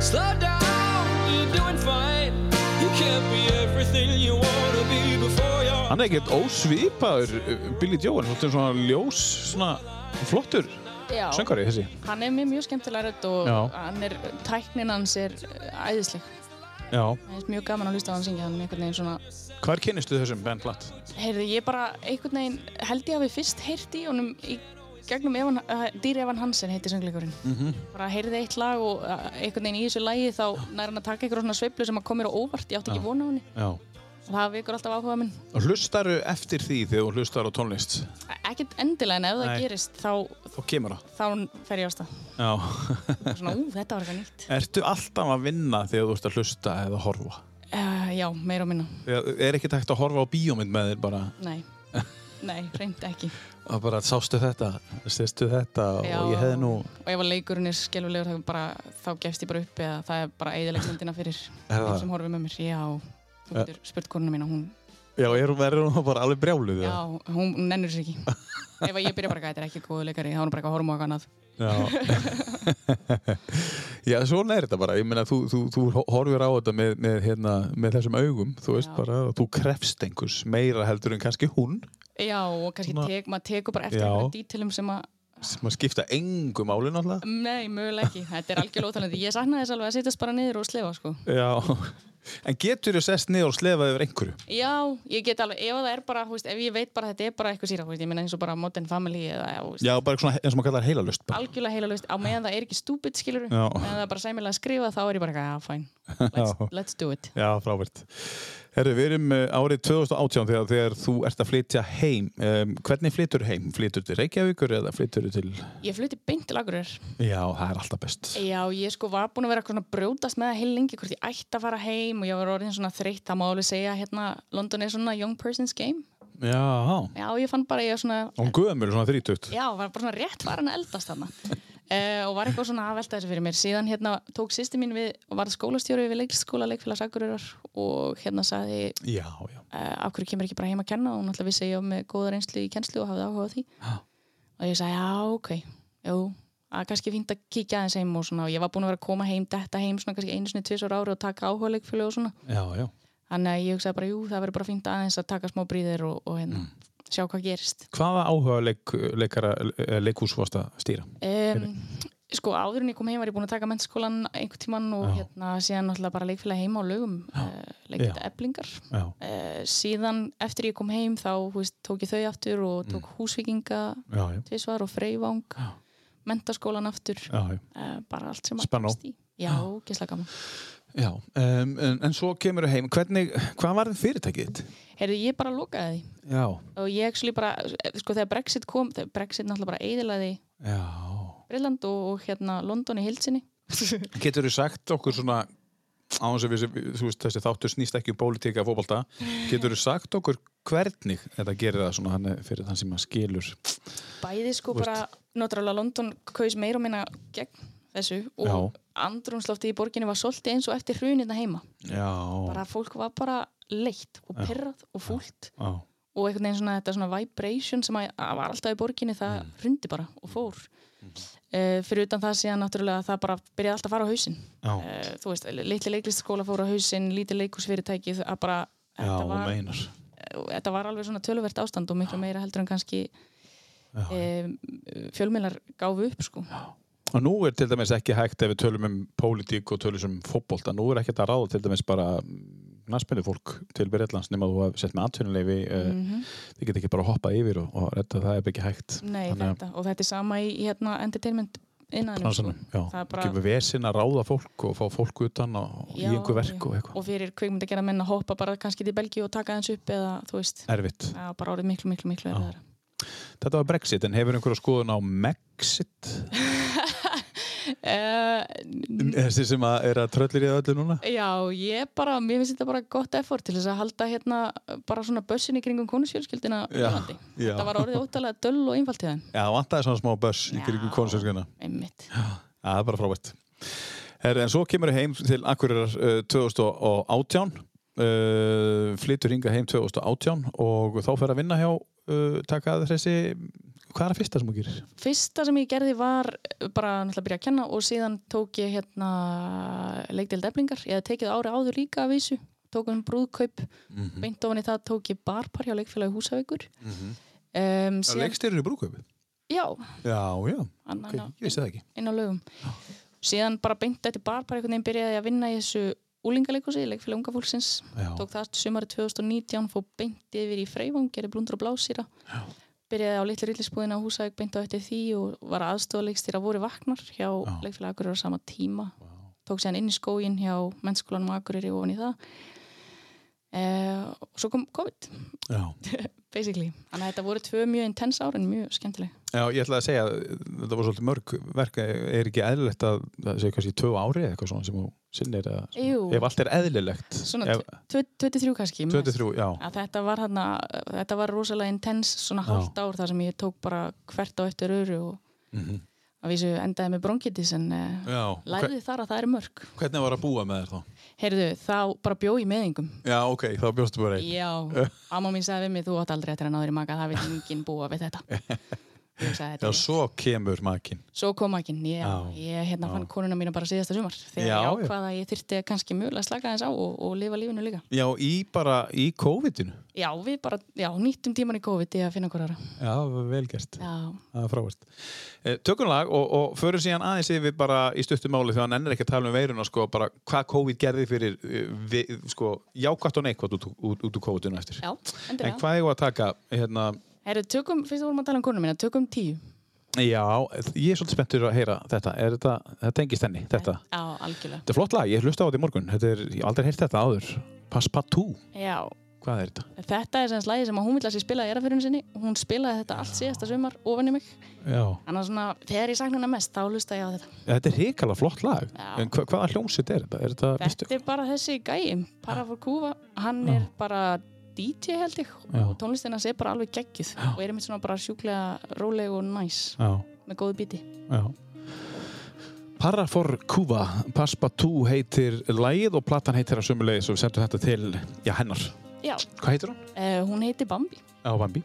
F: Slow down, you're doing fine. You can't be everything you wanna be before your
A: Hann er ekkert ósvipaður uh, Billy Joel, þetta er svona ljós, svona flottur
C: Já,
A: söngari þessi.
C: hann er með mjög skemmtilega rödd og
A: Já.
C: hann er, tæknin hans er eh, æðisleg.
A: Já.
C: Það er mjög gaman að hlusta á hann syngja, hann er einhvern veginn svona,
A: Hvar kynnistu þessum Ben Platt?
C: heyrðu, ég bara einhvern veginn held ég að við fyrst heyrti í honum í gegnum Evan, uh, Dýr Evan Hansen heitir söngleikurinn. -hmm. Bara heyrði eitt lag og uh, einhvern veginn í þessu lagi þá nær hann að taka einhver svona sveiflu sem að komir á óvart, ég átti ekki vona á henni.
A: Já.
C: Það vekur alltaf áhuga minn.
A: Og hlustaru eftir því þegar þú hlustar á tónlist?
C: Ekkert endilega en ef það
A: Nei.
C: gerist þá,
A: Þá kemur það.
C: þá fer ég á stað.
A: Já.
C: Bara Svona, ú, þetta var eitthvað nýtt.
A: Ertu alltaf að vinna þegar þú ert að hlusta eða horfa?
C: Uh, já, meira og minna.
A: Þegar er ekkert hægt að horfa á bíómynd með þér bara,
C: Nei, nei, reynd ekki.
A: að bara sástu þetta, sérstu þetta
C: Já.
A: og ég hefði nú,
C: og ef að leikurinn er skelvulegur þá, bara, þá gefst ég bara upp eða það er bara eiginlega stundina fyrir
A: Er það?
C: þeim sem horfið með mér já, þú getur spurt konuna mín og hún,
A: já, er hún verður hún þá bara alveg brjáluð?
C: já, hún nennur sér ekki ef að ég byrja bara að þetta er ekki góðu leikari þá er hún bara eitthvað að horfa á eitthvað annað
A: Já, já svona er þetta bara, ég meina þú, þú, þú horfir á þetta með, með, hérna, með þessum augum, þú veist
C: Já.
A: bara að þú krefst einhvers meira heldur en kannski hún
C: já, og kannski
A: Svona-
C: tek, maður tekur bara eftir
A: Já.
C: einhverjum dítilum sem að
A: sem að skipta engu máli náttúrulega.
C: nei, mögulega ekki, þetta er algjörlega ótalandi ég saknaði þess alveg að setjast bara niður og slefa sko.
A: Já, en getur þú sest niður og slefað yfir einhverju?
C: já, ég get alveg, ef það er bara þú veist, ef ég veit bara að þetta er bara eitthvað síra þú veist, ég meina eins og bara Modern Family eða, þú veist,
A: Já, bara svona eins og maður kallar heilalust bara.
C: algjörlega heilalust á meðan það er ekki stúpid skilur
A: Já.
C: meðan það er bara sæmilega að skrifa þá er ég bara eitthvað, já, fæn,
A: Já.
C: let's, let's do it
A: Já, frábært. Herru, við erum eh, árið 2018 þegar, þegar þú ert að flytja heim. Um, hvernig flytur heim? Flytur til Reykjavíkur eða flytur til...
C: ég flutti beint til Akureyrar
A: Já, það er alltaf best.
C: já, ég sko var búin að vera eitthvað svona að brjótast með það heil lengi hvort ég ætti að fara heim og ég var orðin svona þreytt það má alveg segja hérna, London er svona young person's game
A: Já,
C: já, ég fann bara ég var svona
A: hún gömur svona 30.
C: já, var bara svona rétt farin að eldast þarna uh, og var eitthvað svona að velta þessu fyrir mér síðan hérna tók sýsti mín við og var skólastjóri við leikskóla leikfélags Akureyrar og hérna sagði
A: Já, já.
C: uh, af hverju kemur ekki bara heim að kenna og hún alltaf vissi að ég var með góða reynslu í kennslu og hafði áhuga á því
A: Ha.
C: og ég sagði, já, ok, jú að kannski fínt að kíkja aðeins heim og svona og ég var búin að vera að koma heim, detta heim svona kannski einu sinni tvisar ári og taka áhuga leikfjölu og svona
A: Já, já.
C: þannig að ég hugsaði bara, jú, það verður bara fínt aðeins að taka smá bríðir og, og
A: Mm.
C: hérna, sjá hvað gerist
A: Hvaða áhuga leik, leikara, eh, leikhús varst að stýra?
C: um, sko áður en ég kom heim var ég búin að taka mennskólan einhvern tímann og
A: Já.
C: hérna síðan náttúrulega bara leikfélagi heima á lögum uh, leikit
A: Já.
C: eblingar
A: Já,
C: uh, síðan eftir ég kom heim þá þú veist, tók ég þau aftur og tók
A: Mm.
C: húsvíkinga
A: já, já,
C: tvisvar og freyvang mentaskólan aftur
A: já, já.
C: uh, bara allt sem maður
A: Spennó.
C: kemst í. já, gæsla gaman
A: já um, en, en svo kemur þau heim, hvernig, hvað var þið fyrirtækið þitt?
C: heyrðu, ég bara lokaði því
A: Já,
C: og ég actually bara, sko þegar Brexit kom þegar Brexit náttúrulega bara eidilaði
A: já.
C: Breiland og, og hérna London í heilsinni
A: Getur þú sagt okkur svona, á þess að við, þú veist, þessi þáttur snýst ekki um pólitíka fótbolta, getur þú sagt okkur hvernig þetta gerir það svona hann, fyrir þann sem maður skilur?
C: bæði sko
A: Þú veist-
C: bara, náttúrulega London kaus meira og minna gegn þessu og
A: Já.
C: andrúnslofti í borginni var svolítið eins og eftir hrunina heima
A: Já,
C: bara fólk var bara leitt og perrað og fúlt
A: já,
C: og einhvern veginn svona þetta svona vibration sem að, að var alltaf í borginni það mm. hrundi bara og fór mm.
A: Mhm.
C: fyrir utan það síðan náttúrulega að það bara byrjaði alltaf að fara á hausinn
A: já,
C: uh, þú veist, litli leiklistaskóla fór á hausinn lítið leikusfyrirtæki það bara
A: já,
C: þetta,
A: þú
C: var,
A: meinar.
C: þetta var alveg svona töluvert ástand og miklu meira heldur en kannski um, fjölmiðlar gáfu upp sko
A: Og nú er til dæmis ekki hægt ef við tölum um pólitík og tölum um fótbolta. Nú er ekki að ráða til dæmis bara næspennu fólk til Breitlands nema þú hafði sett með atvinnuleifi. Mm
C: Mhm.
A: Þið get ekki bara hoppað yfir og, og retta, það er ekki hægt.
C: Nei,
A: Þannig að-
C: þetta, og þetta er sama í í hérna, entertainment sko. innan
A: Bransanum, já.
C: Það er bara-
A: Gefur vesin að ráða fólk og fá fólk utan og í einhver verk og eitthvað.
C: og fyrir kvikmynd að gera menn að hoppa bara kannski til Belgíu og taka hans upp eða þú veist,
A: Erfitt.
C: það var bara orðið miklu, miklu, miklu erfiðara.
A: Þetta var Brexit, en hefur einhverja skoðun á Mexit?
C: Eh, n-
A: Þessi sem að er að tröllir í það öllu núna?
C: Já, ég bara, mér finnst þetta bara gott effort til þess að halda hérna bara svona bössin í kringum konusfjölskyldina
A: Já,
C: Írlandi.
A: já.
C: Þetta var orðið óttalega döll og einfalt í þeim.
A: Já, það vantaði svona smá börs í kringum
C: Já.
A: konserskuna.
C: Einmitt.
A: Já, það er bara frábært. Herra, en svo kemur þau heim til Akureyrar uh, 2018, uh, flyttur hinga heim 2018 og þá fer að vinna hjá uh, taka að þessi, hvað er að fyrsta sem þú gerir?
C: Fyrsta sem ég gerði var bara náttúrulega að byrja að kenna og síðan tók ég hérna leikdeild eflingar. Ég hafði tekið ári áður líka af vísu. Tók um brúðkaup,
A: Mhm.
C: beint ofan í það tók ég barpar hjá leikfélagi húsavíkur. um, síðan,
A: leikstýrir í brúköpið.
C: já,
A: Já, já,
C: hann,
A: ok,
C: hann,
A: ég vissi það ekki.
C: inn á lögum síðan bara beint eftir bar bara einhvern veginn byrjaði ég að vinna í þessu úlingaleikhúsi, leikfélag unga fólksins
A: Já,
C: tók það sumari 2019, fór beint yfir í Freyvang, gerði blundur og blásýra byrjaði á litlu rillisbúðin á Húsavík beint á eftir því og var aðstofaleikstýra voru vaknar hjá
A: Já.
C: leikfélag Akureyri á sama tíma tók sér inn í skógin hjá mennskólanum á Akureyri ofan í það eh, og svo kom COVID
A: já.
C: basically, þannig að þetta voru tvö mjög intense ár en mjög skemmtileg
A: já, ég ætlaði að segja, þetta var svolítið mörg verk, eh, er ekki eðlilegt að, það séu kannski tvö ári eða eitthvað svona sem þú sinnir að,
C: Jú.
A: ef allt er eðlilegt.
C: Svona
A: ef,
C: 23 kannski mest.
A: 23, já.
C: að þetta var hérna þetta var rosalega intens svona
A: Já.
C: hálft ár þar sem ég tók bara hvert á eftir öru og að vísu endaði með bronkitis en uh,
A: Mhm. Já,
C: læði þar að það er mörg
A: hvernig var að búa með þér þá?
C: heyrðu, þá bara bjó í meðingum
A: Já, ok, þá bjóstu bara einn.
C: já, amma mín sagði við mig þú átt aldrei eftir að náður í maka, það vil enginn búa við þetta ég hugsaði
A: Já,
C: þetta er-
A: svo kemur makin.
C: svo kom ekki, já,
A: Já.
C: ég hérna fann konuna mína bara síðasta sumar þegar
A: Já,
C: ég
A: já.
C: ákvaða að ég þyrfti kannski mjögulega að slaka þess á og, og lifa lífinu líka
A: Já, í bara, í COVID-inu.
C: já, við bara, já, nýttum tíman í COVID í að finna hver ára
A: Já, vel gert.
C: já,
A: Það er frávært. Eh, Tökum lag og, og förum síðan aðeins yfir bara í stuttum máli þegar hann ennir ekki að tala um veiruna, sko, bara hvað COVID gerði fyrir, eh, vi, sko, jákvæmt og neikvæmt út, út, út úr COVID-inu eftir.
C: já,
A: en
C: endilega
A: hvað eigum við að taka, hérna,
C: Herru, tökum, fyrst vorum að tala um konuna mína, tökum tíu.
A: já, ég er svolítið spenntur að heyra þetta, er þetta, það tengist henni, þetta.
C: Já, algjörlega.
A: Þetta er flott lag, ég hlusta á þetta í morgun, þetta er, ég hef aldrei heyrt þetta áður. Passepartout,
C: Já,
A: hvað er þetta?
C: þetta er sem slagið sem að hún vil að sér spila í erafyrinu sinni. Hún spilaði þetta allt síðasta sumar ofan í mig.
A: Já.
C: Þannig að svona, þegar ég sakna hana mest, þá hlusta ég á þetta.
A: Þetta er hrikalega flott lag,
C: Já.
A: en hva, hvaða hljómsitt er þetta? Er þetta, veistu-
C: Þetta er bara þessi gæi, para for kúfa. Hann er bara DJ held ég
A: Já.
C: og tónlistina sé bara alveg geggjuð og er mitt svona bara sjúklega róleg og næs
A: Já,
C: með góðu bíti.
A: já. Parafor Kuva, Passepartout heitir lagið og platan heitir að sömulegis og við sendum þetta til, já hennar.
C: Já,
A: Hvað heitir hún?
C: uh, hún heiti Bambi.
A: Já, Bambi.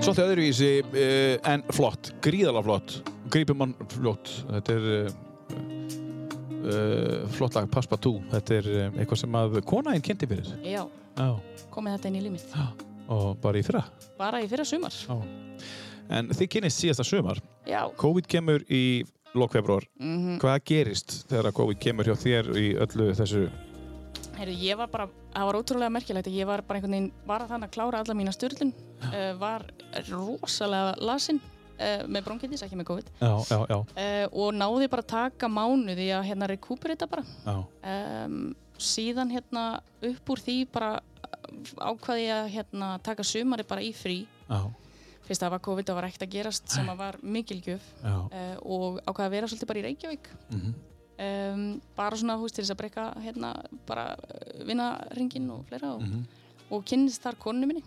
A: svolítið öðruvísi uh, en flott, gríðalega flott grípum hann flott þetta er uh, uh, flott lag, Passepartout þetta er uh, eitthvað sem að konaðinn kynnti fyrir
C: Já,
A: já,
C: komið þetta inn í límit.
A: og bara í fyrra
C: Bara í fyrra sumar.
A: já. en þið kynnist síðasta sumar
C: Já,
A: COVID kemur í lok februar
C: Mhm.
A: hvað gerist þegar að COVID kemur hjá þér í öllu þessu
C: heyrðu, ég var bara, það var ótrúlega merkilegt að ég var bara einhvern veginn, var að þann að klára alla mína styrlun, uh, var rosalega lasin uh, með bronkitis, ekki með COVID,
A: já, já, já,
C: uh, og náði bara að taka mánuði að hérna rekuperita bara.
A: já.
C: Um, síðan hérna upp úr því bara ákvaði ég að hérna taka sumari bara í frí,
A: já.
C: fyrst að það var COVID og var ekkert að gerast sem að var mikilgjöf
A: já.
C: uh, og ákvaði að vera svolítið bara í Reykjavík
A: Mhm.
C: um, bara svona húst til þess að breyka hérna bara vinna ringin og fleira og,
A: Mhm.
C: og kynnist þar konu minni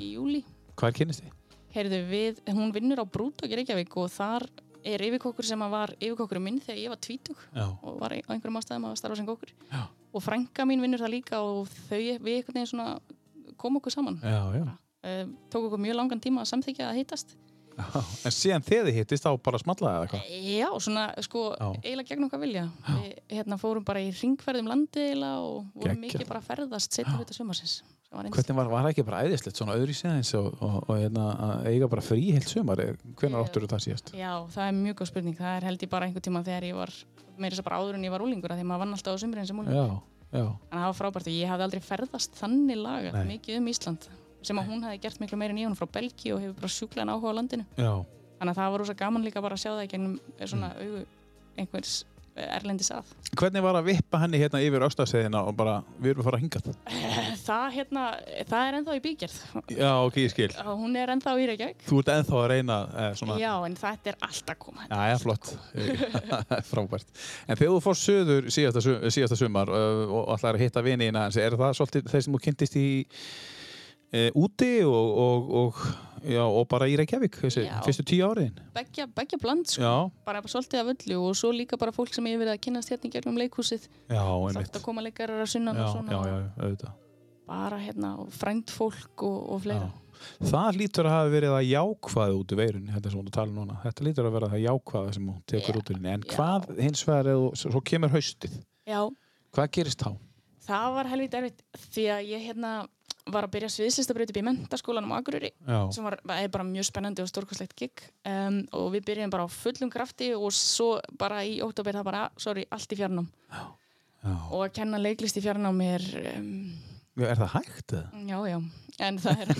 C: í júli
A: hvað kynnist þið?
C: heyrðu við, hún vinnur á Brúdók í Reykjavík og þar er yfirkokkur sem að var yfirkokkur minn þegar ég var tvítug
A: já,
C: og var á einhverjum ástæðum að starfa sem kokkur
A: Já.
C: og frænka mín vinnur það líka og þau, við einhvern veginn svona kom okkur saman
A: já, já.
C: um, tók okkur mjög langan tíma að samþykja að hittast
A: Já, en síðan þegar þið hittist þá bara smallaði eða hvað?
C: Já, svona sko,
A: Já.
C: eiginlega gegn okkar vilja. Við hérna, fórum bara í ringferðum landi eiginlega og vorum
A: Geggjað.
C: mikið bara að ferðast setna hluta sumarsins. sem var yndislegt.
A: Hvernig var, var það ekki bara æðislegt, svona öðru síðans og, og, og hérna, að eiga bara frí heilt sumar, hvernig
C: Já.
A: áttur það síðast?
C: Já, það er mjög góð spurning. Það er held ég bara einhvern tíma þegar ég var, meira þess að bara áður en ég var úlingur, að því maður vann alltaf á sumurinn sem úlingur.
A: Já, já,
C: En það var frábært og ég hafði aldrei ferðast þannig laga
A: Nei.
C: mikið um Ísland sem að hún hafi gert miklu meira en ég, hún er frá Belgíu og hefur bara sjúklegan áhuga á landinu.
A: já,
C: Þannig að það var rosa gaman líka bara að sjá það í gennum svona
A: Mm.
C: augu einhvers eh, erlendis að.
A: Hvernig var að vippa henni hérna yfir ástæðseðina og bara, við erum að fara að hingað?
C: Það, hérna, það er ennþá í bígerð
A: Já, ok, ég skil.
C: Já, hún er ennþá í Reykjavík.
A: Þú ert ennþá að reyna eh, svona...
C: Já, en þetta er allt að koma.
A: Já, já, flott. Frábært. En þegar þú fórst söður síðasta, su- síðasta sumar uh, og ætlar að hitta viniðina hans, er það svolítið þeir sem þú kynntist í uh, úti og, og, og, já, og bara í Reykjavík, þessi,
C: Já.
A: fyrstu tíu áriðin?
C: Begja, begja bland, sko.
A: Já,
C: Bara svolítið af öllu og svo líka bara fólk sem ég hef verið að kynast hérna í gegnum leikhúsið.
A: já, einmitt.
C: Sagt að koma leikarar að sunnan
A: Já,
C: og svona.
A: já, já, auðvitað.
C: Bara hérna og frænd fólk og, og fleira.
A: Það lítur að hafa verið að jákvæða út úr veirunni, þetta sem hún er að tala um núna. Þetta lítur að vera það jákvæða sem hún tekur
C: Já,
A: út úr henni. En
C: já.
A: hvað hins vegar, eða, svo svo kemur haustið,
C: Já.
A: hvað gerist þá?
C: það var helvítið erfitt því að ég hérna var að byrja sviðslistabraut upp í mentaskólanum á Akureyri
A: Já,
C: sem var er bara mjög spennandi og stórkostlegt gig um, og við byrjum bara á fullum krafti og svo bara í óttabér það bara, sorry, allt í fjarnám
A: já.
C: og að kenna leiklist í fjarnám er um,
A: Er það hægt eða?
C: Já, já, en það er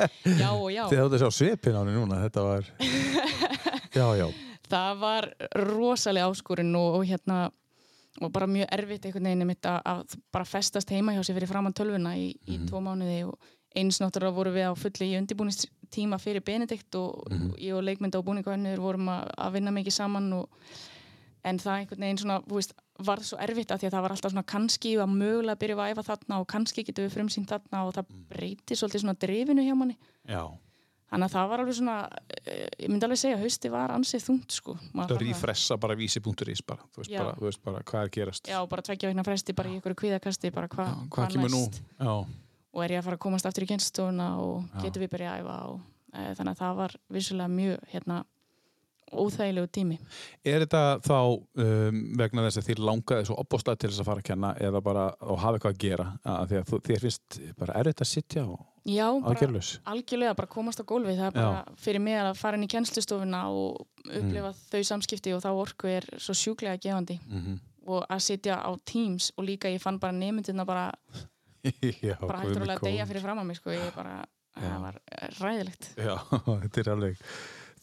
C: Já og já,
A: Þið áttu að sjá svipin á henni núna, þetta var Já, já,
C: það var rosalega áskorun og, og hérna og bara mjög erfitt einhvern veginn mitt að, að bara festast heima hjá sér fyrir framann tölvuna í, í tvo mánuði og eins náttúrulega vorum við á fulli í undirbúningstíma fyrir Benedikt og ég og leikmynda og búningu hennur vorum að, að vinna mikið saman og, en það einhvern veginn svona, þú veist, varð svo erfitt að því að það var alltaf svona kannski að mögulega byrja að æfa þarna og kannski getum við frumsýnt þarna og það breyti svolítið svona drifinu hjá manni
A: já.
C: Þannig að það var alveg svona, eh, ég myndi alveg segja, hausti var ansið þungt sko. Maður
A: Það
C: þarf
A: er í fressa bara vísi.is bara. Þú, veist
C: Já.
A: bara, þú veist bara hvað er að gerast
C: Já, bara tvekja veikna fresti, bara í ykkur kvíðakasti, bara hva,
A: Hvað kemur nú? Já,
C: Og er ég að fara að komast aftur í kynstofuna og
A: Já.
C: getum við byrjað að æfa og e, þannig að það var vissulega mjög, hérna, óþægilegu tími.
A: Er þetta þá um, vegna þess að þér langaði svo opbóstað til þess að fara að kenna eða bara og hafa eitthvað að gera að því að þú, þér finnst bara erfitt að sitja og
C: Já, bara
A: aðgerlaus
C: algjörlega bara komast á gólfið, það er bara fyrir mig að fara inn í kennslustofuna og
A: Mm.
C: upplifa þau samskipti og þá orku er svo sjúklega gefandi
A: Mhm.
C: og að sitja á Teams og líka ég fann bara nemyndina bara
A: Já,
C: bara hægt
A: guð minn
C: rólega að deyja
A: góður.
C: fyrir fram á mig sko, ég bara, það var eh, ræðilegt
A: Já, þetta er alveg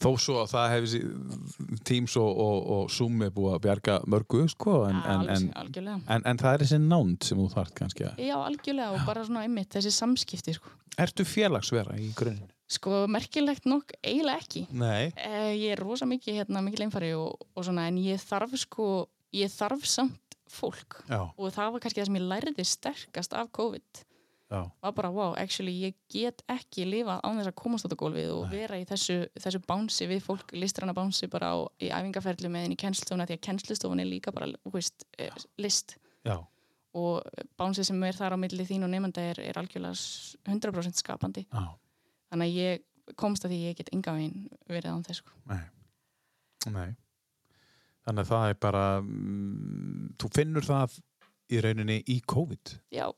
A: þó svo að það hefði Teams og, og, og Zoom er búið að bjarga mörgu sko, en, en,
C: alveg,
A: en,
C: algjörlega
A: en, en það er þessi nánd sem þú þart kannski að
C: já, algjörlega og bara svona einmitt þessi samskipti sko,
A: Ertu félagsvera í grunninn?
C: sko merkilegt nokk, eiginlega ekki
A: Nei.
C: eh, ég er rosa mikið, hérna, mikið leinfari og, og svona, en ég þarf sko ég þarf samt fólk
A: Já,
C: og það var kannski það sem ég lærði sterkast af COVID
A: já,
C: var bara, wow, actually, ég get ekki lifað án þess að komast út á gólfið og vera í þessu, þessu bánsi við fólk, listrana bánsi bara á, í æfingaferðlu með henni í kennslustofuna, því að kennslustofun er líka bara, þú veist, eh, list
A: já,
C: og bánsið sem er þar á milli þín og nefnda er, er algjörlega s- 100% skapandi
A: já.
C: þannig að ég komst að því ég get enga veginn verið án þess sko.
A: Nei. Nei. Þannig að það er bara mm, þú finnur það í rauninni í COVID
C: Já,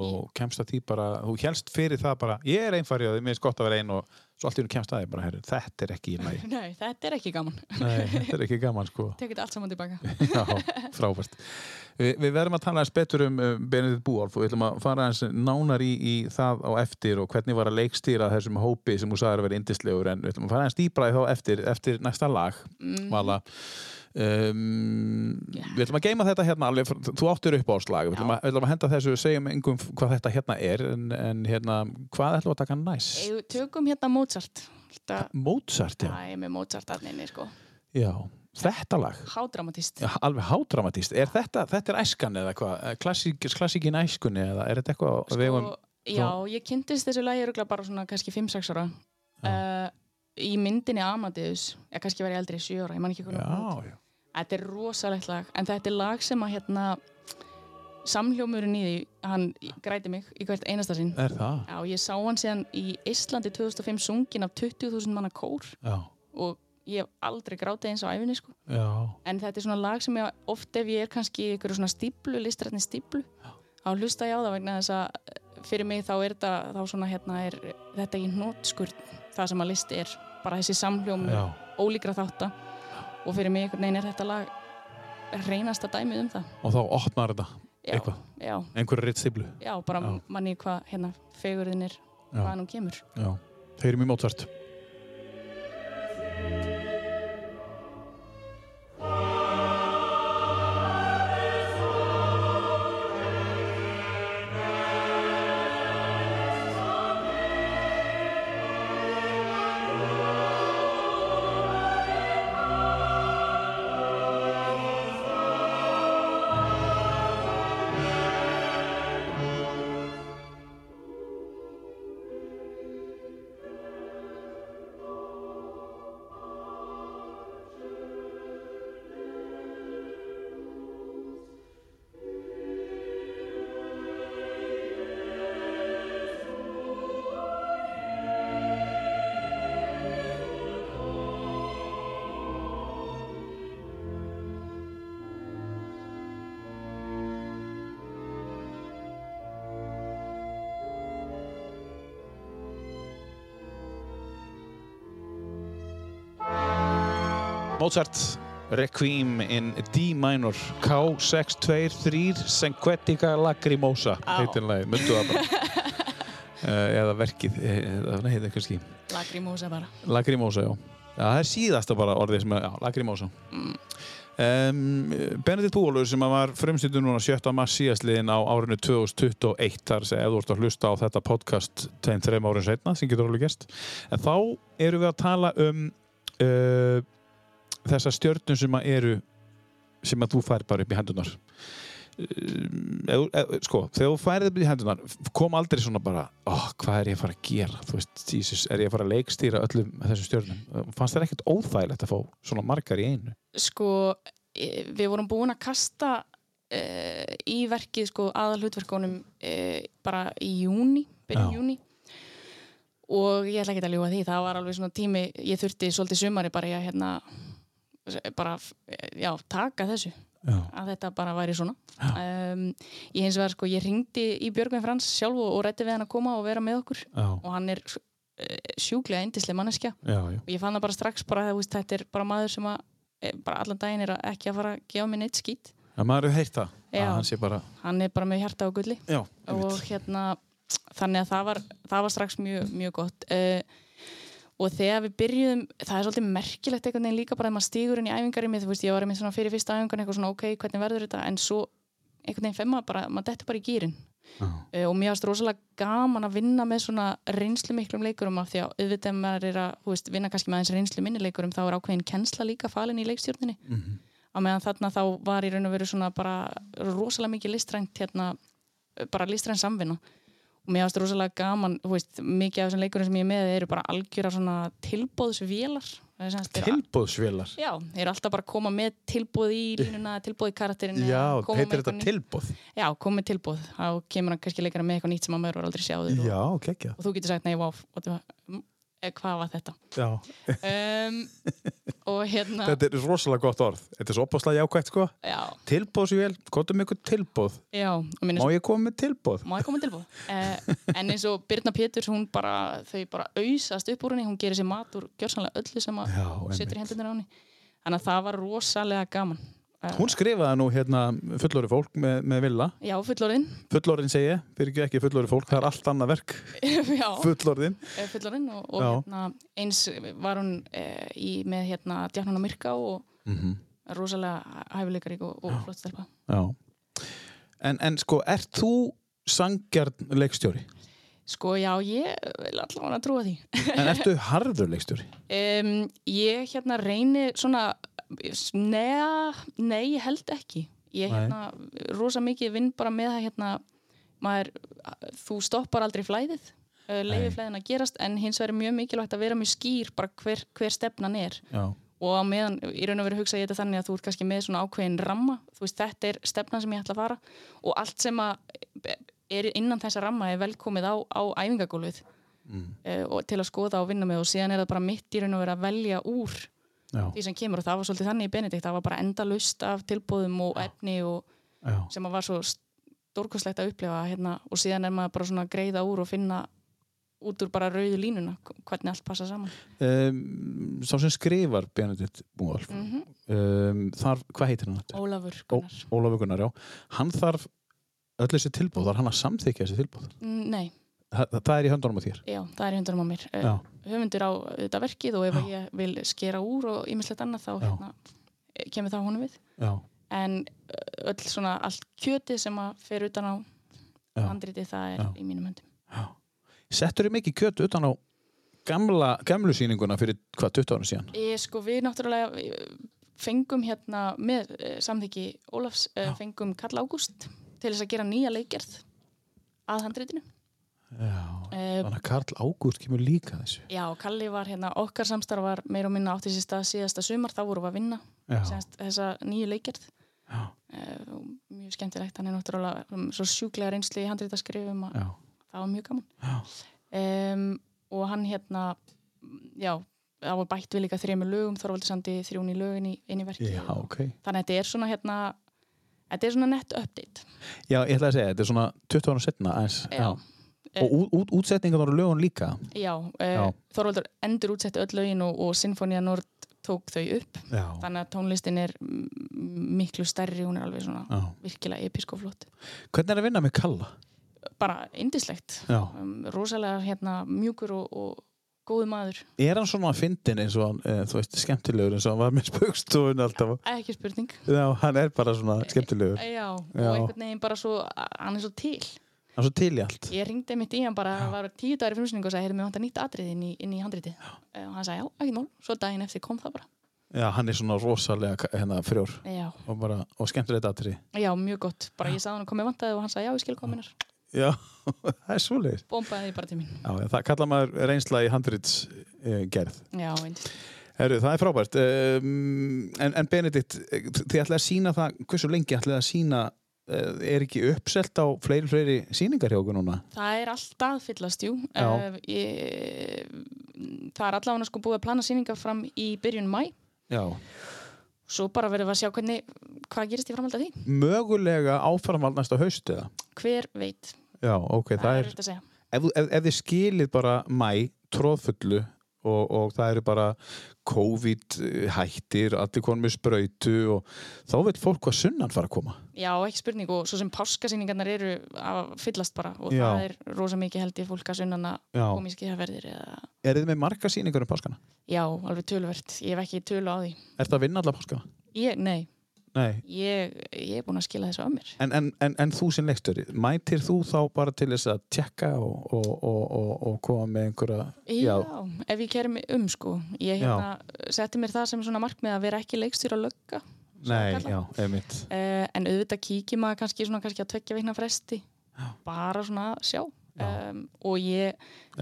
A: og kemst að því bara, þú helst fyrir það bara, ég er einfari og mér er gott að vera ein og svo allt í hún kemst að því bara, herru, þetta er ekki í lagi.
C: nei, þetta er ekki gaman
A: Nei, þetta er ekki gaman sko.
C: Tekið allt saman tilbaka
A: Já, frábært. Vi, við verðum að tala aðeins betur um um Benedikt Búolf og við ætlum að fara aðeins nánar í, í það á eftir og hvernig var að leikstýra þessum hópi sem þú sagðir að vera indislegur en við ætlum að fara aðeins dýbra í þá eftir, eftir næsta lag, Vala. Um, Við ætlum að geima þetta hérna alveg, fr- þú áttir upp á slag, við ætlum að, við ætlum að henda þessu, segjum engum hvað þetta hérna er en, en hérna, hvað ætlum við að taka næst?
C: Ef við Tökum hérna Mozart Þetta,
A: Mozart, já.
C: það er með Mozart allinni sko
A: já. Þetta lag.
C: Hádramatist
A: Já, alveg hádramatíst. Er þetta, þetta er æskan eða hvað? Eh, Klassík, klassíkin æskunni eða er þetta eitthvað sko, vegum?
C: og, Já, ég kynntist þessu lagi örgulega bara svona kannski 5-6 ára uh, Í myndinni Amadeus eða kannski var ég eldri 7 ára, ég man ekki hvernig hún kom út.
A: Já, já.
C: Þetta er rosalegt lag en þetta er lag sem að hérna samhljómurinn í því, hann græti mig í hvert einasta sinn
A: Er það?
C: Já, ég sá hann síðan í Íslandi 2005 sungin af 20.000 manna kór
A: Já,
C: og ég hef aldrei grátið eins á æfinni sko.
A: já.
C: en þetta er svona lag sem ég oft ef ég er kannski í einhverju svona stíplu, listrætni stíplu þá hlusta ég á það vegna þess að fyrir mig þá er þetta þá svona hérna er þetta ekki nótskurð það sem að list er, bara þessi samhljóm
A: Já.
C: ólíkra þátta og fyrir mig einhvern veginn er þetta lag reynasta dæmið um það
A: Og þá opnar þetta
C: já,
A: Eitthvað.
C: já,
A: einhverju rittstiblu.
C: já, bara
A: Já.
C: manni hvað hérna fegurðin er,
A: Já.
C: hvaðan hún kemur
A: Já. Heyrim í Mozart. Mozart. Requiem in D minor K623 Senquetica Lacrimosa
C: Á.
A: heitir lagið, myndu það bara Eh, eða verkið, eh, eða nei, það er kannski
C: Lagrimósa bara
A: Lagrimósa, já. já. Það er síðasta bara orðið sem er, já, lagrimósa. Um, Benedikt Búlur sem að var frumstýttur núna 7. mars síðastliðin á árinu 2021 þar sem eða þú ert að hlusta á þetta podcast tveim, þreim árið setna sem getur alveg gerst en þá erum við að tala um uh, þessa stjörnum sem að eru sem að þú fær bara upp í hendunar eð, eð, sko, þegar þú færið upp í hendunar kom aldrei svona bara oh, hvað er ég að fara að gera þú veist, Jesus, er ég að fara að leikstýra öllum þessum stjörnum Ehm, fannst þér ekkert óþægilegt að fá svona margar í einu
C: sko, eh, við vorum búin að kasta uh, í verkið sko, aðal hlutverkunum uh, bara í júni, byrja
A: Já.
C: júni og ég ætla ekki að ljúga því það var alveg svona tími, ég þurfti svolítið sumari bara í að hérna bara, eh, já, taka þessu
A: já,
C: að þetta bara væri svona um, ég hins vegar sko, ég ringdi í Björgvin Frans sjálf og, og rætti við hann að koma og vera með okkur
A: já,
C: og hann er uh, sjúklega eindislega manneskja
A: já, já.
C: og ég fann það bara strax bara að veist, þetta er bara maður sem að eh, bara allan daginn er að ekki að fara að gefa mér neitt skýt
A: En maður hefur heyrt það
C: Já.
A: að hann sé bara
C: hann er bara með hjarta og gulli
A: já,
C: og
A: einmitt.
C: hérna þannig að það var, það var strax mjög, mjög gott uh, og þegar við byrjuðum það er svolítið merkilegt einhvern veginn líka bara að maður stígur inn í æfingarimi, þú veist ég var með svona fyrir fyrsta æfingarinn eitthvað svona ok, hvernig verður þetta en svo einhvern veginn femma bara, maður dettur bara í gýrin
A: Já.
C: uh, og mér varst rosalega gaman að vinna með svona reynslu miklum leikurum af því að auðvitað ef maður er að þú veist, vinna kannski með aðeins reynslu minni leikurum þá er ákveðin kennsla líka falin í leikstjórninni mm
A: Mhm.
C: -hmm. á meðan þarna þá var í raun og veru svona bara rosalega mikið listrænt hérna, eh, bara listrænt samvinna og mér varst rosalega gaman þú veist, mikið af þessum leikurum sem ég er með eru bara algjöra svona tilbóðsvélar Það er sem sagt-
A: tilbóðsvélar
C: Já, þeir eru alltaf bara að koma með tilbóð í línuna, tilbóð í karakterinu
A: já,
C: koma með eitthvað
A: heitir þetta
C: nýtt.
A: tilbóð
C: Já, komið tilbúð, þá kemur hann kannski leikara með eitthvað nýtt sem að maður var aldrei sjáður og,
A: ok, ekki
C: og þú getur sagt, nei, vá, wow, eh, hvað var þetta?
A: Já.
C: Um, og hérna,
A: Þetta er rosalega gott orð. Þetta er svo opaslega jákvægt, sko.
C: já,
A: Tilbóðsvél, kvotum ykkur tilbóð.
C: já, og minn
A: Má ég koma með tilbóð?
C: má ég koma með tilbúð uh, en eins og Birna Péturs hún bara, þau bara auðsast upp úr henni hún gerir sér mat úr gjörsanlega öllu sem að
A: Já,
C: setur í hendurnar á henni þannig að það var rosalega gaman uh,
A: Hún skrifaði nú hérna fullori fólk með, með villa.
C: já, fullorðin
A: Fullorðin segi ég, fyrir ekki ekki fullori fólk, það er allt annað verk.
C: já,
A: Fullorðin.
C: eh, fullorðin og, og
A: Já.
C: hérna, eins var hún uh, í, með hérna Djarnan og Myrká og
A: Mhm.
C: rosalega hæfileikarík og, og flott stelpa
A: Já. En, en sko, ert þú sangjarn leikstjóri?
C: sko, já, ég vil allavega trúa því
A: En ertu harður leikstjóri?
C: Um, ég hérna reyni svona, neða, nei, ég held ekki. Ég
A: Nei.
C: hérna, rosa mikið vinn bara með það hérna, maður, þú stoppar aldrei flæðið, uh, leiði
A: Nei.
C: flæðin að gerast, en hins vegar er mjög mikilvægt að vera mjög skýr bara hver, hver stefnan er.
A: Já.
C: Og á meðan, í raun og veru hugsa ég þetta þannig að þú ert kannski með svona ákveðin ramma, þú veist, þetta er stefnan sem ég ætla að fara og allt sem að er innan þessa ramma er velkomið á, á æfingagólfið eh, og til að skoða og vinna með og síðan er það bara mitt í raun og vera að velja úr
A: Já.
C: því sem kemur og það var svolítið þannig í Benedikt það var bara endalust af tilbúðum og efni og
A: Já.
C: sem að var svo stórkostlegt að upplifa hérna, og síðan er maður bara svona að greiða úr og finna út úr bara rauðu línuna hvernig allt passa saman
A: Um, sá sem skrifar Benedikt Múalf,
C: mm
A: um, þar, hvað heitir hann þetta?
C: Ólafur
A: Ó,
C: Gunnar
A: Ólafur Gunnar, já. Hann þarf öll þessi tilbúð, þarf hann að samþykja þessi tilbúð.
C: Mm, Nei,
A: Þa, það er í höndunum á þér.
C: já, það er í hundunum á mér Eh,
A: Já.
C: höfundur á eh, þetta verkið og ef ég vil skera úr og ýmislegt annað þá
A: Já.
C: hérna, eh, kemur það honum við
A: Já.
C: en ö, öll svona allt kjöti sem að fer utan á
A: Já.
C: handriti það er
A: Já.
C: í mínum höndum
A: Settur þið mikið kjöt utan á gamla, gamlu sýninguna fyrir hvað, 20 ára síðan?
C: ég, sko, við náttúrulega eh, fengum hérna með eh, samþyggi Ólafs eh,
A: Já.
C: fengum Karl Ágúst til þess að gera nýja leikgerð að handritinu
A: Já.
C: uh,
A: Þannig að Karl Ágúst kemur líka að þessu.
C: já, Kalli var hérna okkar samstarf var meira og minna átti sér stað síðasta sumar þá vorum við að vinna
A: Já.
C: semst, þessa nýju leikgerð
A: Já.
C: Eh, og mjög skemmtilegt, hann er náttúrulega um, svo sjúklega reynsli í handritaskrifum að
A: Já.
C: það var mjög gaman um, og hann hérna já, það var bætt við líka þremur lögum, Þorvaldur Sandi þrjún í lögin í, inn í verki
A: Já, ok.
C: þannig að þetta er svona hérna þetta er svona nett update
A: Já, ég ætla að segja, þetta er svona 20 ára setna aðeins.
C: Já.
A: Og út, út, útsetningan á lögun líka.
C: já, uh,
A: Já.
C: Þorvaldur endur útsetti öll lögin og, og Sinfonía Nord tók þau upp
A: Já.
C: þannig að tónlistin er mm, miklu stærri, hún er alveg svona
A: Já.
C: virkilega episk og flott,
A: Hvernig er að vinna með Kalla?
C: bara indislegt
A: Já.
C: um, rosalega hérna mjúkur og, og góðu maður,
A: Er hann svona að fyndin eins og hann, eh, þú veist, skemmtilegur eins og hann var með spaukstofun alltaf?
C: ekki spurning
A: Já, hann er bara svona skemmtilegur.
C: Já, og
A: Já.
C: einhvern veginn bara svo, hann er svo til.
A: Hann er svo til í allt.
C: Ég ringdi mitt í hann bara, það var tíu dagar í frumsynningu og sagði, heyrðu, mér vantar nýtt atrið inn í, inn í handritið. Eh, Og hann sagði, já, ekki mál, svo daginn eftir kom það bara.
A: Já, hann er svona rosalega hérna, frjór
C: Já,
A: og, bara, og skemmtilegt aðtri.
C: já, mjög gott. Bara ég sagði hann komið vantaði og hann sagði, já, ég skil kominar.
A: Já, það er svoleiðis.
C: Bombaði því bara til mín.
A: Já, já, það kalla maður reynsla í handritsgerð.
C: Já, einnig.
A: Herru, það er frábært. Um, en, en Benedikt, eh, þið ætlaði að sína það, hversu lengi ætlaði að sína, uh, er ekki uppselt á fleiri, fleiri síningar hjá okkur núna?
C: Það er alltaf fyllast, jú.
A: Já.
C: Eh, ég, það er allavega sko búið að plana sýningar fram í byrjun mæ.
A: Já.
C: Svo bara verðum við að sjá hvernig, hvað gerist í framhald af því.
A: Mögulega áframvald næsta haust eða?
C: Hver veit,
A: Já, ok, það er,
C: erfitt að segja.
A: ef, þú- ef, ef þið skilið bara mæ, tróðfullu og, og það eru bara COVID hættir, allir konum með sprautu og þá vil fólk hvað sunnan fara að koma.
C: Já, ekki spurning og svo sem páskasýningarnar eru að fyllast bara og
A: Já.
C: það er rosa mikið held í fólk að sunnan að
A: Já.
C: koma í skýraferðir eða
A: Er þið með marga síningar um páskana?
C: já, alveg tölvert, ég hef ekki tölu á því
A: Er það að vinna alla páskana?
C: ég, Nei,
A: Nei.
C: ég, ég er búin að skila þessu af mér
A: En, en, en, en þú sem leikstjóri, mætir þú þá bara til þess að tjekka og, og, og, og, og koma með einhverja...
C: Já, ef ég kæri mig um sko ég hérna, setti mér það sem svona markmið að vera ekki leikstýra lögga
A: Nei,
C: kalla.
A: já, einmitt.
C: uh, en auðvitað kíkir maður kannski svona kannski að tvekja veikna fresti
A: Já.
C: bara svona að sjá
A: Já.
C: um, og ég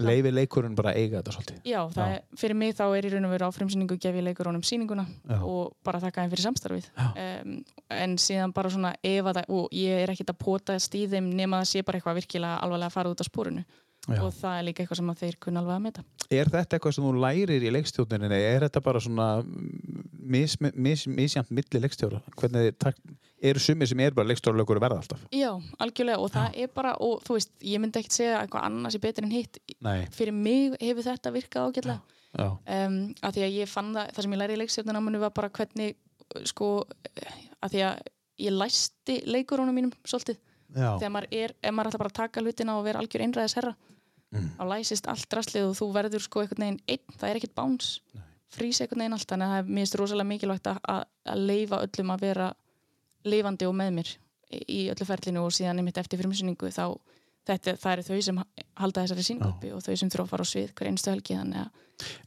A: Leifi leikurinn bara að eiga þetta svolítið.
C: Já, það
A: Já.
C: Er, fyrir mig þá er í raun og veru áfremsýningu gef ég leikur honum sýninguna
A: Já.
C: og bara þakka þeim fyrir samstarfið
A: Já.
C: um, en síðan bara svona ef að það, og ég er ekkert að potast í þeim nema það sé bara eitthvað virkilega alvarlega að fara út á spórinu
A: Já.
C: og það er líka eitthvað sem að þeir kunna alveg að meta
A: Er þetta eitthvað sem þú lærir í leikstjórninni eða er þetta bara svona mis, mis, misjant milli leikstjóra? Hvernig þið tak- eru sumir sem er bara leikstjóralögur að verða alltaf?
C: Já, algjörlega og það er bara og þú veist, ég myndi ekkert segja að eitthvað annars er betur en hitt
A: Nei,
C: fyrir mig hefur þetta virkað ágætlega
A: já,
C: um, að því að ég fann það, það sem ég læri í leikstjórnanáminu var bara hvernig uh, sko, uh, að því að ég læsti leikurunum mínum svolítið
A: já,
C: þegar maður er, ef maður ætlar bara að taka hlutina og vera algjör einræðis herra þá læsist allt drastlið og þú verður sko einhvern veginn einn, það er ekkert báns frýs einhvern veginn allt, þannig að það er minnst rosalega mikilvægt að, að- að leifa öllum að vera leifandi og með mér í í öllu ferlinu og síðan einmitt eftir frumsýningu þá þetta, það eru þau sem ha- halda þessari sýningu uppi og þau sem þurfa að fara á svið hver einstu helgi þannig að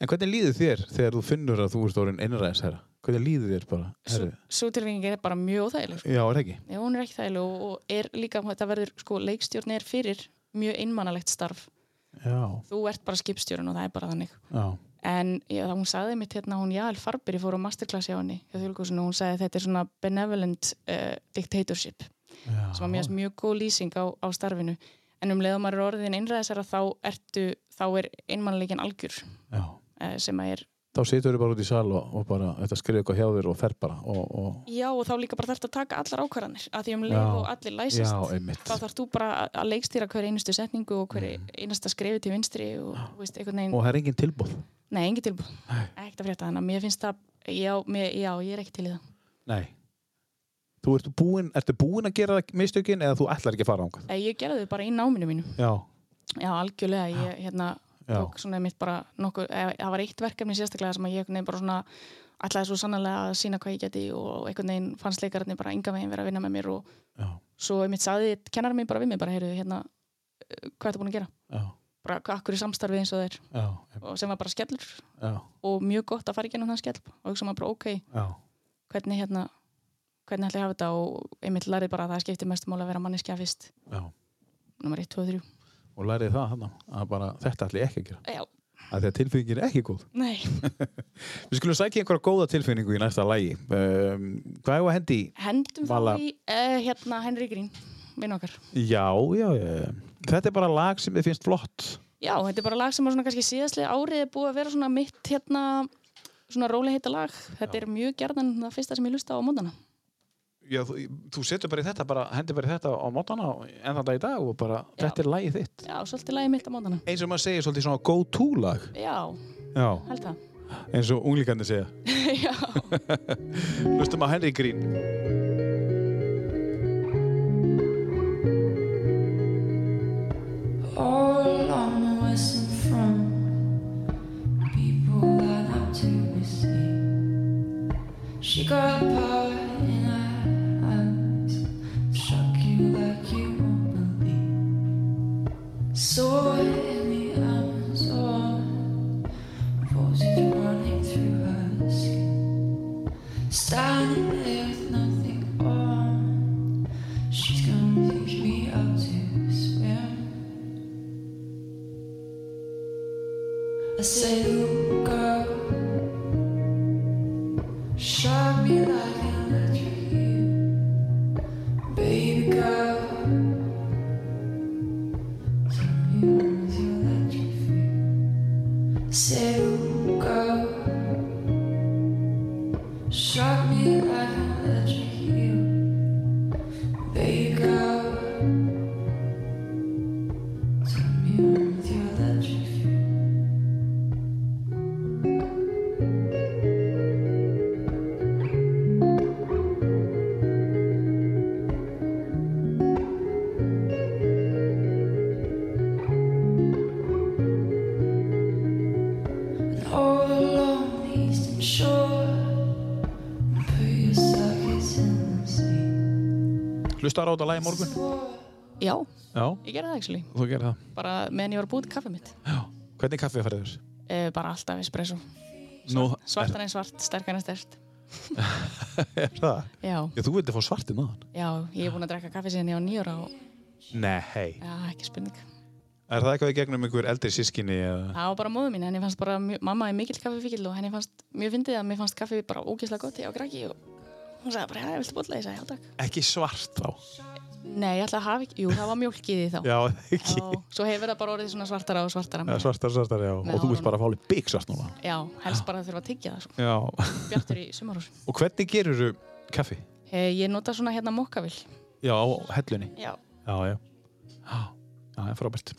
A: En hvernig líður þér þegar þú finnur að þú ert orðin einræðis herra? Hvernig líður þér bara?
C: sú,
A: Herri?
C: sú tilfinning er bara mjög óþægileg sko.
A: Já, er það ekki?
C: Já, hún er ekki þægileg og, og er líka, þetta verður sko, leikstjórn er fyrir mjög einmanalegt starf
A: Já,
C: þú ert bara skipstjórn og það er bara þannig
A: já,
C: en já, það- hún sagði mitt hérna hún Jæl Farber, ég fór á masterclass hjá henni hjá Þjóðlíkusinu og hún sagði að þetta er svona benevolent uh, dictatorship
A: já.
C: sem að mér finnst mjög góð lýsing á, á starfinu en um leiðum maður er orðin innræðisara þá, ertu, þá er einmannleikin algjör
A: já.
C: uh, sem að er
A: Þá situr þau bara út í sal og, og bara þetta skrifa eitthvað hjá þér og fer bara og, og...
C: já og þá líka bara þarf að taka allar ákvarðanir að því um
A: Já.
C: leið og allir læsist
A: Já, einmitt.
C: þá þarf þú bara að- að leikstýra hver einustu setningu og
A: Mhm.
C: hver einasta skrefi til vinstri og þú veist, einhvern veginn
A: Og það er engin tilbúð.
C: nei, engi tilbúð, ekkert að frétta þannig að mér finnst það, já, mér, já, ég er ekki til í það
A: Nei. Þú ert búin, ertu búin að gera mistökin eða þú ætlar ekki að fara ángað?
C: Eh, Ég gerði þau bara í náminu mínu.
A: Já,
C: Já, algjörlega. Ég hérna
A: Já.
C: tók svona mitt bara nokkuð, eða, það var eitt verkefni sérstaklega sem að ég einhvern veginn bara svona ætlaði svo sannlega að sína hvað ég geti og einhvern veginn fannst leikararnir bara enga veginn vera að vinna með mér og
A: já,
C: svo einmitt sagði kennarar mér bara við mig bara, heyrðu, hérna, eh, hvað ertu búin að gera?
A: já,
C: Bara hvað akkur í samstarfið eins og þeir
A: já,
C: og sem var bara skellur
A: já,
C: og mjög gott að fara í gennum þann skell og hugsa maður bara, ok,
A: já.
C: hvernig hérna, hvernig ætla ég að hafa þetta og einmitt lærið bara að það skiptir mestum máli að vera manneskja fyrst,
A: já.
C: nummer 1, 2, 3.
A: Og lærið það hann að bara þetta ætla ég ekki að gera.
C: Já,
A: Af því að tilfinningin er ekki góð.
C: nei.
A: Við skulum sækja einhverja góða tilfinningu í næsta lægi. Um, hvað er að hendi? í?
C: Hendum
A: Vala.
C: þá í uh, hérna Henry Green, vinn okkar.
A: Já, já, já. Þetta er bara lag sem þið finnst flott.
C: Já, þetta er bara lag sem er svona kannski síðastlega árið er búið að vera svona mitt hérna svona róli heita lag. Þetta er mjög gerðan það fyrsta sem ég lusta á mótana.
A: Já, þú, þú setur bara í þetta, bara, hendur bara í þetta á mótana en þann dag í dag og bara,
C: Já.
A: þetta er lagið þitt.
C: Já, svolítið lagi mitt á mótana.
A: Eins og maður segir svolítið svona go-to lag.
C: Já,
A: Já,
C: held það.
A: eins og unglíkandi segja.
C: Já.
A: Hlustum á Henry Green.
G: All along the western front, people got out to receive. She got power in her eyes, struck you like you won't believe. Saw it in the Amazon, roses running through her skin. Standing there with nothing on, she's gonna teach me how to swim. I say, look girl, shot me like an electric you, baby girl. Tell me who's your electric fear. I Say, look girl, shot me like an electric you, baby girl. Tell me who's your electric fear. all along the eastern shore. Put your sockets in the sea.
A: Hlustar á þetta lagi morgun?
C: Já,
A: Já,
C: ég gerði það actually.
A: þú gerir það.
C: Bara meðan ég var að búið kaffið mitt.
A: Já. Hvernig kaffið færið þér?
C: Uh, bara alltaf espresso.
A: Nú,
C: Svartan en svart, sterkan en stert.
A: er það?
C: Já,
A: Já, þú vildi fá svartinn að hann.
C: já, ég er búin að drekka kaffi síðan ég var nýjóra og
A: Nei, hei.
C: já, ekki spurning.
A: Er það eitthvað í gegnum einhver eldri sískinni? eða-
C: Það var bara móðu mín, henni fannst bara, mjög, mamma er mikill kaffifíkil og henni fannst mjög fyndið að mér fannst kaffi bara ógeðslega gott hjá Graki og hún sagði bara, já, viltu bolla? Ég sagði, já, takk.
A: Ekki svart þá.
C: Nei, ég ætla að hafa ekki, jú, það var mjólkið í því þá.
A: Já, ekki.
C: Já, Svo hefur það bara orðið svona svartara og svartara.
A: Já, svartar, svartar, já.
C: Með
A: og þú
C: hárunum.
A: vilt bara fá alveg byggsast núna.
C: Já, helst bara að þurfa að tyggja það sko.
A: Já.
C: Bjartur í sumarhús.
A: og hvernig gerur þú kaffi?
C: Eh, Ég nota svona hérna mokkavill.
A: Já, á hellunni.
C: Já.
A: Já, já. Já, já, það er frábært.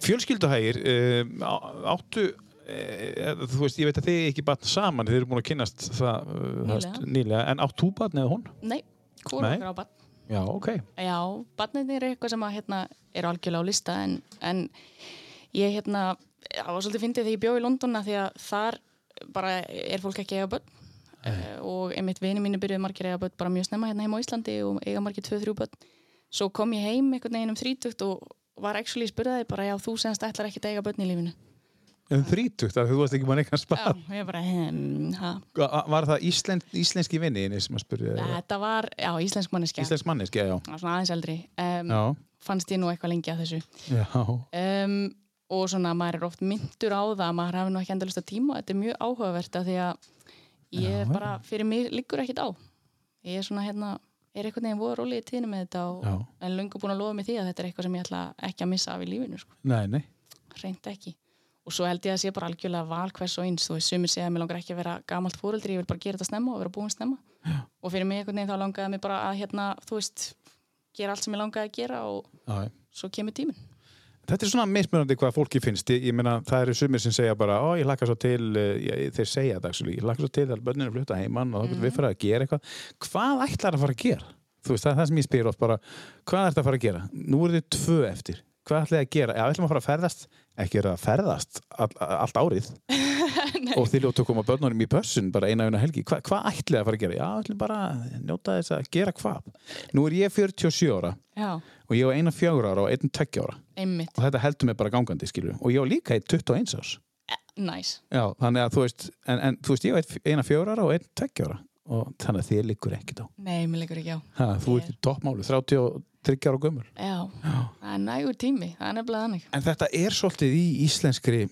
A: Fjölskylduhægir, um, á- áttu, e, þú veist, ég veit að þið er ekki batn saman, þið eru búin að kynnast það eh, það
C: Nýlega.
A: st- nýlega, en átt þú batn eða hún?
C: Nei, hvora
A: Nei.
C: okkar á barn.
A: Já, ok.
C: Já, barnirnir er eitthvað sem að hérna eru algjörlega á lista en, en ég hérna, það var svolítið fyndið þegar ég bjó í London að því að þar bara er fólk ekki að eiga börn Eh, og einmitt vini mínu byrjuði margir að eiga börn bara mjög snemma hérna heima á Íslandi og eiga margir 2-3 börn svo kom ég heim einhvern veginn um 30 og var actually spurðaði bara já þú semst ætlar ekki að eiga börn í lífinu
A: Um þrítugt, að þú varst ekki mann eitthvað
C: Já,
A: spann.
C: ég bara, hm, ha,
A: Var það íslen, íslenski vinniðinni sem að spurði? eða-
C: þetta var, já, íslensk manneskja
A: Eh. Íslensk manneski, já.
C: Það var svona aðeins eldri um,
A: Já,
C: fannst ég nú eitthvað lengi að þessu
A: já.
C: um, og svona maður er oft myndur á það að maður hafi nú ekki endalista tíma þetta er mjög áhugavert að því að ég er bara, fyrir mig liggur ekkit á ég er svona hérna er einhvern veginn voru rólið í tíðinu með þetta og,
A: Já.
C: en lungu búin að lofa mig því að þetta er eitthvað sem ég ætla ekki að missa af í lífinu sko.
A: Nei, nei.
C: reynd ekki og svo held ég að sé bara algjörlega val hvers og eins þú veist, sumir segja að mér langar ekki að vera gamalt fóreldri ég vil bara gera þetta snemma og vera búin snemma Já. og fyrir mig einhvern veginn þá langaði mig bara að hérna, þú veist, gera allt sem ég langaði að gera og
A: Já, já.
C: svo kemur tíminn
A: Þetta er svona mismunandi hvað fólki finnst. Ég, ég meina, það eru sumir sem segja bara, ó, ég laka svo til, eh, ég, þeir segja það, actually, ég laka svo til að börninu flutta heimann og þá getum við fyrir að gera eitthvað. Hvað ætlar að fara að gera? Þú veist, það er það sem ég spyr oft bara, hvað ætlar að fara að gera? Nú eru þið tvö eftir. Hvað ætlaði að gera? Já, ætlum að fara að ferðast, ekki vera að ferðast all, allt árið og þið ljóttu að koma börnunum í pössun bara eina eina helgi. Hva, hvað ætlaði að fara að gera? Já, ætlum bara að njóta þess að gera hvað? Nú er ég 47 ára
C: Já,
A: og ég á eina fjögur ára og einn tveggja ára
C: einmitt
A: og þetta heldur mig bara gangandi skilur og ég var líka í 21 árs
C: Næs.
A: já, þannig að þú veist en, en þú veist ég var einn- eina fjóra ára og einn tveggja ára og þannig að þér liggur ekkert á
C: Nei, mér leikur ekki á.
A: ha, þú
C: Ég-
A: ert í toppmálu, 33 ára gömul
C: Já, það er nægur tími, það er nefnilega þannig.
A: en þetta er svolítið í íslenskri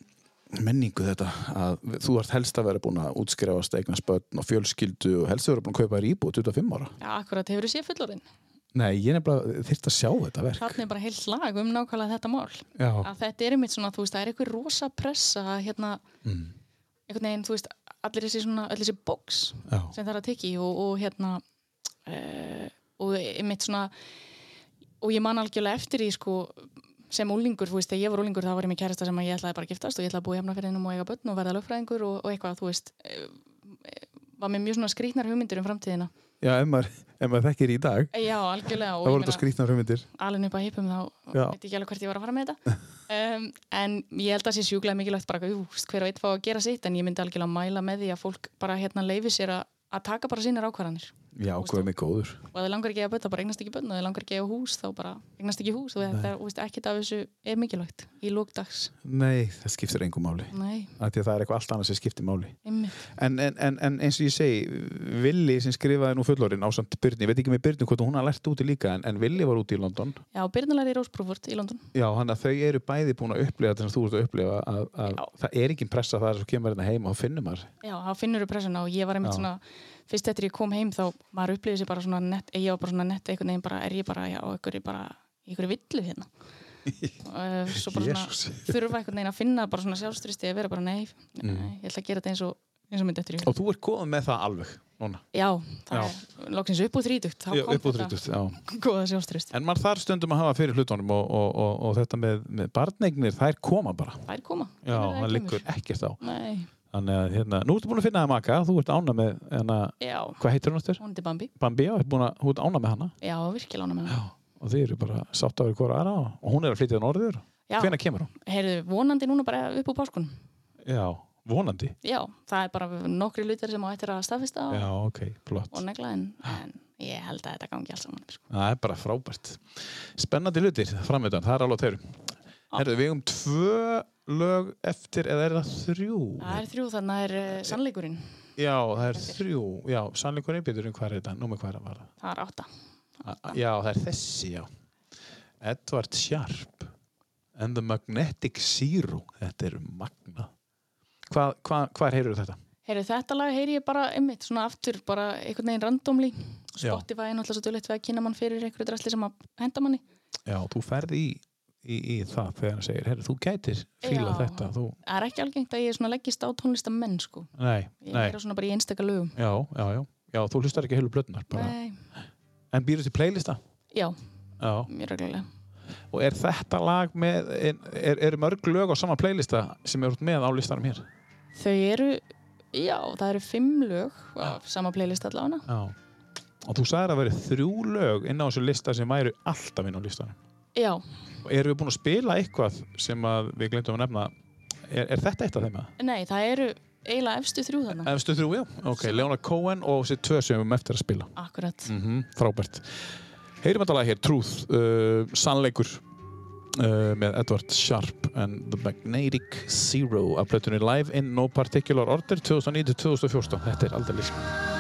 A: menningu þetta að þú ert helst að vera búin að útskrefast eigna spötn og fjölskyldu og helst að vera búin að kaupa þér íbúð 25 ára
C: Já, akkurat, hefur þú séð fullorinn?
A: nei, ég nefnilega þyrst að sjá þetta verk
C: Þarna er bara heilt lag um nákvæmlega þetta mál.
A: já,
C: Að þetta er einmitt svona, þú veist, það er einhver rosa pressa að hérna, einhvern veginn, þú veist, allir þessi svona, allir þessi bóks
A: já,
C: sem það er að tekja í og, og hérna, uh, og einmitt svona, og ég man algjörlega eftir því, sko, sem úlingur, þú veist, þegar ég var úlingur þá var ég með kærasta sem að ég ætlaði bara að giftast og ég ætlaði að búa í hefnafyrðinum og eiga börn og verða lögfræðingur og, og eitthvað, þú veist, eh, var með mjög svona skrýtnar hugmyndir um framtíðina. E,
A: já ef, maður, ef maður þekkir í dag
C: Já, algjörlega
A: það
C: og
A: voru þetta skrýtnar hugmyndir
C: alveg upp að hipum þá veit
A: Já.
C: ég ekki alveg hvert ég var að fara með þetta um, en ég held að sé sjúklega mikilvægt bara jú, veist, hver og einn fá að gera sitt en ég myndi algjörlega mæla með því að fólk bara hérna leifi sér að, að taka bara sínar ákvarðanir
A: já, hvað mig góður
C: og ef þið langar ekki að bönna, bara eignast ekki bönn og ef þið langar ekki að eiga hús, þá bara eignast ekki hús og þetta er þú veist, ekkert af þessu er mikilvægt í lókdags
A: nei, það skiptir engum máli
C: Nei,
A: af því að það er eitthvað allt annað sem skiptir máli
C: einmitt,
A: en, en, en, en eins og ég segi Villi sem skrifaði nú fullorinn á samt Byrni, ég veit ekki með Byrni hvort hún hafa lært úti líka en, en Villi var úti í London
C: já, Byrnulæri Rósprúfurt í London
A: já, hann að þau eru bæði búin að upplega þess að þú ert að upplega að, að það er ekki pressa það er svo kemur hérna heim og þá finnum maður
C: Já, þá finnur þú pressuna og ég var einmitt
A: Já.
C: svona fyrst eftir ég kom heim þá maður upplýði sér bara svona nett, ég var bara svona nett einhvern veginn bara, er ég bara, já, einhverju bara einhverju villu hérna og eh, svo bara
A: Jesús.
C: svona þurfa einhvern veginn að finna bara svona sjálfstyrsti að vera bara nei,
A: Mm.
C: nei ég ætla að gera þetta eins og eins og mynd eftir ég
A: og þú ert góð með það alveg núna
C: Já, það
A: Já.
C: er loksins upp úr þrítugt þá
A: Já,
C: kom
A: upp á
C: þetta
A: 30, já.
C: góða sjálfstyrsti
A: en maður þar stundum að hafa fyrir hlutunum og, og, og, og þetta með, með barneignir þær koma bara
C: Það er koma Hvenær
A: já,
C: það
A: það
C: kemur.
A: liggur ekkert á
C: Nei,
A: þannig að hérna, nú ertu búin að finna það maka þú ert ána með, hérna,
C: já,
A: hvað heitir hún áttur?
C: hún er til Bambi
A: Bambi, já, ert búin að, hún ert ána með hana
C: Já, virkilega ánum með hana
A: og þið eru bara sátt að vera hvora aðra og hún er að flytja norður
C: Já.
A: hvenær kemur hún?
C: Heyrðu, vonandi núna bara upp úr páskunum
A: Já, vonandi
C: Já, það er bara nokkri lutar sem á eftir að staðfesta og
A: Já, ok, flott
C: og negla en, en ég held að þetta gangi alls saman sko.
A: Það er bara frábært Spennandi hlutir framöndan, það er alveg þeir Herðu, við um tvö lög eftir eða er það þrjú?
C: það er þrjú þannig að það er eh, sannleikurinn
A: Já, það er þrjú Já, sannleikur einbytturinn, hvað er þetta? Númer hvað er það?
C: það er átta
A: Já, það er þessi, já Edward Sharp and the Magnetic Zero Þetta er magna Hvað, hvað, hvað heyrur þetta?
C: Heyru, þetta lag heyri ég bara einmitt svona aftur bara einhvern veginn randomli
A: Já.
C: Spotify er náttúrulega svo dölegt við að kynna mann fyrir einhverju drasli sem að henda manni
A: Já, þú ferð í, í, í það þegar hann segir, herri, þú gætir fíla
C: Já.
A: þetta, þú,
C: Það er ekki algengt að ég svona leggist á tónlistamenn sko.
A: nei,
C: Ég
A: nei,
C: er svona bara í einstaka lögum
A: já, já, já, já, þú hlustar ekki heilu blöðnar bara,
C: Nei,
A: en býrðu til playlista,
C: já,
A: já,
C: mjög reglulega
A: og er þetta lag með, er, er, eru mörg lög á sama playlista sem eru með á listanum hér?
C: Þau eru, já, það eru fimm lög
A: Ah.
C: á sama playlist allavega
A: Já. Og þú sagðir að það væri þrjú lög inn á þessu lista sem væri alltaf inn á listanum.
C: Já,
A: Og erum við búin að spila eitthvað sem að við glemtum að nefna? Er, er þetta eitt af þeim að?
C: nei, það eru eiginlega efstu þrjú þarna
A: Efstu þrjú, já. Ok, Leona Cohen og þessi tvö sem við erum eftir að spila.
C: Akkurat,
A: Mm Frábært. Heyrim þetta lag hér, Truth, uh, Sannleikur uh, með Edward Sharp and the Magnetic Zero af plötunni Live in No Particular Order 2009-2014. Þetta er aldrei líka.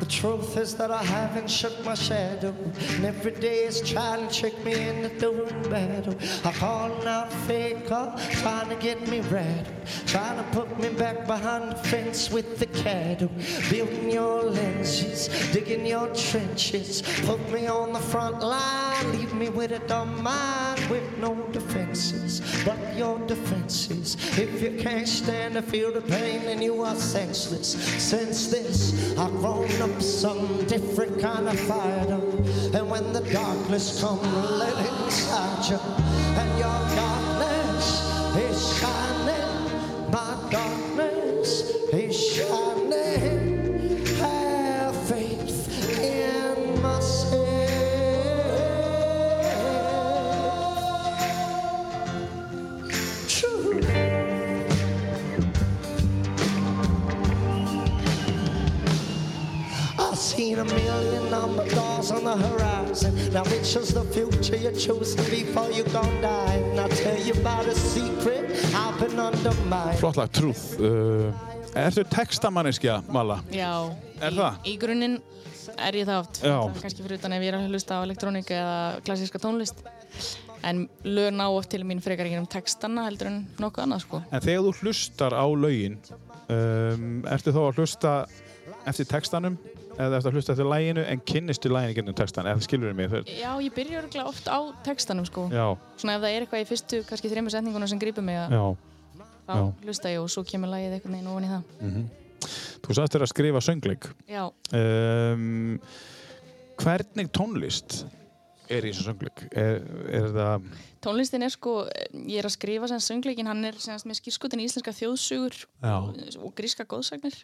H: The truth is that I haven't shook my shadow. And every day is trying to trick me into doing battle. I call out fake call, trying to get me rattled. Trying to put me back behind the fence with the cattle. Building your lenses, digging your trenches. Put me on the front line, leave me with a dumb mind with no defenses. But your defenses, if you can't stand to feel the pain, then you are senseless. Since this, I've grown up some different kind of fighter. And when the darkness comes, let it inside you. And your darkness is shining. My darkness is shining. Have faith in myself. True. I've seen a million number doors on the horizon. Now which is the future you're choosing before you gon' die? And I'll tell you about a secret I've been undermined.
A: Flott lag, Truth. Uh, ertu textamanniskja, Mala?
C: já
A: Er
C: í,
A: það?
C: Í grunninn er ég það oft
A: Já.
C: Það er Kannski fyrir utan ef ég er að hlusta á elektrónik eða klassíska tónlist En lög ná oft til mín frekar einhverjum textana heldur en nokkuð annað sko
A: En þegar þú hlustar á lögin, um, ertu þá að hlusta eftir textanum eða ertu að hlusta eftir læginu en kynnist til læginu gennum textan, eða skilur mig þegar...
C: Já, ég byrja örgulega oft á textanum sko
A: Já,
C: Svona ef það er eitthvað í fyrstu, kannski þreymur setningunum sem grípur mig að
A: já.
C: þá hlusta ég og svo kemur lagið einhvern veginn ofan í það
A: Þú sagðist þér að skrifa söngleik.
C: Já,
A: Um, hvernig tónlist er í þessum söngleik? Er, er það...
C: tónlistin er sko, eh, ég er að skrifa sem söngleikin, hann er sem sagt með skýrskutin í íslenska þjóðsugur
A: Já,
C: og gríska góðsagnir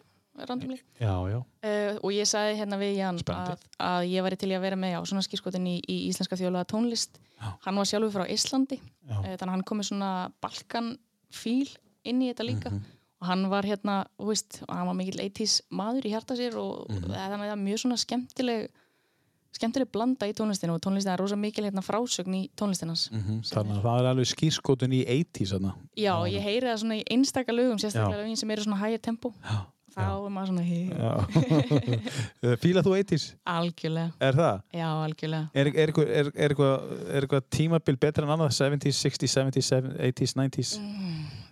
C: randomli.
A: já, já.
C: Uh, og ég sagði hérna við Jan
A: Spennandi.
C: að, að ég væri til í að vera með á svona skýrskotin í, í íslenska þjóðlega tónlist
A: Já.
C: hann var sjálfur frá Íslandi
A: Já.
C: uh, þannig að hann komið svona balkan fíl inn í þetta líka
A: Mhm.
C: og hann var hérna, þú veist, og hann var mikill 80s maður í hjarta sér og
A: Mhm.
C: mm -hmm. þannig að það er mjög svona skemmtileg skemmtileg blanda í tónlistinu og tónlistin er rosa mikil hérna frásögn í tónlistinans mm
A: Þannig að það er alveg skýrskotun í 80s þarna.
C: Já, ég heyri það svona í einstaka lögum, sérstaklega lögin sem eru svona hægja tempo. Já. Þá er maður svona hýr.
A: Eh, Fílar þú 80s?
C: Algjörlega,
A: Er það?
C: já, algjörlega.
A: Er, er, eitthvað- er, er, eitthvað, er eitthvað tímabil betra en annað? 70s, 60s, 70s, 80s, 90s?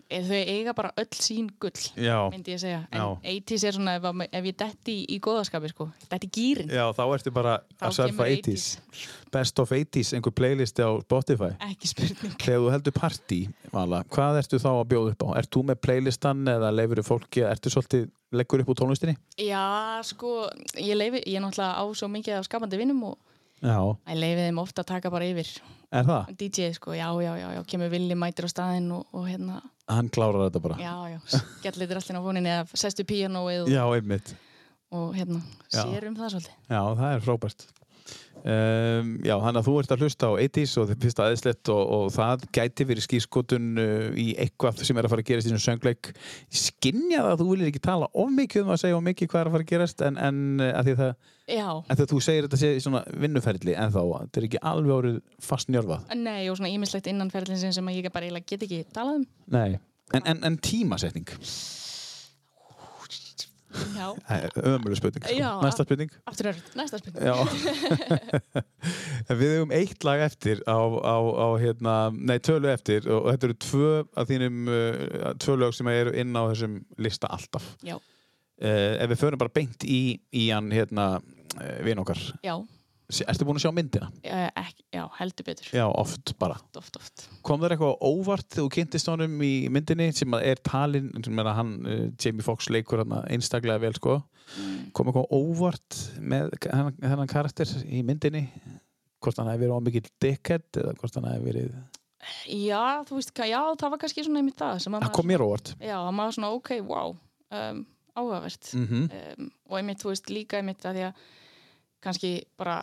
C: Eh, Þau eiga bara öll sín gull,
A: Já,
C: myndi ég segja. En
A: Já.
C: 80s er svona, ef, að- ef ég detti í, í góðaskapi, sko, detti í gýrin,
A: já, þá ertu bara
C: Þá
A: að surfa
C: kemur
A: 80s. Best of 80s, einhver playlisti á Spotify.
C: ekki spurning.
A: Þegar þú heldur partí, Vala, hvað ertu þá að bjóða upp á? Ert þú með playlistan eða leifur fólki, ertu svolítið leggur upp úr tónlistinni?
C: Já, sko, ég leifi, ég er náttúrulega á svo mikið af skapandi vinnum og
A: Já,
C: ég leifi þeim ofta að taka bara yfir.
A: er það?
C: DJ, sko, já, já, já, já, kemur villi mætir á staðinn og, og hérna,
A: Hann klárar þetta bara.
C: já, já, skellir drallin á fóninni eða sestu píanóið og,
A: Já, einmitt.
C: og hérna,
A: Já.
C: sér um það svolítið.
A: Já, það er frábært. Um, já, þannig að þú ert að hlusta á 80s og þið finnst það aðeinslegt og, og það gæti verið skýrskotun uh, í eitthvað sem er að fara að gerast í þessum söngleik. Ég Skynja það að þú vilir ekki tala of mikið um að segja of mikið hvað er að fara að gerast en, en uh, að því að, það,
C: Já,
A: að því að þú segir þetta sé í svona vinnuferli en þá, þetta er ekki alveg árið fastnjörfað.
C: Nei, og svona ímislegt innan ferðlinsinn sem að ég bara eiginlega get ekki talað um
A: Nei, En, en, en tímasetning,
C: Já,
A: ömuleg spurning. sko.
C: Já.
A: Næsta spurning.
C: aftur örð, næsta spurning.
A: Já. En við hefum eitt lag eftir á, á, á hérna, nei, tölu eftir og, og þetta eru tvö af þínum uh, tvö lög sem eru inn á þessum lista alltaf.
C: Já,
A: Uh, ef við förum bara beint í, í hann hérna, uh, vin okkar,
C: já,
A: S- ertu búin að sjá myndina?
C: eh, ekki, já heldur betur.
A: Já, oft bara.
C: Oft, oft.
A: Kom þér eitthvað á óvart þegar þú kynntist honum í myndinni sem að er talin, sem er að hann, uh, Jamie Foxx leikur hann einstaklega vel, sko. Kom eitthvað á óvart með hennan, hennan karakter í myndinni? Hvort hann hefði verið ómikið dickhead eða hvort hann hefði verið...
C: Já, þú veist, hvað- já, það var kannski svona einmitt það sem að
A: Það Ah, kom mér á óvart.
C: já, að maður svona, ok, wow, um, áhugavert.
A: -hmm.
C: um, og einmitt, þú veist, líka einmitt að því að kannski bara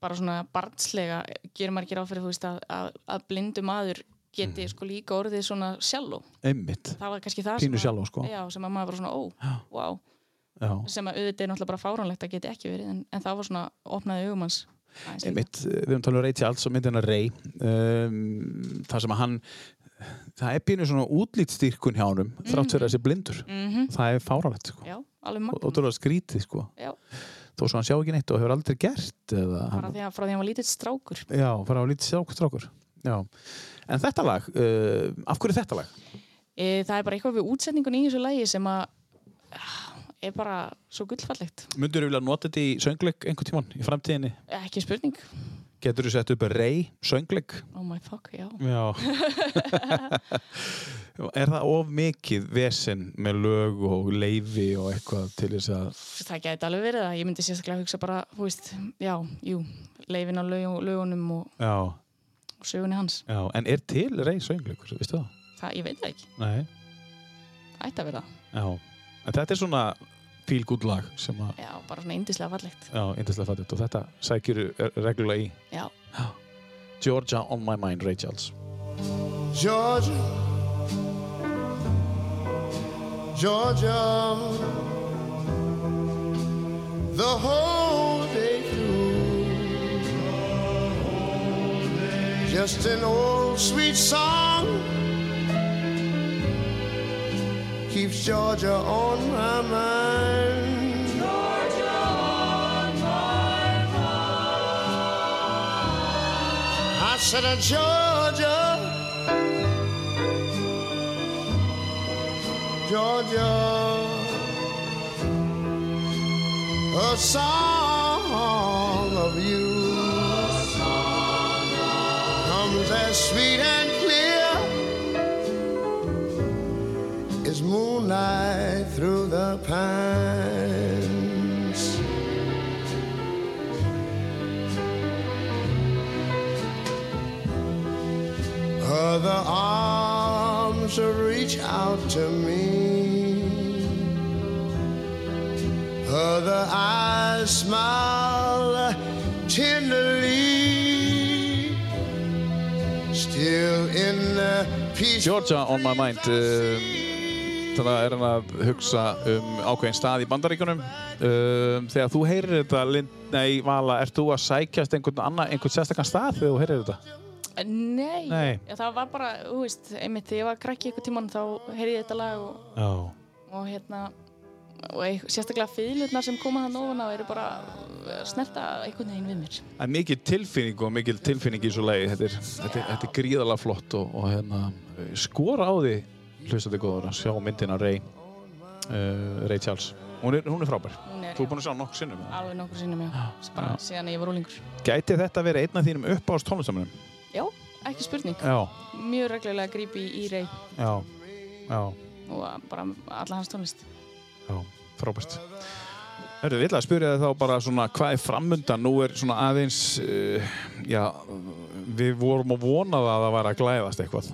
C: bara svona barnslega gerir maður ekki ráð fyrir, þú veist, að, að, að blindu maður
A: Mm.
C: geti sko líka orðið svona sjálfó.
A: Einmitt.
C: Það var kannski það sem
A: Pínu
C: að-
A: sjálfó, sko.
C: Já, sem að maður bara svona, ó, wow
A: Já.
C: sem að auðvitað er náttúrulega bara fáránlegt að geti ekki verið en, en það var svona, opnaði augumanns
A: Einmitt. Við höfum talað um Ray Charles og myndina Ray. Um, það sem að hann... Það er pínu svona útlýtstýrkun hjá honum þrátt fyrir að þessi blindur.
C: mm -hmm.
A: Það er fáralegt, sko.
C: Já, alveg
A: Og
C: magna
A: ótrúlega skrítið, sko.
C: Já,
A: Þó svo hann sjá ekki neitt og hefur aldrei gert eða...
C: bara því að frá því að hann var lítill strákur
A: Já, fara á lítið sjákustrákur. Já. En þetta lag, uh, af hverju þetta lag?
C: e, Það er bara eitthvað við útsetningun í þessu lægi sem að ah, er bara svo gullfallegt
A: Mundur þú vilja nota þetta í söngleik einhvern tíman í framtíðinni?
C: Ekki spurning,
A: Getur þú sett upp rey söngleik?
C: oh my fuck, já
A: Já Er það of mikið vesen með lög og leifi og eitthvað til þess að
C: það gæti alveg verið það, ég myndi sérstaklega hugsa bara, þú veist, já, jú leifin á lög, lögunum og,
A: Já,
C: og sögunni hans,
A: já, en er til rey söngleikur, veistu það?
C: það, ég veit það ekki
A: Nei
C: ætti að vera, það.
A: Já, en þetta er svona feel good lag sem að,
C: já, bara svona indislega fallegt
A: já, yndislega fattigt og þetta sækjur reglulega í
C: já,
A: Georgia on my mind, Ray Charles
I: Georgia, Georgia, the whole day through. Just an old sweet song keeps Georgia on my mind. Georgia on my mind. I said, uh, Georgia. Georgia. A song of you comes as sweet and clear as moonlight through the pines. Other arms reach out to me. Other eyes smile tenderly. Still in the peace.
A: Georgia on my mind um, þannig að er hann að hugsa um ákveðin stað í bandaríkunum um, þegar þú heyrir þetta Lind, nei, Vala, ert þú að sækjast einhvern, anna, einhvern sérstakann stað þegar þú heyrir þetta?
C: Eh, nei,
A: Nei.
C: Já, það var bara, þú veist, einmitt þegar ég var krakki eitthvað tímann þá heyrði ég þetta lag og,
A: Já,
C: og hérna og eit- sérstaklega fyrirlutnar sem koma þann ofan á eru bara eh, snerta einhvern veginn við mér
A: það er mikil tilfinning og mikil tilfinning í svo leiði þetta er, þetta er, þetta er gríðalega flott og, og hérna, skora á því hlustandi góður að sjá myndina Ray uh, Ray Charles hún er, hún er frábær,
C: Hún er
A: þú er búin að sjá nokk sinnum
C: alveg nokkur sinnum, já, bara síðan ég var úlingur
A: Gæti þetta verið einn af þínum uppáhast tónlistamunum?
C: já, ekki spurning,
A: Já,
C: mjög reglulega grípi í rey
A: já, já
C: og bara alla hans tónlist
A: Já, frábært. Hörru, við ætlaði að spyrja þig þá bara svona hvað er framundan? Nú er svona aðeins, uh, já, við vorum að vona það að það væri að glæðast eitthvað.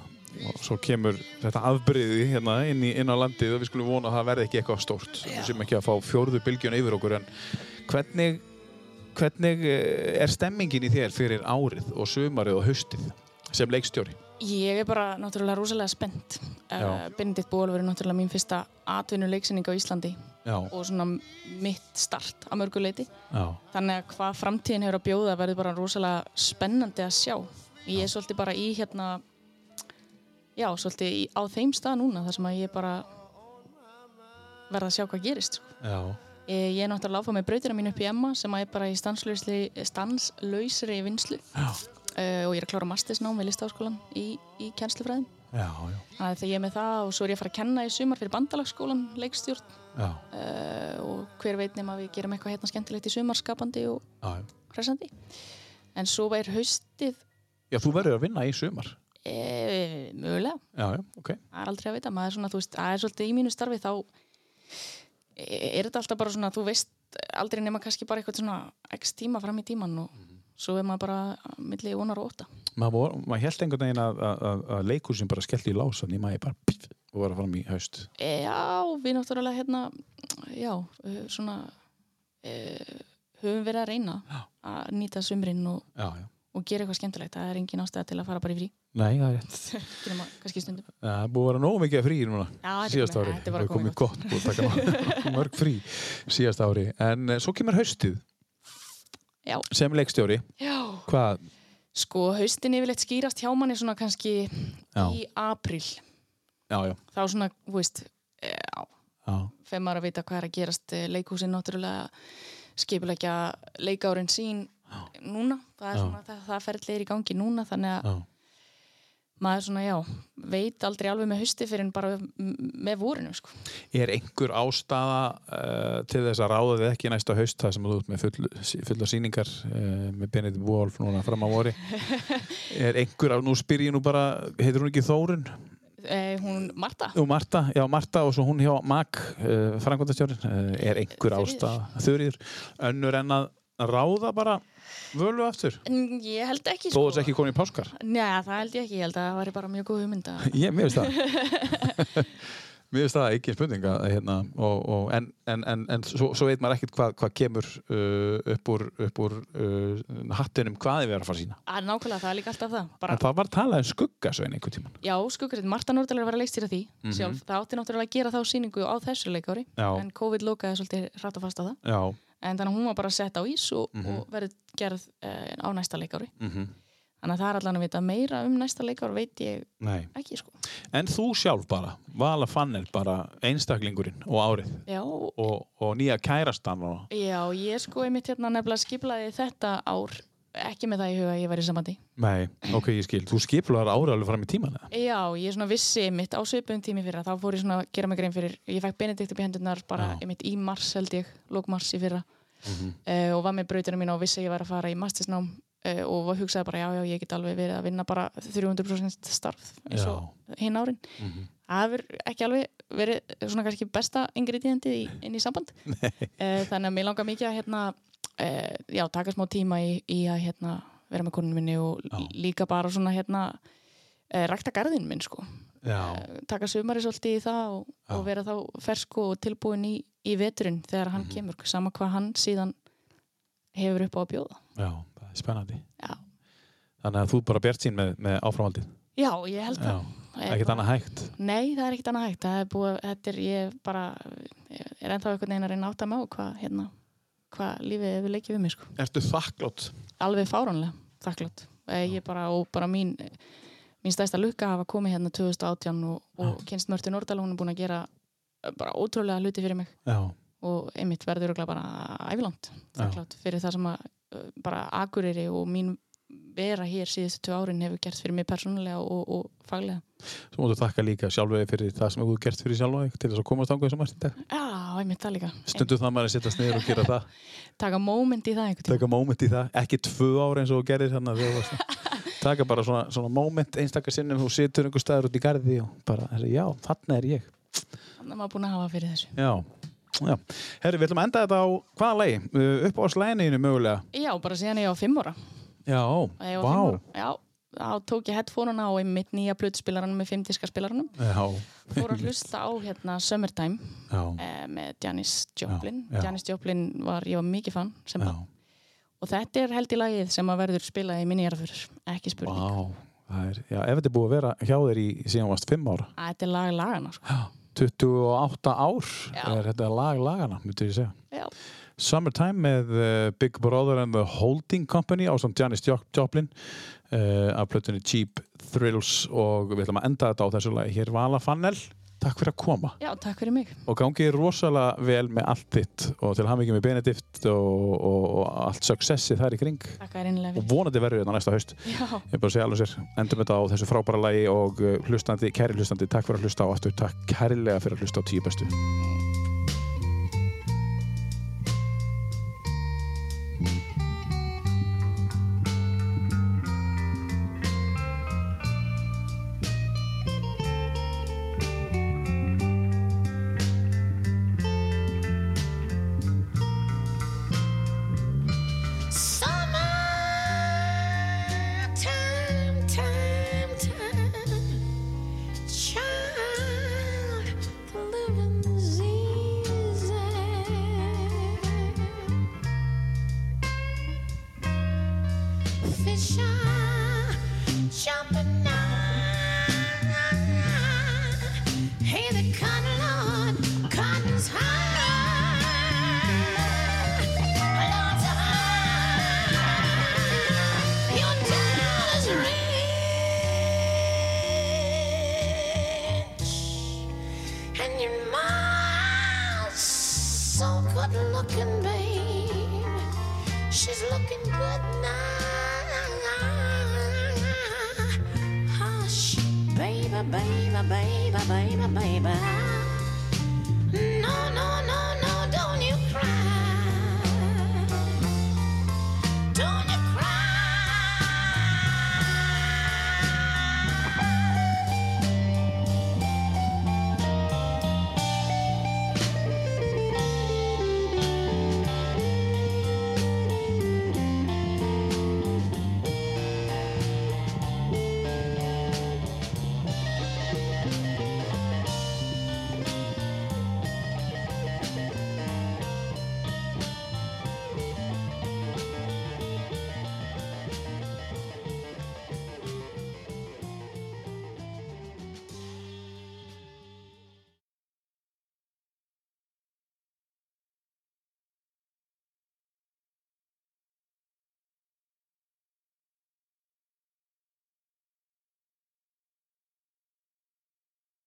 A: Og svo kemur þetta afbreyði hérna inn, í, inn á landið og við skulum vona að það verði ekki eitthvað stórt. Við sem ekki að fá fjórðu bylgjun yfir okkur en hvernig, hvernig eh, er stemmingin í þér fyrir árið og sumarið og haustið sem leikstjóri?
C: Ég er bara náttúrulega rosalega spennt. Uh,
A: Já.
C: Benedikt Ból verið náttúrulega mín fyrsta atvinnuleiksinning á Íslandi
A: Já,
C: og svona mitt start að mörgu leiti.
A: já,
C: Þannig að hvað framtíðin hefur að bjóða verður bara rosalega spennandi að sjá. Ég er svolítið bara í hérna, já, svolítið í, á þeim stað núna þar sem að ég bara verða að sjá hvað gerist sko.
A: Já.
C: e, ég er náttúrulega áfram með brautina mín upp í Emma sem að er bara í stanslausri, stanslausri vinslu
A: Já.
C: e, og ég er að klára mastisnám við listaháskólan í, í kennslufræðum
A: Já, já.
C: þannig að þegar ég er með það og svo er ég að fara að kenna í sumar fyrir bandalagsskólan, leikstjórn
A: Já.
C: uh, og hver veit nema við gerum eitthvað hérna skemmtilegt í sumar skapandi og
A: Já, já.
C: hressandi en svo er haustið
A: Já, þú verður að vinna í sumar.
C: e, mögulega,
A: Já, já, ok.
C: það er aldrei að vita maður er svona, þú veist, það er svolítið í mínu starfi þá eh, er þetta alltaf bara svona þú veist aldrei nema kannski bara eitthvað svona x tíma fram í tíman og svo er maður bara á milli vonar og óta
A: Maður vor- maður held einhvern veginn að, að, að, að leikursin bara skellti í lásan í maður bara pff, og var að fara um í haust.
C: e, já, við náttúrulega hérna já, eh, svona e, höfum verið að reyna að nýta sumrin og,
A: Já, já.
C: og gera eitthvað skemmtilegt það er engin ástæða til að fara bara í frí
A: Nei, það er rétt.
C: Ekki nema kannski stundum
A: Það er búið að vera nógu mikið frí núna.
C: Já, þetta er
A: síðast
C: komið-
A: ári.
C: þetta er bara
A: Það
C: komið
A: gott. gott. Búið að taka mörg frí síðast ári. En eh, svo kemur haustið.
C: Já.
A: Sem leikstjóri.
C: já
A: Hvað?
C: Sko, haustin yfirleitt skýrast hjá manni svona kannski
A: Já.
C: í apríl.
A: Já, já.
C: Þá svona, þú veist, eh, já,
A: Já,
C: fyrir maður að vita hvað er að gerast eh, leikhúsin náttúrulega skipulegja leikárin sín núna. Það er
A: Já.
C: svona, það, það ferli er í gangi núna, þannig að
A: já.
C: maður svona, já, veit aldrei alveg með hausti fyrir en bara m- með vorinu, sko.
A: Er einhver ástæða uh, til þess að ráða þið ekki næsta haust það sem þú ert með full, sí- fullar sýningar uh, með Benedikt Wolf núna fram á vori? er einhver, á- nú spyr ég nú bara, heitir hún ekki Þórun?
C: Eh, hún, Marta,
A: Jú, Marta, já, Marta og svo hún hjá MAK, uh, frangvandastjórin, uh, er einhver
C: Þuríður.
A: ástæða, þurriður, önnur en að ráða bara völu aftur?
C: en ég held ekki,
A: Þó
C: sko.
A: þess ekki komin í páskar?
C: Njá, það held ég ekki, ég held að það væri bara mjög góð hugmynd að
A: Ég, mér finnst það. mér finnst það ekki spurninga, hérna, og, og, en, en, en, en svo, svo veit maður ekkert hvað hva kemur uh, upp úr, upp úr uh, hattinum hvað við erum að fara að sína.
C: að nákvæmlega það er líka alltaf það. Bara
A: En það var talað um skuggasvein einhvern tíman.
C: Já, skuggrið, Marta Nordal er að vera leikstýra því sjálf, það átti náttúrulega að gera þá sýningu á þessu leikári,
A: Mhm. Já.
C: en COVID lokaði svolítið hratt og fast á það,
A: Já.
C: en þannig að hún var bara sett á ís og,
A: Mhm.
C: og verið gerð uh, á næsta leikári, þannig að það er allan að vita meira um næsta leikári, veit ég
A: Nei.
C: ekki sko.
A: En þú sjálf bara, Vala Fannel bara einstaklingurinn og árið
C: Já,
A: og, og nýja kærastan og
C: já, ég sko einmitt hérna nefnilega skiplaði þetta ár, ekki með það í huga að ég væri í sambandi.
A: Nei, ok, ég skil. Þú skiplar árið alveg fram í tíman eða?
C: Já, ég svona vissi einmitt á svipum tími fyrir þá fór ég svona að gera mig grein fyrir ég fekk Benedikt upp í hendurnar bara
A: Já.
C: einmitt í mars held ég, lók mars í fyrra uh, og var með brautina mína og vissi að ég var að fara í mastisnám uh, og var- hugsaði bara já, já, ég get alveg verið að vinna bara 300% starf eins og hinn árin það hefur ekki alveg verið svona kannski besta ingredientið í, inn í samband uh, þannig að mér langar mikið að hérna, uh, já, taka smá tíma í, í að hérna, vera með konunum minni og líka bara svona hérna eh, rækta garðin minn sko
A: Já.
C: taka sumari svolítið í það og, og vera þá fersk og tilbúin í, í veturinn þegar
A: Mhm.
C: hann kemur, sama hvað hann síðan hefur upp á að bjóða
A: Já, það er spennandi.
C: já,
A: Þannig að þú er bara bjart sín með, með áframaldið.
C: já ég held
A: Já.
C: það Ég
A: Ekkert
C: bara-
A: annað hægt.
C: Nei, það er ekkert annað hægt það er búið, þetta er ég bara ég er ennþá einhvern veginn að reyna að átta mig á hvað hérna, hvað lífið hefur leikið við mig sko
A: Ertu þakklátt?
C: alveg fáránlega þakklátt Eh, ég bara, og bara mín mín stærsta lukka að hafa komið hérna 2018 og, og kynst Mörtu Nordal hún er búin að gera eh, bara ótrúlega hluti fyrir mig
A: Já.
C: og einmitt verður örugglega bara ævilangt þakklátt fyrir það sem að uh, bara akureyri og mín vera hér síðustu tvö árin hefur gert fyrir mig persónulega og, og faglega
A: Svo máttu þakka líka sjálfvegi fyrir það sem þú hefur gert fyrir sjálfvegi til þess að komast ánguð sem mæst í dag.
C: Já, einmitt það líka
A: Stundu það maður að setjast niður og gera það.
C: Eh, taka moment í það einhvern tíma
A: Taka moment í það. Ekki tvö ára eins og þú gerir þannig að þú varst. Taka bara svona, svona moment einstakar sinnum þú situr einhver staðar út í garði og bara, já, þarna er ég.
C: þannig að maður búin að hafa fyrir þessu
A: Já. Já. Herri, við ætlum að enda þetta á hvaða lagi? Uh, upp á slæniðinu mögulega.
C: Já, bara síðan ég á fimm ára
A: Já,
C: Þegar ég
A: vá.
C: var fimm ára. Já, þá tók ég headphoneuna og einmitt nýja blötuspilaranum með fimmdiskaspilaranum
A: Já,
C: fór að hlusta á hérna Summertime
A: já,
C: eh, með Janis Joplin
A: Já, já.
C: Janis Joplin var, ég var mikið fann sem
A: já.
C: það og þetta er held í lagið sem að verður spilað í minni erfur, ekki
A: Vá.
C: spurning
A: Það er, já, ef þetta er búið að vera hjá þér í síðan þú varst fimm ára.
C: að þetta er lag lagana sko.
A: Já. 28 ár
C: Já.
A: er þetta lag lagana, myndi ég segja.
C: Já.
A: Summertime með uh, Big Brother and the Holding Company á samt Janis Jo- Joplin uh, af plötunni Cheap Thrills og við ætlum að enda þetta á þessu lagi. Hér Vala Fannel, takk fyrir að koma
C: Já, takk fyrir mig.
A: og gangi rosalega vel með allt þitt og til hamingi með Benedikt og, og, og allt successi þar í kring
C: Takk að reynilega
A: og
C: fyrir.
A: vonandi verður þetta næsta haust.
C: Já,
A: Ég er bara að segja alveg sér, endum þetta á þessu frábæra lagi og uh, hlustandi, kæri hlustandi, takk fyrir að hlusta og aftur takk kærlega fyrir að hlusta á tíu bestu.
J: Summertime, time, time. Child, the living's easy. Fish are jumping now. Hey, the cotton lawn, cotton's high. Lots of high. Your town is rich, and your mom's so good looking, babe. She's looking good now. Hush, baby, baby, baby, baby, baby.